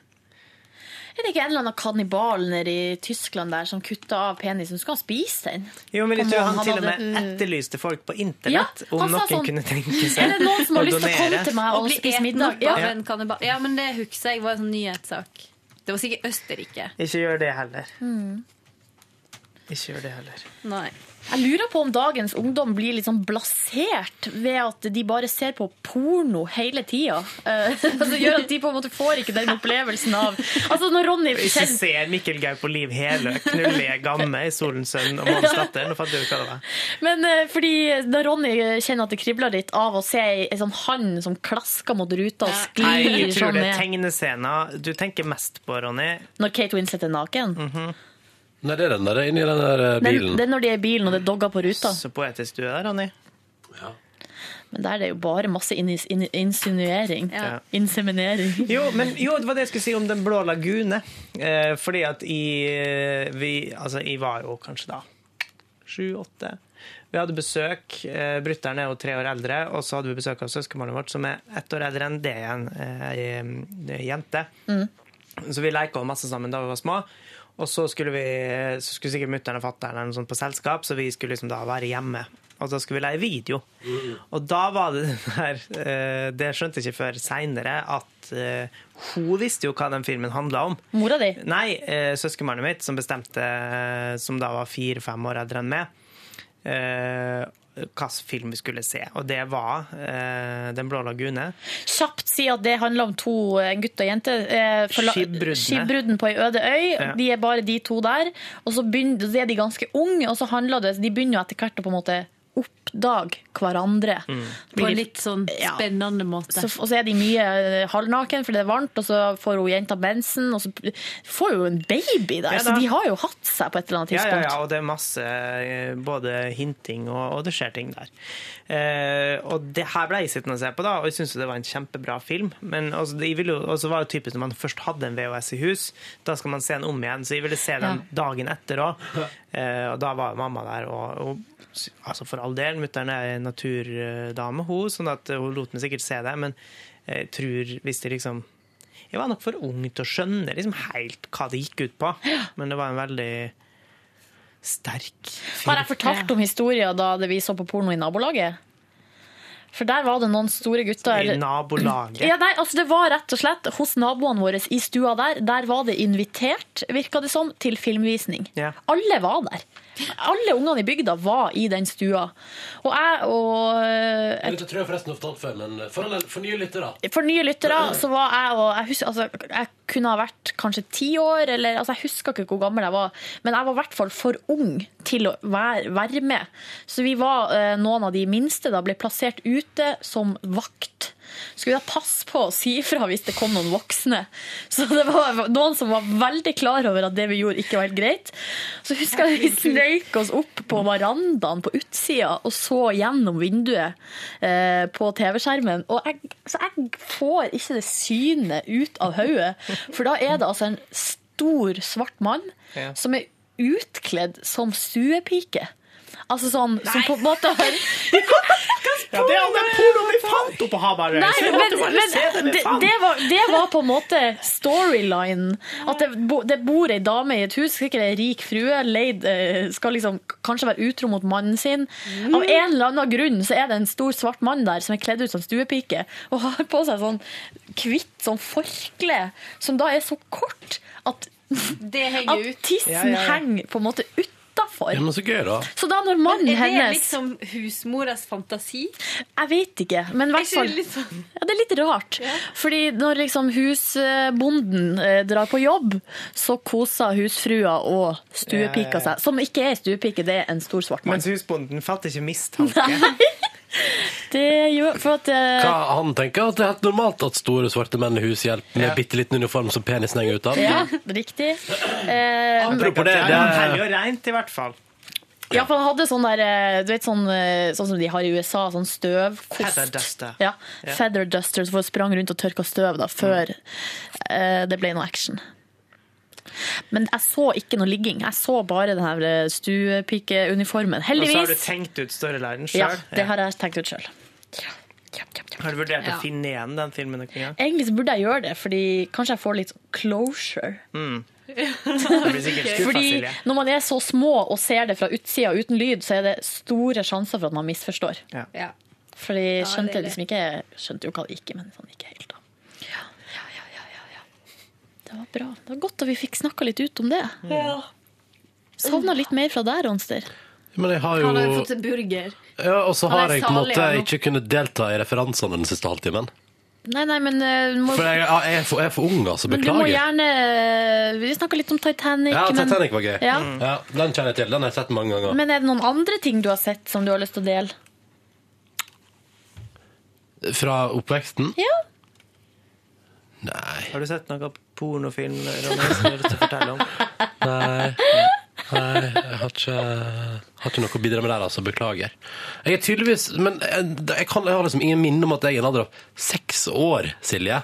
Speaker 4: Er det ikke en eller annen kannibal nede i Tyskland der som kutta av penisen? Du skal spise den.
Speaker 3: Jo, men jeg
Speaker 4: Kom
Speaker 3: tror
Speaker 4: on,
Speaker 3: han
Speaker 4: han
Speaker 3: til og
Speaker 4: hadde-
Speaker 3: med etterlyste folk på
Speaker 4: Ja,
Speaker 3: internett om
Speaker 4: han sa
Speaker 3: noen
Speaker 4: sånn,
Speaker 3: kunne tenke seg
Speaker 4: Er det noen som har lyst til å komme
Speaker 3: donere?
Speaker 4: til meg
Speaker 12: Å
Speaker 4: og
Speaker 12: bli
Speaker 4: spise
Speaker 12: et
Speaker 4: middag?
Speaker 12: nok
Speaker 4: Ja.
Speaker 12: av en kannibal. Ja, men det husker jeg var en sånn nyhetssak. Det var sikkert Østerrike.
Speaker 3: Ikke gjør det heller.
Speaker 4: Mm.
Speaker 3: Ikke gjør det heller.
Speaker 12: Nei.
Speaker 4: Jeg lurer på om dagens ungdom blir litt sånn blasert ved at de bare ser på porno hele tida. Eh, altså, gjør at de på en måte får ikke den opplevelsen av Altså når Ronny
Speaker 3: Ikke ser Mikkel Gaup og Liv Helø knulle Gamme i Solens sønn og Månens datter. Nå fant jeg ut hva det var.
Speaker 4: Men eh, fordi da Ronny kjenner at det kribler litt av å se ei ei sånn hand som klasker mot ruta og
Speaker 3: Nei,
Speaker 4: sklir
Speaker 3: jeg tror
Speaker 4: sånn
Speaker 3: det er
Speaker 4: ned
Speaker 3: tegnescener du tenker mest på, Ronny.
Speaker 4: når Kate Winslet er naken.
Speaker 3: Mhm.
Speaker 2: Nei, det er den der inni den der eh,
Speaker 4: Den,
Speaker 2: bilen.
Speaker 4: det er når de er i bilen og det er dogger på ruta.
Speaker 3: Så poetisk du er, Ronny.
Speaker 4: Men der er det jo bare masse innis- in- insinuering.
Speaker 3: Ja.
Speaker 4: Inseminering.
Speaker 3: Jo, men, jo, det var det jeg skulle si om Den blå lagune. Eh, fordi at i vi, Altså, jeg var jo kanskje da sju-åtte. Vi hadde besøk. Eh, Brutter'n er jo tre år eldre, og så hadde vi besøk av søskenbarnet vårt, som er ett år eldre enn det igjen, eh, ei ei jente. Så vi leka masse sammen da vi var små. Og så skulle, vi, så skulle sikkert mutter'n og fatter'n på selskap, så vi skulle liksom da være hjemme. Og da skulle vi leie video. Og da var det den der eh, Det skjønte jeg ikke før seinere, at eh, hun visste jo hva den filmen handla om.
Speaker 4: Mora di?
Speaker 3: Nei, eh, søskenbarnet mitt, som bestemte, eh, som da var fire-fem år eldre enn meg, eh, hvilken film vi skulle se. Og det var eh, Den blå lagune.
Speaker 4: Kjapt si at det handler om to, en gutt og en jente. eh, forla-
Speaker 3: Skipbruddene.
Speaker 4: Skipbrudden på ei øde øy.
Speaker 3: Ja.
Speaker 4: De er bare de to der. Og så begynner, så er de ganske unge, og så handler det, de begynner jo etter hvert å på en måte oppdage hverandre.
Speaker 3: Mm.
Speaker 12: På
Speaker 4: Blir
Speaker 12: en
Speaker 4: de-
Speaker 12: litt sånn
Speaker 4: Ja.
Speaker 12: spennende måte.
Speaker 4: Så, og så er de mye eh, halvnaken, for det er varmt, og så får hun jenta mensen, og så får hun en baby der.
Speaker 3: Ja,
Speaker 4: så
Speaker 3: da.
Speaker 4: de har jo hatt seg på et eller annet
Speaker 3: Ja, ja,
Speaker 4: tidspunkt.
Speaker 3: ja, og det er masse eh, både hinting og, og det skjer ting der. Eh, og det her ble jeg sittende og se på, da, og jeg syntes jo det var en kjempebra film. Men altså, de ville jo- Og så var det typisk når man først hadde en VHS i hus, da skal man se den om igjen. Så jeg ville se den dagen etter òg. Eh, og da var jo mamma der, og, og s- altså for all del, mutter'n er en naturdame, hun, sånn at eh, hun lot meg sikkert se det, men jeg tror hvis det liksom jeg var nok for ung til å skjønne liksom helt hva det gikk ut på, men det var en veldig sterk
Speaker 4: Har jeg fortalt om historien da det vi så på porno i nabolaget? For der var det noen store gutter
Speaker 3: i
Speaker 4: eller-
Speaker 3: nabolaget.
Speaker 4: Ja, nei, altså Det var rett og slett hos naboene våre i stua der. Der var det invitert, virka det som, til filmvisning. Alle var der. Alle ungene i bygda var i den stua. Og jeg og eh,
Speaker 2: Dette tror jeg forresten ofte før, men for, for nye lyttere
Speaker 4: for nye lyttere så var jeg og jeg, husker, altså, jeg kunne ha vært kanskje ti år, eller altså, jeg husker ikke hvor gammel jeg var. Men jeg var i hvert fall for ung til å være, være med. Så vi var eh, noen av de minste da, ble plassert ute som vakt. skulle da passe på å si ifra hvis det kom noen voksne. Så det var noen som var veldig klar over at det vi gjorde, ikke var helt greit. Så husker jeg vi sneik oss opp på verandaen på utsida og så gjennom vinduet eh, på TV-skjermen. Og jeg, så jeg får ikke det synet ut av hodet, for da er det altså en stor, svart mann
Speaker 12: Ja.
Speaker 4: som er utkledd som stuepike. Altså sånn som på en måte har
Speaker 3: Ja, det er all den pornoen vi fant oppe på Hamarøy!
Speaker 4: Nei,
Speaker 3: så vi måtte
Speaker 4: men,
Speaker 3: bare
Speaker 4: men
Speaker 3: se det vi
Speaker 4: det,
Speaker 3: fant.
Speaker 4: det, var, det var på en måte storylinen. At det, bo- det bor ei dame i et hus, sikkert ei rik frue, leid, eh, skal liksom k- kanskje være utro mot mannen sin. Av en eller annen grunn så er det en stor svart mann der som er kledd ut som stuepike, og har på seg sånn hvitt sånn forkle, som da er så kort at, at
Speaker 12: ut.
Speaker 4: tissen
Speaker 12: Ja, ja, ja.
Speaker 4: henger på en måte utafor.
Speaker 8: Ja, men så gøy, da.
Speaker 4: Så da når mannen
Speaker 12: Men er det
Speaker 4: sånn hennes
Speaker 12: liksom husmoras fantasi?
Speaker 4: Jeg vet ikke, men i hvert
Speaker 12: Er ikke
Speaker 4: fall
Speaker 12: det litt sånn-
Speaker 4: ja, Det er litt rart. Fordi når liksom husbonden eh, drar på jobb, så koser husfrua og
Speaker 3: Ja, ja, ja.
Speaker 4: stuepika seg. Som ikke er stuepike, det er en stor svart mann.
Speaker 3: Mens husbonden fatter ikke mistanke.
Speaker 4: Det gjør For at eh,
Speaker 8: Hva han tenker at det er helt normalt at store svarte menn i hus hjelper med
Speaker 4: Ja.
Speaker 8: bitte liten uniform som penisen henger ut av.
Speaker 4: Ja, riktig. Eh,
Speaker 8: Apropos det, det
Speaker 3: er herlig og reint, i hvert fall.
Speaker 4: Ja, for han hadde sånn der eh, Du vet sånn, eh, sånn som de har i USA, sånn støvkost.
Speaker 3: Feather duster.
Speaker 4: Ja,
Speaker 3: Ja.
Speaker 4: feather duster, så folk sprang rundt og tørka støv da, før eh, det ble noe action. Men jeg så ikke noe ligging. Jeg så bare den her eh, stuepikeuniformen.
Speaker 3: Og så har du
Speaker 4: Heldigvis.
Speaker 3: tenkt ut storylinen
Speaker 4: Ja,
Speaker 3: sjøl.
Speaker 4: det har jeg tenkt ut sjøl.
Speaker 3: Har du vurdert
Speaker 4: Ja.
Speaker 3: å finne igjen den filmen noen gang?
Speaker 4: Egentlig så burde jeg gjøre det, fordi kanskje jeg får litt closure.
Speaker 3: Mm. Du blir sikkert skuffa,
Speaker 4: Fordi
Speaker 3: Silje.
Speaker 4: når man er så små og ser det fra utsida uten lyd, så er det store sjanser for at man misforstår.
Speaker 3: Ja.
Speaker 4: Fordi
Speaker 12: Ja, det
Speaker 4: skjønte
Speaker 12: er
Speaker 4: jeg liksom ikke Skjønte jo hva det gikk i, men sånn ikke helt, da. Ja, ja, ja, ja, ja. Det var bra. Det var godt at vi fikk snakka litt ut om det.
Speaker 12: Ja.
Speaker 4: Savna litt mer fra deg, Ronster.
Speaker 8: Men jeg har jo
Speaker 12: Han har jo fått en burger.
Speaker 8: ja, Og så
Speaker 12: Han er
Speaker 8: har jeg på en måte
Speaker 12: salig, han.
Speaker 8: ikke kunnet delta i referansene den siste halvtimen.
Speaker 4: Nei, nei, men, eh, må,
Speaker 8: For jeg, jeg er for, jeg er for ung, altså.
Speaker 4: men du må
Speaker 8: Beklager.
Speaker 4: gjerne eh, Vi snakka litt om Titanic.
Speaker 8: Ja,
Speaker 4: men-
Speaker 8: Titanic var gøy.
Speaker 4: Ja.
Speaker 8: Ja, den kjenner jeg til. Den har jeg sett mange ganger.
Speaker 4: Men er det noen andre ting du har sett som du har lyst til å dele?
Speaker 8: Fra oppveksten?
Speaker 4: Ja.
Speaker 8: Nei.
Speaker 3: Har du sett noe pornofilm Ronny, som du har lyst til å fortelle om?
Speaker 8: Nei. Nei, jeg har ikke, har ikke noe å bidra med der, altså. Beklager. Jeg er tydeligvis Men jeg, jeg, kan, jeg har liksom ingen minne om at jeg er en alder av seks år, Silje.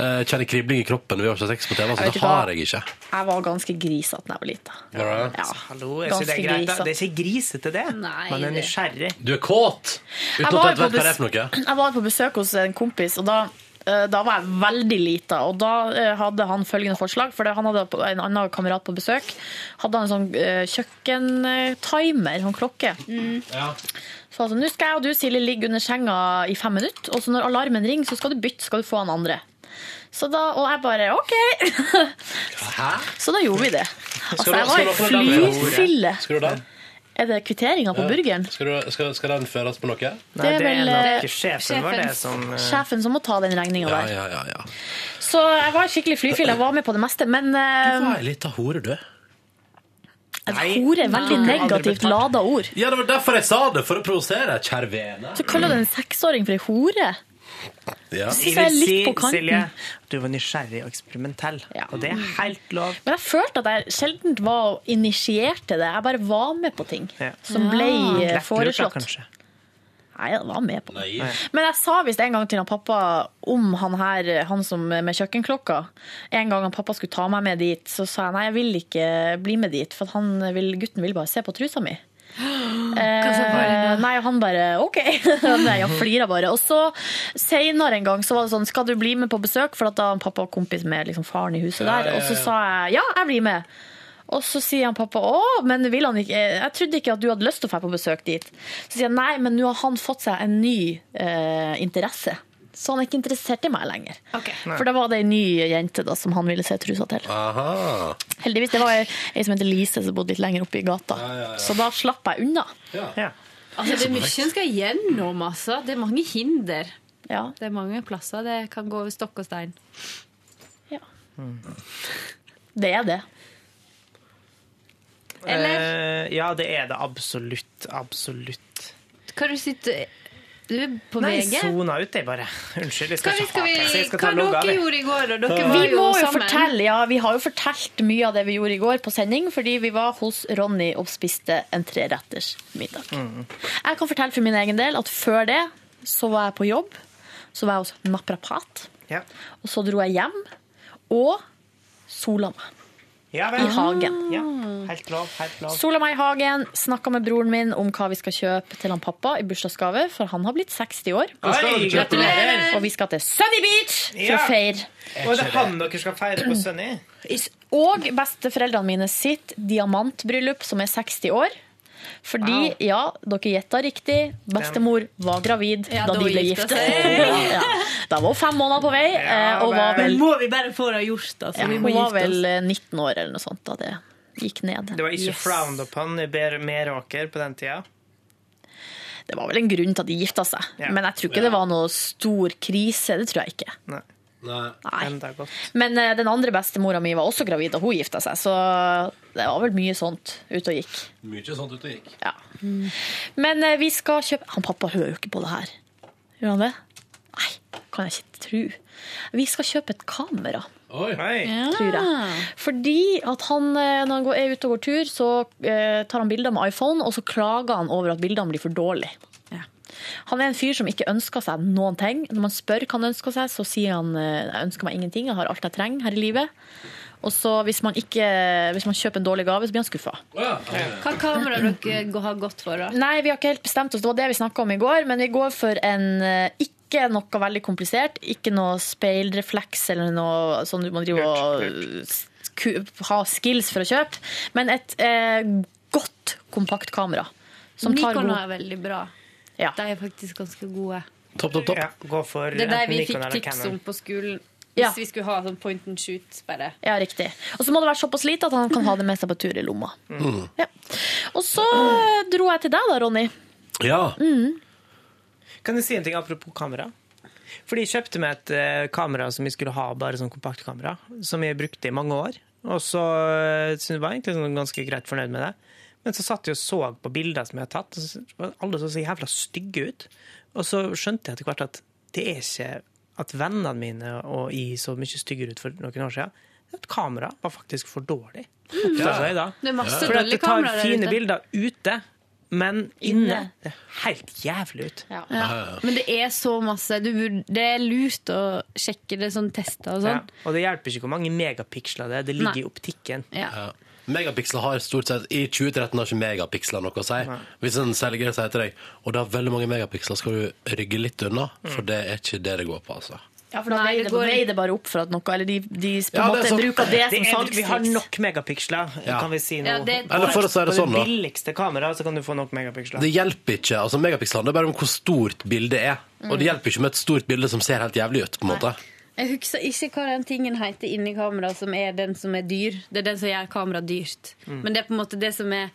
Speaker 8: Eh, kjenner kribling i kroppen. Vi har ikke sex på TV, så
Speaker 4: Jeg vet
Speaker 8: det
Speaker 4: ikke hva.
Speaker 8: har jeg ikke.
Speaker 4: Jeg var ganske grisete da jeg var lita.
Speaker 8: Alright.
Speaker 4: Ja.
Speaker 3: Hallo, jeg synes det er greit. da.
Speaker 4: Ganske grisete.
Speaker 3: Det er ikke grisete, det.
Speaker 4: Nei,
Speaker 3: Man er
Speaker 4: det-
Speaker 3: nysgjerrig.
Speaker 8: Du er kåt! Uten
Speaker 4: Jeg
Speaker 8: at du helt
Speaker 4: var jo
Speaker 8: vet
Speaker 4: på
Speaker 8: hva det er for noe.
Speaker 4: bes- Jeg var på besøk hos en kompis, og da, eh, da var jeg veldig lita. Og da eh, hadde han følgende forslag, for det- han hadde på- en annen kamerat på besøk. Hadde han en sånn eh, kjøkkentimer, sånn klokke. Så altså, nå skal jeg og du, Silje, ligge under senga i fem minutter, og så når alarmen ringer, så skal du bytte, skal du få han andre. Så da, og jeg bare, ok. Så da gjorde vi det. Altså,
Speaker 8: du- skal
Speaker 4: jeg var
Speaker 8: du
Speaker 4: i
Speaker 8: ha på den der?
Speaker 4: flyfille.
Speaker 8: Skal du den?
Speaker 4: Er det kvitteringen på
Speaker 8: Ja.
Speaker 4: burgeren?
Speaker 8: Skal, du, skal, skal den føres på noe?
Speaker 4: Nei, Det er det er vel, nok eh,
Speaker 3: sjefen vår, det, som, eh,
Speaker 4: Sjefen som må ta den regninga
Speaker 8: Ja,
Speaker 4: der.
Speaker 8: ja, ja. ja.
Speaker 4: Så jeg var skikkelig flyfil, jeg var med på det meste, men
Speaker 8: Du
Speaker 4: eh,
Speaker 8: var ei lita hore, du.
Speaker 4: hore er veldig
Speaker 8: Nei.
Speaker 4: negativt lada ord.
Speaker 8: Ja, det var derfor jeg sa det, for å provosere, kjære vene.
Speaker 4: Så kaller du en seksåring for ei hore?
Speaker 8: Ja.
Speaker 4: synes jeg er litt på kanten.
Speaker 3: Silje, at du var nysgjerrig og eksperimentell, og det er helt lov.
Speaker 4: Men jeg følte at jeg sjelden var og initierte det. Jeg bare var med på ting
Speaker 3: Ja.
Speaker 4: som ble eh,
Speaker 3: Lettlurt, da,
Speaker 4: foreslått.
Speaker 3: kanskje.
Speaker 4: Nei, jeg var med på det.
Speaker 3: Nei.
Speaker 4: Men jeg sa visst en gang til han pappa om han her, han som med kjøkkenklokka. En gang han pappa skulle ta meg med dit, så sa jeg nei, jeg vil ikke bli med dit, for at han vil, gutten vil bare se på trusa mi.
Speaker 12: Hva sa
Speaker 4: Eh,
Speaker 12: faren?
Speaker 4: nei, og han bare OK. nei, han flira bare. Og så seinere en gang så var det sånn Skal du bli med på besøk? For at da han pappa var kompis med liksom, faren i huset
Speaker 12: Ja,
Speaker 4: der.
Speaker 12: ja,
Speaker 4: Og så
Speaker 12: ja.
Speaker 4: sa jeg ja, jeg blir med. Og så sier han pappa å, men vil han ikke Jeg trodde ikke at du hadde lyst til å dra på besøk dit. Så sier han nei, men nå har han fått seg en ny eh, interesse. Så han er ikke interessert i meg lenger.
Speaker 12: Nei.
Speaker 4: For da var det ei ny jente da, som han ville se trusa til.
Speaker 8: Aha.
Speaker 4: Heldigvis, det var ei ei som heter Lise som bodde litt lenger oppe i gata. Så da slapp jeg unna.
Speaker 12: Altså, det er mye en skal gjennom, altså. Det er mange hinder.
Speaker 4: Det
Speaker 12: er mange plasser det kan gå over stokk og stein.
Speaker 4: Det er det.
Speaker 3: Eh, ja, det er det absolutt. Absolutt.
Speaker 12: Hva er det du sitter Du er på
Speaker 3: Nei,
Speaker 12: VG.
Speaker 3: sona ut, jeg bare. Unnskyld. Jeg skal,
Speaker 12: Skal vi, skal vi,
Speaker 3: ikke ha det. Så jeg skal ta
Speaker 12: hva
Speaker 3: logge av,
Speaker 12: dere
Speaker 3: jeg.
Speaker 12: gjorde i går? Og dere var
Speaker 4: Vi
Speaker 12: jo
Speaker 4: må jo
Speaker 12: sammen.
Speaker 4: fortelle, ja, vi har jo fortalt mye av det vi gjorde i går på sending, fordi vi var hos Ronny og spiste en treretters middag.
Speaker 12: Mm.
Speaker 4: Jeg kan fortelle for min egen del at før det så var jeg på jobb. Så var jeg hos naprapat. Og så dro jeg hjem og sola meg.
Speaker 3: Ja,
Speaker 12: Ah.
Speaker 3: vel.
Speaker 4: I hagen.
Speaker 3: Ja, helt lov, helt lov.
Speaker 4: Sola meg i hagen, snakka med broren min om hva vi skal kjøpe til han pappa i bursdagsgave, for han har blitt 60 år.
Speaker 3: Hva skal dere kjøpe? Gratulerer!
Speaker 4: Og vi skal til Sunny Beach for
Speaker 3: Ja.
Speaker 4: å feire.
Speaker 3: Og det er han dere skal feire på Sunny?
Speaker 4: Is- Og besteforeldrene mine sitt diamantbryllup, som er 60 år. Fordi,
Speaker 3: Wow.
Speaker 4: ja, dere gjetta riktig, bestemor var gravid
Speaker 12: Ja,
Speaker 4: da
Speaker 12: da
Speaker 4: de ble
Speaker 12: gifta
Speaker 4: gift.
Speaker 12: seg.
Speaker 4: Ja, ja. Da var hun fem måneder på vei, eh, og var
Speaker 12: Men
Speaker 4: vel,
Speaker 12: må vi bare få det gjort, da.
Speaker 4: ja,
Speaker 12: vi
Speaker 4: hun
Speaker 12: må
Speaker 4: var
Speaker 12: gifte oss.
Speaker 4: vel eh, 19 år eller noe sånt da det gikk ned.
Speaker 3: Det var ikke
Speaker 4: Yes.
Speaker 3: frowned upon i Ber- Meråker på den tida.
Speaker 4: Det var vel en grunn til at de gifta seg, men jeg tror ikke det var noe stor krise. Det tror jeg ikke.
Speaker 3: Nei. Enda godt.
Speaker 4: Men eh, den andre bestemora mi var også gravid da hun gifta seg, så det var vel mye sånt ute og gikk.
Speaker 2: Mye sånt ute gikk.
Speaker 4: Ja. Men eh, vi skal kjøpe Han pappa hører jo ikke på det her. Gjør han det? Nei, kan jeg ikke tro. Vi skal kjøpe et kamera.
Speaker 2: Oi.
Speaker 4: Tror jeg. Fordi at han, eh, når han går, er ute og går tur, så eh, tar han bilder med iPhone, og så klager han over at bildene blir for dårlige. Han er en fyr som ikke ønsker seg noen ting. Når man spør hva han ønsker seg, så sier han eh, jeg ønsker meg ingenting, jeg har alt jeg trenger her i livet. Og så hvis man, ikke, hvis man kjøper en dårlig gave, så blir han skuffa.
Speaker 12: Hva kamera dere g- har gått for, da?
Speaker 4: Nei, vi har ikke helt bestemt oss. Det var det vi snakka om i går. Men vi går for en eh, ikke noe veldig komplisert. Ikke noe speilrefleks eller noe sånn du må drive og eh, sku- ha skills for å kjøpe. Men et eh, godt kompakt kamera. Som tar
Speaker 12: Nikon
Speaker 4: god
Speaker 12: er veldig bra.
Speaker 4: Ja.
Speaker 12: De er faktisk ganske gode.
Speaker 2: Topp, topp, topp.
Speaker 3: gå for
Speaker 12: Det er de
Speaker 3: enten
Speaker 12: vi
Speaker 3: Nikon
Speaker 12: fikk
Speaker 3: eller
Speaker 12: tips
Speaker 3: Canon.
Speaker 12: om på skolen. Hvis
Speaker 4: Ja.
Speaker 12: vi skulle ha sånn point and shoot. bare.
Speaker 4: Ja, riktig. Og så må det være såpass lite at han kan ha det med seg på tur i lomma.
Speaker 2: Mm.
Speaker 4: Og så eh, dro jeg til deg da, Ronny.
Speaker 2: Ja.
Speaker 3: Kan jeg si en ting apropos kamera? Fordi jeg kjøpte meg et eh, kamera som jeg skulle ha, bare sånn kompaktkamera, som jeg brukte i mange år. Og så eh, syntes jeg var egentlig sånn ganske greit fornøyd med det. Men så satt jeg og så på bilder som jeg hadde tatt, og så var alle så, så jævla stygge ut. Og så skjønte jeg etter hvert at det er ikke at vennene mine og jeg så mye styggere ut for noen år siden. At kameraet var faktisk for dårlig. Oppdaget jeg da.
Speaker 12: Mm. Det er masse
Speaker 3: Fordi at
Speaker 12: dårlige
Speaker 3: det tar
Speaker 12: kameraer der
Speaker 3: fine
Speaker 12: ute.
Speaker 3: bilder ute, men inne. Det er helt jævlig ut.
Speaker 12: Ja. Men det er så masse. Du, bur- det er lurt å sjekke det sånn tester og sånn.
Speaker 3: Ja, og det hjelper ikke hvor mange megapiksler det er. Det ligger
Speaker 12: Nei.
Speaker 3: i optikken.
Speaker 2: Ja. Megapiksler har stort sett I 2013 har ikke megapiksler noe å si. Hvis en selger sier til deg og det har veldig mange megapiksler, skal du rygge litt unna, for det er ikke det det går på, altså.
Speaker 4: Ja, for da veier det, veier det bare opp for at noe Eller de, de på en
Speaker 2: Ja, det er
Speaker 4: måte
Speaker 2: sånn-
Speaker 4: bruker det som
Speaker 3: Det er- Vi har
Speaker 4: salgstriks.
Speaker 3: nok megapiksler,
Speaker 2: Ja.
Speaker 3: kan vi si nå.
Speaker 2: Ja, det- Eller for å si det sånn,
Speaker 3: På
Speaker 2: da.
Speaker 3: det billigste kameraet så kan du få nok megapiksler.
Speaker 2: Det hjelper ikke. altså Megapixel handler bare om hvor stort bildet er. Og det hjelper ikke med et stort bilde som ser helt jævlig ut. på en måte.
Speaker 12: Jeg husker ikke hva den tingen heter inni kameraet som er den som er dyr. Det er den som gjør kameraet dyrt.
Speaker 2: Mm.
Speaker 12: Men det er på en måte det som er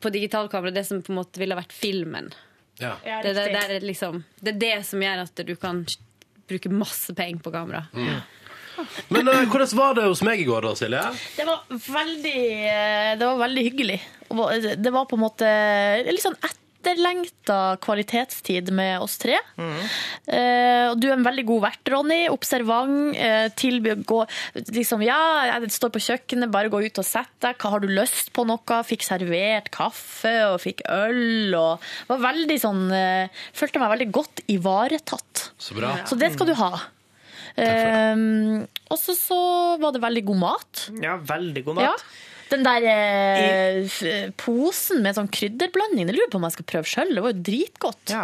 Speaker 12: på digitalkamera, det som på en måte ville vært filmen.
Speaker 2: Ja.
Speaker 12: det, det, det, er liksom, det er det som gjør at du kan bruke masse penger på kamera.
Speaker 2: Mm. Men eh, hvordan var det hos meg i går, da, Silje?
Speaker 4: Det var veldig, eh, det var veldig hyggelig. Og va- Det var på en måte litt sånn etterlengta kvalitetstid med oss tre. Eh, og du er en veldig god vert, Ronny. Observant. Eh, tilby å gå liksom, Ja, jeg står på kjøkkenet, bare gå ut og sett deg. Hva har du lyst på noe? Fikk servert kaffe og fikk øl og var veldig sånn eh, Følte meg veldig godt ivaretatt.
Speaker 2: Så bra.
Speaker 4: Så det skal du ha. Um, og så så var det veldig god mat.
Speaker 3: Ja, veldig god
Speaker 4: Ja.
Speaker 3: mat.
Speaker 4: Den der eh, f- posen med sånn krydderblanding, det lurer jeg på om jeg skal prøve sjøl. Det var jo dritgodt.
Speaker 3: Ja.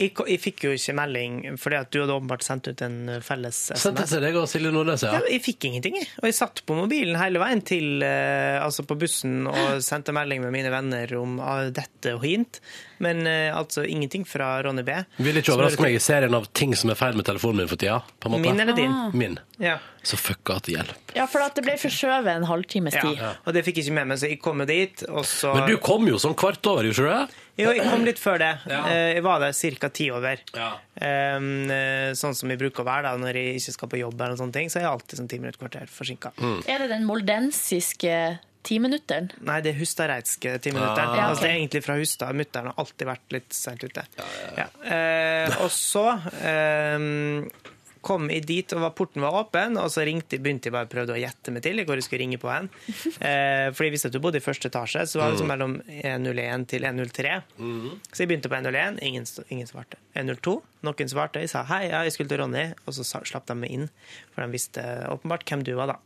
Speaker 3: Jeg, ko- jeg fikk jo ikke melding, fordi at du hadde åpenbart sendt ut en eh, felles
Speaker 2: Sendte
Speaker 3: SMS.
Speaker 2: til deg og Silje Nordnes, ja.
Speaker 3: Ja, jeg fikk ingenting, jeg. Og jeg satt på mobilen hele veien til eh, Altså på bussen og sendte melding med mine venner om ah, dette og hint. Men eh, altså ingenting fra Ronny B.
Speaker 2: Vil ikke overraske meg i serien av ting som er feil med telefonen min for tida. på en måte.
Speaker 3: Min eller din?
Speaker 2: Min.
Speaker 3: Ja.
Speaker 2: Så fucka at det hjelper.
Speaker 4: Ja, for at det ble forskjøvet en halvtimes tid.
Speaker 3: Ja. Og det fikk jeg ikke med meg, så jeg kom jo dit, og så
Speaker 2: Men du kom jo sånn kvart over, gjorde ikke du det?
Speaker 3: Jo, jeg kom litt før det. Eh, Jeg var der ca. ti over.
Speaker 2: Ja.
Speaker 3: Em, eh, Sånn som jeg bruker å være da, når jeg ikke skal på jobb, eller sånne ting, så er jeg alltid sånn ti minutter, kvarter forsinka.
Speaker 4: Er det den moldensiske Timinutteren?
Speaker 3: Nei, det er Hustadreitske timinutteren.
Speaker 4: Ah. Ja, ok.
Speaker 3: altså, det er egentlig fra Hustad. Mutter'n har alltid vært litt seint ute. Ja. Eh, og så eh, kom jeg dit, og var- porten var åpen, og så ringte, jeg- begynte jeg bare prøvde å gjette meg til i hvor jeg skulle ringe på hen. Eh, fordi jeg visste at du bodde i første etasje, så det var liksom
Speaker 17: Mm.
Speaker 3: mellom 101 til 103. Så jeg begynte på 101, ingen, ingen svarte. 102, noen svarte. Jeg sa hei, ja, jeg skulle til Ronny, og så sa, slapp de meg inn, for de visste åpenbart hvem du var, da.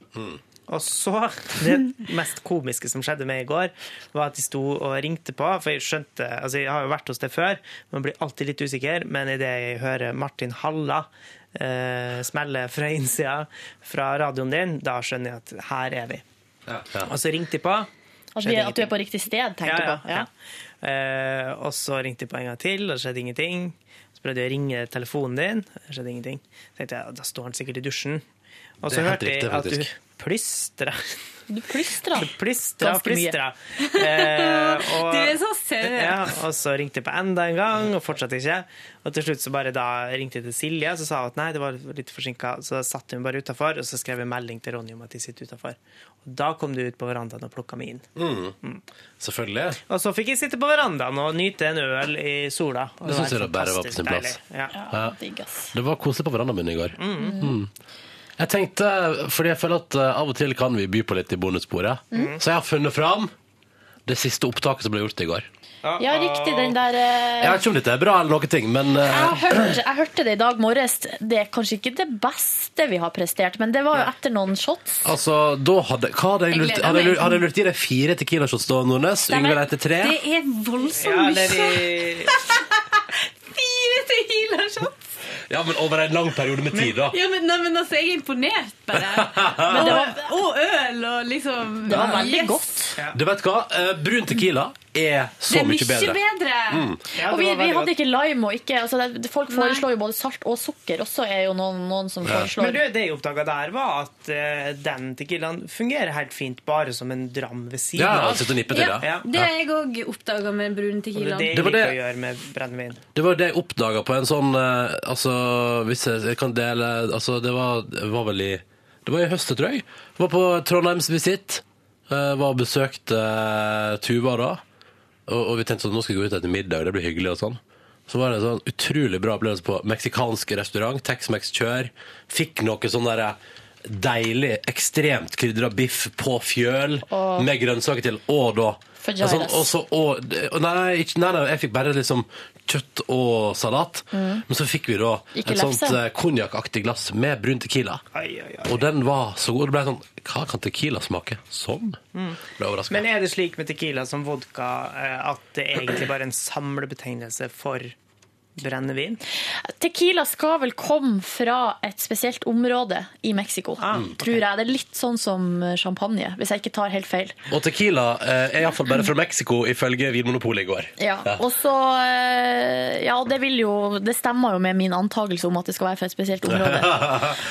Speaker 3: Og så, det mest komiske som skjedde meg i går, var at de sto og ringte på. For jeg skjønte, altså jeg har jo vært hos det før, man blir alltid litt usikker. Men idet jeg hører Martin Halla eh, smelle fra innsida fra radioen din, da skjønner jeg at her er vi. Og så ringte de på.
Speaker 4: At, Altså, vi,
Speaker 3: skjedde
Speaker 4: at du er på riktig sted, tenker du på? Ja.
Speaker 3: ja. Eh, og så ringte jeg på en gang til, og det skjedde ingenting. Så prøvde jeg å ringe telefonen din, det skjedde ingenting. Så tenkte jeg, da står han sikkert i dusjen.
Speaker 2: Det
Speaker 3: Og
Speaker 2: er
Speaker 3: så
Speaker 2: helt
Speaker 3: hørte jeg
Speaker 2: riktig,
Speaker 3: at du
Speaker 2: faktisk.
Speaker 3: plystra.
Speaker 4: Du plystra.
Speaker 3: Plystra,
Speaker 4: Ganske mye.
Speaker 3: plystra. Eh, og-
Speaker 12: Du er så søt.
Speaker 3: Ja, og så ringte jeg på enda en gang, og fortsatte ikke. Og til slutt så bare da ringte jeg til Silje, så sa hun at nei, det var litt forsinka. Så da satt hun bare utafor, og så skrev jeg melding til Ronny om at de sitter utafor. Og da kom du ut på verandaen og plukka meg inn.
Speaker 2: Mm. Selvfølgelig.
Speaker 3: Og så fikk jeg sitte på verandaen og nyte en øl i sola. Og
Speaker 2: Det syns jeg da bare var på
Speaker 3: fantastisk
Speaker 2: sin plass.
Speaker 3: deilig. Ja.
Speaker 2: Ja. Det var koselig på verandaen min i går. Mm. Jeg tenkte, fordi jeg føler at eh, av og til kan vi by på litt i bonussporet,
Speaker 4: Mm.
Speaker 2: så jeg har funnet fram det siste opptaket som ble gjort i går.
Speaker 4: Ja, riktig, den der eh,
Speaker 2: Jeg vet ikke om dette er bra eller noen ting, men eh,
Speaker 4: Jeg hørte, jeg hørte det i dag morges. Det er kanskje ikke det beste vi har prestert, men det var jo etter noen shots.
Speaker 2: altså, da hadde, hva hadde jeg
Speaker 4: Jeg
Speaker 2: lurt,
Speaker 4: gleder
Speaker 2: hadde jeg
Speaker 4: meg.
Speaker 2: lurt, hadde jeg lurt i deg fire tequila-shots da, Nordnes?
Speaker 12: Stemmer.
Speaker 2: Yngve Reite tre?
Speaker 12: Det er voldsomt
Speaker 3: Ja,
Speaker 12: mye.
Speaker 3: eller i-
Speaker 12: Fire Tequila-shots!
Speaker 2: Ja, men over en lang periode med tid, da.
Speaker 12: Ja, men, nei, men altså, jeg er imponert, bare.
Speaker 2: Men det var-
Speaker 12: og, og øl og liksom
Speaker 2: Det var
Speaker 3: Ah,
Speaker 2: veldig
Speaker 12: godt.
Speaker 2: Du vet hva? Eh, Brun tequila er så
Speaker 4: det er
Speaker 2: mye bedre. Mm.
Speaker 4: og vi, vi hadde ikke lime og ikke altså det, Folk foreslår jo både salt og sukker. Også er jo noen, noen som
Speaker 3: Ja. Men
Speaker 4: foreslår
Speaker 3: du, det jeg oppdaga der, var at eh, den tequilaen fungerer helt fint bare som en dram ved siden
Speaker 2: Ja,
Speaker 3: av.
Speaker 2: altså, til å nippe til, ja.
Speaker 3: Ja.
Speaker 12: Det har jeg òg oppdaga med brun
Speaker 3: Og det
Speaker 12: tequila.
Speaker 3: er det jeg
Speaker 2: Det var
Speaker 3: liker å
Speaker 2: det-
Speaker 3: gjøre med brennevin.
Speaker 2: Det var jo det jeg oppdaga på en sånn eh, Altså, hvis jeg, jeg kan dele Altså, det var, det var vel i Det var i høstet, tror jeg. Jeg var på Trondheims visitt. eh, var og besøkte eh, Tuva da. Og, og vi tenkte sånn, nå skal vi gå ut etter middag, det blir hyggelig og sånn. Så var det en sånn utrolig bra opplevelse på meksikansk restaurant. Tex-Mex kjør. Fikk noe sånn derre deilig, ekstremt krydra biff på fjøl
Speaker 4: Åh.
Speaker 2: med grønnsaker til. Og da
Speaker 4: Fajitas.
Speaker 2: En sånn- og så, og, og nei, ikke, nei, nei, jeg fikk bare liksom kjøtt og salat.
Speaker 4: Mm.
Speaker 2: Men så fikk vi da
Speaker 4: Ikke
Speaker 2: et
Speaker 4: lefse.
Speaker 2: sånt eh, konjakkaktig glass med brun tequila. Og den var så god. Det ble sånn Hva kan tequila smake sånn?
Speaker 3: Mm.
Speaker 2: Ble overraska.
Speaker 3: Men er det slik med tequila som vodka eh, at det er egentlig bare en samlebetegnelse for brennevin?
Speaker 4: Tequila skal vel komme fra et spesielt område i Mexico,
Speaker 3: Ah.
Speaker 4: tror jeg. Det er litt sånn som champagne, hvis jeg ikke tar helt feil.
Speaker 2: Og tequila eh, er iallfall bare fra Mexico, ifølge Vinmonopolet i går.
Speaker 4: Ja,
Speaker 2: Ja.
Speaker 4: og så eh, Ja, det vil jo Det stemmer jo med min antakelse om at det skal være fra et spesielt område.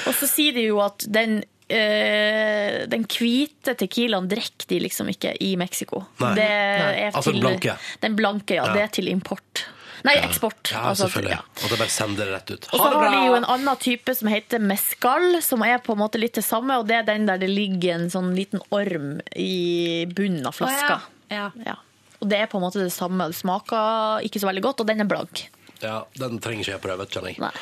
Speaker 4: Og så sier de jo at den eh, den hvite tequilaen drikker de liksom ikke i Mexico.
Speaker 2: Nei.
Speaker 4: Det
Speaker 2: Nei.
Speaker 4: er
Speaker 2: Altså den
Speaker 4: til,
Speaker 2: blanke.
Speaker 4: Den blanke, ja,
Speaker 2: Ja.
Speaker 4: Det er til import. Nei, eksport.
Speaker 2: ja,
Speaker 4: altså,
Speaker 2: selvfølgelig. Og det bare sender det rett ut.
Speaker 4: og så har de jo en annen type som heter mescal, som er på en måte litt det samme, og det er den der det ligger en sånn liten orm i bunnen av flaska. Ja. Og det er på en måte det samme. Det smaker ikke så veldig godt, og den er blank.
Speaker 2: Ja, Den trenger ikke jeg prøve, kjenner jeg.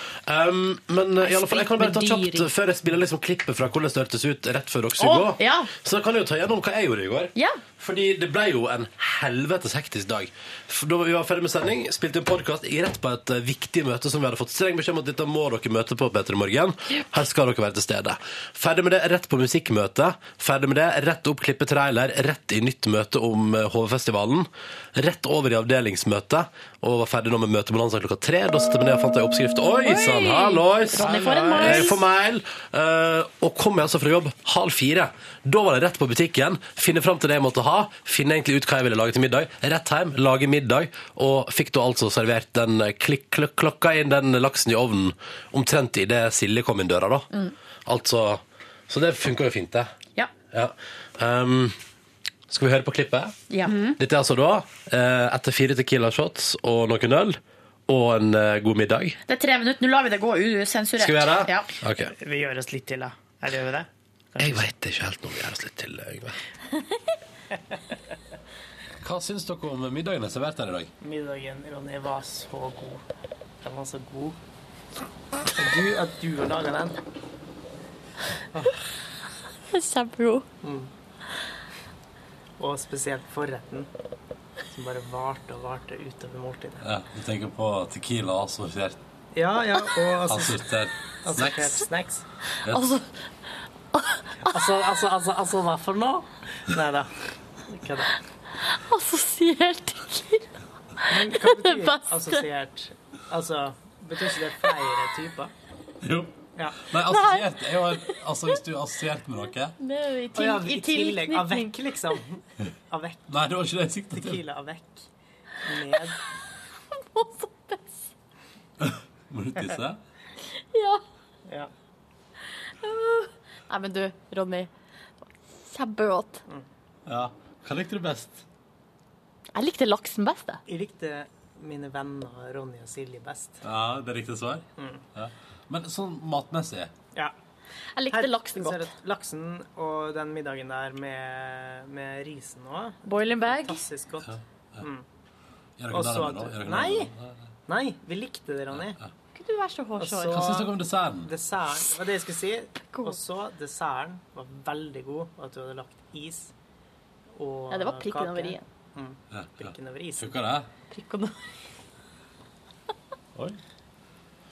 Speaker 2: Um, men eh, i alle fall, jeg kan bare ta
Speaker 4: Sprit med
Speaker 2: kjapt
Speaker 4: dyr i.
Speaker 2: før jeg spiller liksom klippet fra hvordan det hørtes ut rett før dere
Speaker 4: Å,
Speaker 2: skulle gå.
Speaker 4: ja.
Speaker 2: Så kan jeg jo ta gjennom hva jeg gjorde i går. Fordi det ble jo en helvetes hektisk dag. For Da vi var ferdig med sending, spilte en podkast rett på et eh, viktig møte som vi hadde fått streng beskjed om at dette må dere møte på Peter i morgen. Her skal dere være til stede. Ferdig med det, rett på musikkmøte. Ferdig med det, rett opp klippe trailer, rett i nytt møte om eh, HV-festivalen. Rett over i avdelingsmøte, og var ferdig nå med møtebonanza klokka tre. Da satte jeg meg ned og fant ei oppskrift. Oi sann, hallois!
Speaker 4: Ronny får en mais.
Speaker 2: Jeg får mail. eh, og kom jeg altså fra jobb halv fire. Da var det rett på butikken, finne fram til det jeg måtte ha, finne egentlig ut hva jeg ville lage til middag, rett hjem, lage middag, og fikk da altså servert den eh, klikk, klokk, klokka inn den laksen i ovnen omtrent idet Silje kom inn døra, da.
Speaker 4: Mm.
Speaker 2: Altså Så det funker jo fint, det.
Speaker 4: Ja.
Speaker 2: Ja. Ehm, skal vi høre på klippet?
Speaker 4: Ja.
Speaker 1: Mm.
Speaker 2: Dette er altså da, eh, etter fire Tequila shots og noen øl, og en eh, god middag.
Speaker 4: Det er tre minutter. Nå lar vi det gå usensurert.
Speaker 2: Skal vi gjøre det?
Speaker 4: Ja.
Speaker 2: Ok.
Speaker 3: Vi gjør oss litt til, da. Eller gjør vi det?
Speaker 2: eh, Jeg veit ikke helt når vi gjør oss litt til, Yngve.
Speaker 1: Hva syns dere om middagen jeg serverte her i dag?
Speaker 3: Middagen, Ronny, var så god. Den var så god. Og du, at du har laga den
Speaker 4: Kjempegod.
Speaker 3: Og spesielt forretten, som bare varte og varte utover måltidet.
Speaker 1: Ja, du tenker på tequila assortert
Speaker 3: Ja, ja, og altså,
Speaker 1: assortert
Speaker 3: altså
Speaker 1: snacks.
Speaker 3: kjøpt snacks.
Speaker 1: Yes.
Speaker 3: Altså, altså, altså, altså, altså, hva for noe? Nei da. Kødda.
Speaker 4: Assosiert tequila.
Speaker 3: Men hva betyr assosiert? Altså, betyr ikke det flere typer?
Speaker 1: Jo.
Speaker 3: Ja.
Speaker 1: Nei, assosiert er jo en- Altså, hvis du er assosiert med noe
Speaker 4: Det er jo i,
Speaker 3: Å
Speaker 4: til,
Speaker 3: ja,
Speaker 4: i
Speaker 3: I tillegg.
Speaker 4: tilknytning.
Speaker 3: Avec, liksom. Avec.
Speaker 1: Nei, det var ikke det jeg siktet til.
Speaker 3: Tequila avec. Med
Speaker 1: Må du tisse?
Speaker 4: Ja.
Speaker 3: Ja.
Speaker 4: Nei, men du, Ronny. Kjempegodt.
Speaker 1: Ja. Hva likte du best?
Speaker 4: Jeg likte laksen best, jeg.
Speaker 3: Jeg likte mine venner Ronny og Silje best.
Speaker 1: Ja, det er riktig svar. Ja. Men sånn matmessig
Speaker 3: Ja.
Speaker 4: Jeg likte laksen
Speaker 3: ser
Speaker 4: godt.
Speaker 3: du Laksen og den middagen der med, med risen òg.
Speaker 4: Boiling bag.
Speaker 3: Fantastisk godt. Mm.
Speaker 1: Gjør
Speaker 3: Og
Speaker 1: dere
Speaker 3: så
Speaker 1: narr av
Speaker 3: at
Speaker 1: meg nå? Gjør dere narr
Speaker 3: du
Speaker 1: av
Speaker 3: Nei!
Speaker 1: meg nå?
Speaker 3: Nei, vi likte det, Ronny.
Speaker 4: Kunne du være så hårsår?
Speaker 1: Hva syns dere om desserten?
Speaker 3: Desserten Det var det jeg skulle si. Og så desserten var veldig god, og at du hadde lagt is og
Speaker 4: Ja, det var prikken
Speaker 3: kake.
Speaker 4: over i-en.
Speaker 3: Mm.
Speaker 1: Ja, ja.
Speaker 3: Prikken over isen.
Speaker 1: Funka det?
Speaker 4: Prikk og noe.
Speaker 1: Oi.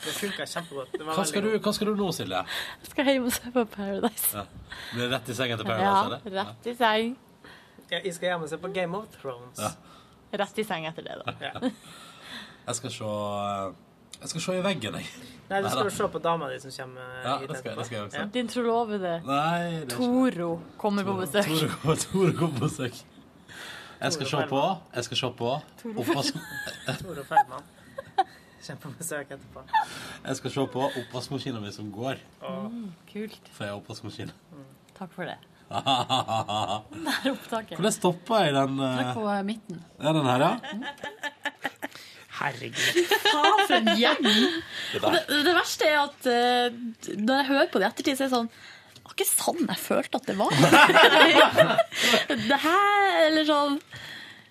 Speaker 3: Det funka kjempegodt. Det var
Speaker 1: Hva skal,
Speaker 3: veldig
Speaker 1: du, hva skal du nå, Silje?
Speaker 4: Jeg skal hjem og se på Paradise.
Speaker 1: Ja. Blir det rett i seng etter
Speaker 4: Ja,
Speaker 1: Paradise, eller?
Speaker 4: rett i seng.
Speaker 3: godt. Ja, jeg skal hjem og se på Game of Thrones.
Speaker 1: Ja.
Speaker 4: Rett i seng etter det, da.
Speaker 1: Jeg skal se eh, Jeg skal se i veggen, jeg.
Speaker 3: Nei, du
Speaker 1: Neida.
Speaker 3: skal jo se på dama di som kommer
Speaker 1: Ja,
Speaker 3: hit
Speaker 1: det skal, jeg- det skal jeg også.
Speaker 3: Ja.
Speaker 4: Din trolovede
Speaker 1: Nei, det er ikke
Speaker 4: Toro kommer på besøk.
Speaker 1: Tore kom, Tore kom på besøk. Jeg skal se
Speaker 3: Tore
Speaker 1: på. Jeg skal se på. Oppvask,
Speaker 3: Tore Feldman. Kommer på besøk etterpå.
Speaker 1: jeg skal se på oppvaskmaskinen min som går,
Speaker 3: Og
Speaker 4: Mm, Kult. Mm.
Speaker 1: for jeg har oppvaskmaskin.
Speaker 4: Takk for det.
Speaker 1: Hvordan
Speaker 4: Det er opptaket.
Speaker 1: stoppa jeg den eh,
Speaker 12: På midten.
Speaker 1: Er den her, ja?
Speaker 3: herregud.
Speaker 4: Faen, for en gjeng!
Speaker 1: Det
Speaker 4: Og
Speaker 1: der.
Speaker 4: det, det verste er at eh, når jeg hører på det i ettertid, så er det sånn Det var ikke sånn jeg følte at det var. det her, eller sånn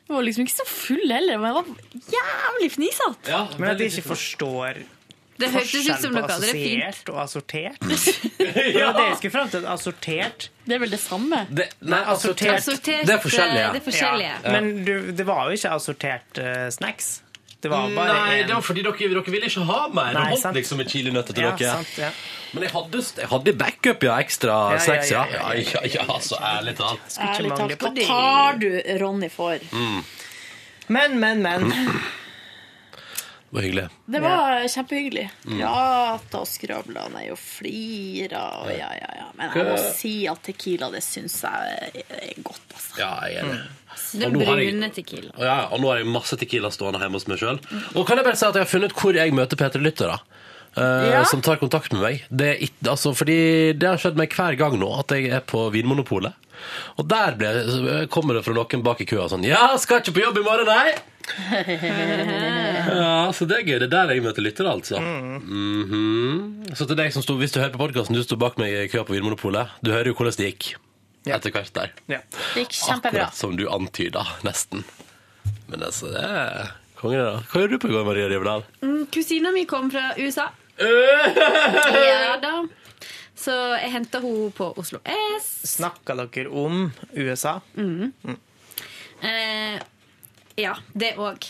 Speaker 4: Jeg var liksom ikke så full heller, men jeg var jævlig fnisete.
Speaker 1: Ja,
Speaker 3: Men at
Speaker 1: veldig
Speaker 3: de ikke
Speaker 1: fint.
Speaker 3: forstår
Speaker 12: Det hørtes ut som
Speaker 3: forskjellen
Speaker 12: noe
Speaker 3: på
Speaker 12: av det fint.
Speaker 3: assosiert og assortert. Det var det jeg skulle fram til. Assortert.
Speaker 4: Det er vel det samme.
Speaker 2: Det, nei,
Speaker 3: assortert.
Speaker 12: Assortert,
Speaker 2: Det er forskjellig, ja.
Speaker 12: eh, Det er forskjellig, ja.
Speaker 3: Men du, det var jo ikke assortert eh, snacks. Det var bare
Speaker 2: Nei,
Speaker 3: en-
Speaker 2: det var fordi dere, dere ville ikke ha mer.
Speaker 3: Nei,
Speaker 2: Dere holdt
Speaker 3: sant.
Speaker 2: liksom med chilinøtter til
Speaker 3: ja,
Speaker 2: dere.
Speaker 3: sant, ja.
Speaker 2: Men jeg hadde, jeg hadde backup, ja. Ekstra
Speaker 3: ja,
Speaker 2: snacks, ja.
Speaker 3: ja,
Speaker 2: Ja, ja, ja, altså, ærlig talt.
Speaker 3: Ærlig talt,
Speaker 4: Hva tar du Ronny for?
Speaker 3: Men, men, men.
Speaker 2: Det var hyggelig.
Speaker 4: Det var kjempehyggelig. Prata og skravla nei, og flira og ja, ja, ja. Men jeg må si at Tequila, det syns jeg er godt, altså.
Speaker 2: Ja, jeg er enig.
Speaker 12: Den
Speaker 2: nå har jeg-
Speaker 12: brune tequila.
Speaker 2: Og, ja, og nå har jeg masse Tequila stående hjemme hos meg sjøl. Og kan jeg bare si at jeg har funnet ut hvor jeg møter P3-lyttere. eh,
Speaker 4: Ja.
Speaker 2: Som tar kontakt med meg. Det, er ikke- altså, fordi det har skjedd meg hver gang nå at jeg er på Vinmonopolet. Og der ble, eh, kommer det fra noen bak i køa sånn Ja, skal ikke på jobb i morgen, nei! ja, Så det er gøy. Det er der jeg møter lyttere, altså. Mhm. Så til deg som sto, hvis du hører på podkasten, du sto bak meg i køa på Vinmonopolet. Du hører jo hvordan det gikk
Speaker 3: Ja.
Speaker 2: etter hvert der.
Speaker 3: Ja.
Speaker 4: Det gikk kjempebra.
Speaker 2: Akkurat som du antyda, nesten. Men altså, det er konge, da. Hva gjør du på i går, Maria Rivdal?
Speaker 12: Mm, Kusina mi kom fra USA. Ja da. Så jeg henta henne på Oslo S.
Speaker 3: Snakka dere om USA?
Speaker 12: Eh, ja, det òg.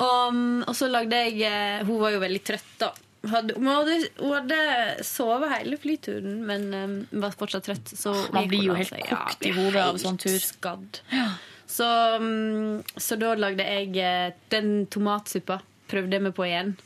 Speaker 12: Og, og så lagde jeg eh, Hun var jo veldig trøtt, da. Hadde, hun hadde, hun hadde sovet hele flyturen, men eh, var fortsatt trøtt. Så
Speaker 4: Man
Speaker 12: gikk
Speaker 4: blir
Speaker 12: hun
Speaker 4: jo
Speaker 12: og la
Speaker 4: helt
Speaker 12: seg.
Speaker 4: kokt
Speaker 12: blir
Speaker 4: i hodet av
Speaker 12: helt
Speaker 4: sånn tur.
Speaker 12: Skadd. Så, mm, så da lagde jeg eh, den tomatsuppa. Prøvde jeg meg på igjen.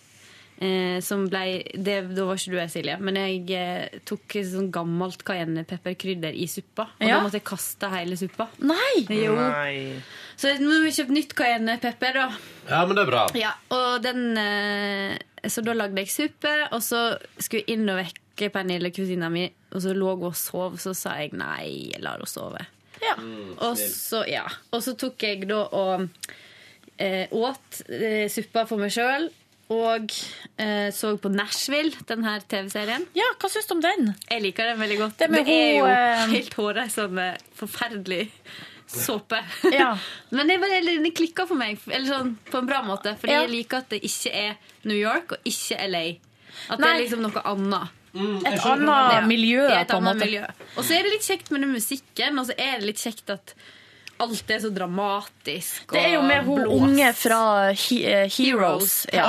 Speaker 12: Eh, som ble, det, da var ikke du her, Silje, men jeg eh, tok sånn gammelt cayennepepperkrydder i suppa. Og
Speaker 4: Ja.
Speaker 12: da måtte jeg kaste hele suppa.
Speaker 4: Nei!
Speaker 12: Jo.
Speaker 3: Nei.
Speaker 12: Så nå har vi kjøpt nytt cayennepepper, da.
Speaker 2: Ja, men det er bra.
Speaker 12: Ja, og den eh, Så da lagde jeg suppe, og så skulle jeg inn og vekke Pernille, kusina mi, og så lå hun og sov, så sa jeg nei, jeg lar henne sove.
Speaker 4: Ja.
Speaker 12: Og så, ja. og så tok jeg da og eh, åt eh, suppa for meg sjøl. Og eh, så på Nashville, den her TV-serien.
Speaker 4: ja, hva syns du om den?
Speaker 12: Jeg liker den veldig godt.
Speaker 4: Det med
Speaker 12: er jo
Speaker 4: hun, eh,
Speaker 12: helt hårreisende, forferdelig såpe. Men det, er bare, eller, det klikker for meg, eller sånn, på en bra måte. Fordi
Speaker 4: Ja.
Speaker 12: jeg liker at det ikke er New York og ikke LA. At det
Speaker 4: Nei.
Speaker 12: er liksom noe annet.
Speaker 4: jeg Et skjønner hva du annet mener. miljø,
Speaker 12: Ja, et
Speaker 4: på en
Speaker 12: annet
Speaker 4: måte.
Speaker 12: miljø. Og så er det litt kjekt med den musikken, og så er det litt kjekt at alt er så dramatisk.
Speaker 4: Det er jo
Speaker 12: og
Speaker 4: med hun
Speaker 12: blåst.
Speaker 4: unge fra He eh, Heroes. Ja.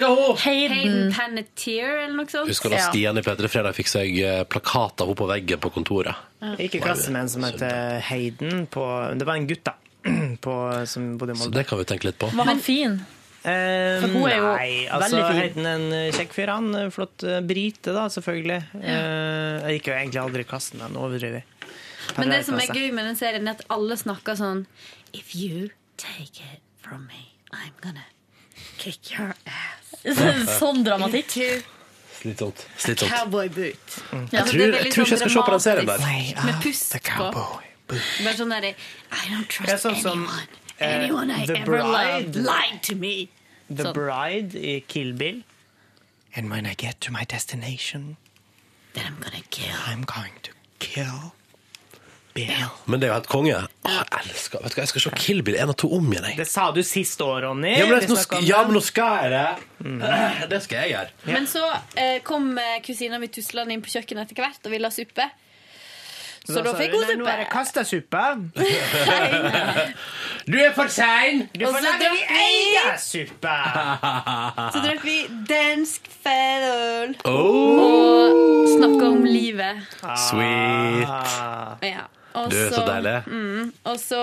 Speaker 12: Hayden.
Speaker 4: Hayden.
Speaker 12: Panettier, eller noe sånt.
Speaker 2: Husker da
Speaker 12: Ja.
Speaker 2: Stian i P3 Fredag fikk seg eh, plakat av henne på veggen på kontoret.
Speaker 3: Jeg gikk i klasse med en som het Hayden. På, det var en gutt, da. På, som bodde i
Speaker 2: Så
Speaker 3: Molde.
Speaker 2: det kan vi tenke litt på.
Speaker 4: Var han fin?
Speaker 3: Eh,
Speaker 4: For hun er jo
Speaker 3: nei, altså,
Speaker 4: veldig fin.
Speaker 3: Hayden er en eh, kjekk fyr. Han eh, flott eh, brite, da, selvfølgelig. Eh, jeg gikk jo egentlig aldri i klassen med han, overdriver.
Speaker 12: Men det som er
Speaker 2: altså.
Speaker 3: Parallellklasse.
Speaker 12: gøy med den serien, er at alle snakker sånn If you take it from me, I'm gonna kick your ass.
Speaker 4: Sånn dramatikk.
Speaker 2: Slitsomt. Slitsomt.
Speaker 12: Cowboy boot.
Speaker 2: Mm. Jeg tror- jeg tror ikke jeg skal se på den serien der.
Speaker 12: sånn Med puss på. Bare sånn derre I don't
Speaker 3: Det er
Speaker 12: trust
Speaker 3: sånn som
Speaker 12: anyone.
Speaker 3: eh,
Speaker 12: Anyone I
Speaker 3: The
Speaker 12: ever loved
Speaker 3: Bride.
Speaker 12: lied to me.
Speaker 3: The
Speaker 12: Sånn.
Speaker 3: Bride i Kill Bill. And when I get to my destination
Speaker 12: Then I'm gonna kill
Speaker 3: I'm going to kill Bill.
Speaker 2: Men det er jo helt konge. Åh, jeg elsker Vet du hva, jeg skal se Kill Bill én og to om igjen, jeg.
Speaker 3: Det sa du sist år, Ronny.
Speaker 2: Ja, men,
Speaker 3: Vi
Speaker 2: nå,
Speaker 3: snakket om Mm.
Speaker 2: sk-
Speaker 3: det.
Speaker 2: ja, men nå skal jeg det. Eh, Det skal jeg gjøre.
Speaker 12: Men så eh, kom eh, kusina mi tuslende inn på kjøkkenet etter hvert og ville ha suppe. Så da
Speaker 3: sa
Speaker 12: fikk
Speaker 3: du,
Speaker 12: hun
Speaker 3: «Nei, Nå
Speaker 12: suppe.
Speaker 3: er det kasta suppe.
Speaker 2: Du er for sein!
Speaker 3: Du
Speaker 12: Og
Speaker 3: får
Speaker 12: så
Speaker 3: lage
Speaker 12: drakk
Speaker 3: din
Speaker 12: vi-
Speaker 3: egen suppe!
Speaker 12: Så
Speaker 2: Ah.
Speaker 12: drakk vi dansk fædøl.
Speaker 2: Oh.
Speaker 12: Og snakka om livet.
Speaker 3: Ah.
Speaker 2: Sweet.
Speaker 12: Ja. Og
Speaker 2: Du, så deilig.
Speaker 12: Mm, og så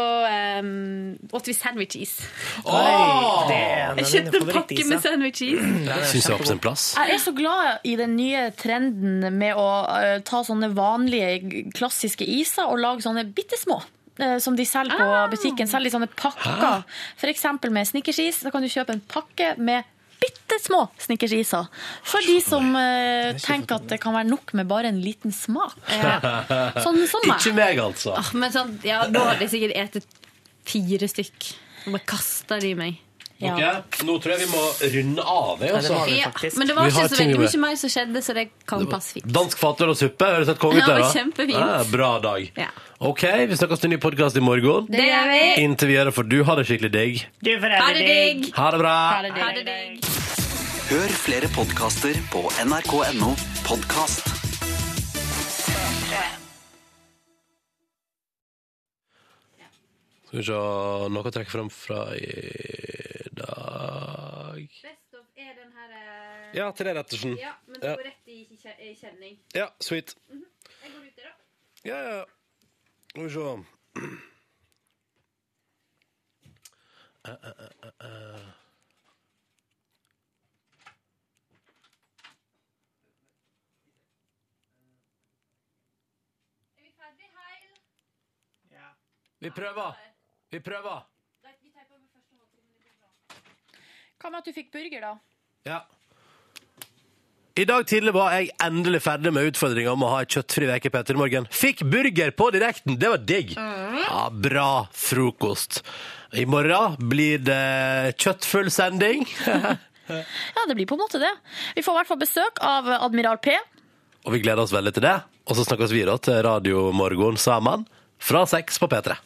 Speaker 12: um, åt vi sandwiches.
Speaker 2: Åh!
Speaker 3: Det er en av
Speaker 12: Jeg kjøpte
Speaker 3: mine
Speaker 12: en pakke med
Speaker 3: favorittiser.
Speaker 12: sandwiches.
Speaker 3: Den er
Speaker 2: Syns jeg var på sin
Speaker 3: kjempegod.
Speaker 2: plass.
Speaker 4: Jeg er så glad i den nye trenden med å eh, ta sånne vanlige, g- klassiske iser og lage sånne bitte små. eh, Som de selger på butikken. Selger i sånne pakker. F.eks. med snickersis. Da kan du kjøpe en pakke med bitte små snickersiser. For de som eh, tenker at det kan være nok med bare en liten smak. Eh, Sånn som meg.
Speaker 2: Ikke meg, altså.
Speaker 12: Ah, men sånn, ja, da hadde jeg sikkert etet fire stykk. Og bare kasta de i meg.
Speaker 4: Ja.
Speaker 2: Ok, Nå tror jeg vi må runde av. Jeg,
Speaker 3: Ja, det
Speaker 2: altså.
Speaker 3: var vi
Speaker 12: Ja,
Speaker 3: faktisk.
Speaker 12: men det var
Speaker 2: Vi har
Speaker 12: ikke så
Speaker 2: ting
Speaker 12: veldig
Speaker 2: å gjøre.
Speaker 12: mye mer som skjedde, så det kan passe fint.
Speaker 2: Dansk fatøl og suppe høres helt konge ut.
Speaker 12: Ja,
Speaker 2: det, da.
Speaker 12: kjempefint.
Speaker 2: Ja, bra dag.
Speaker 12: Ja.
Speaker 2: OK, vi snakkes til en ny podkast i morgen.
Speaker 12: Det gjør vi.
Speaker 2: Inntil videre får du ha det skikkelig digg.
Speaker 3: Du får
Speaker 12: Ha
Speaker 3: ha
Speaker 12: det
Speaker 3: det
Speaker 12: digg.
Speaker 2: Ha det bra.
Speaker 12: Ha det digg.
Speaker 1: Hør flere podkaster på nrk.no podkast.
Speaker 2: Skal vi se noe å trekke fram fra i dag Ja, Therese Rettersen.
Speaker 12: eh, Ja, men
Speaker 2: Ja.
Speaker 12: det går rett i kje- i kjenning.
Speaker 2: Ja, sweet.
Speaker 12: Jeg går ut der, da.
Speaker 2: Ja, ja. ja. Skal vi se Eh, eh, eh, eh. Vi prøver. Vi prøver.
Speaker 4: Hva med at du fikk burger, da?
Speaker 2: Ja. I dag tidlig var jeg endelig ferdig med utfordringa om å ha ei kjøttfri uke i Petter Morgen. Fikk burger på direkten! Det var digg! Ja, bra frokost. I morgen blir det kjøttfull sending.
Speaker 4: Ja, det blir på en måte det. Vi får i hvert fall besøk av Admiral P.
Speaker 2: Og vi gleder oss veldig til det. Og så snakkes vi da til Radio Morgen sammen fra seks på P3.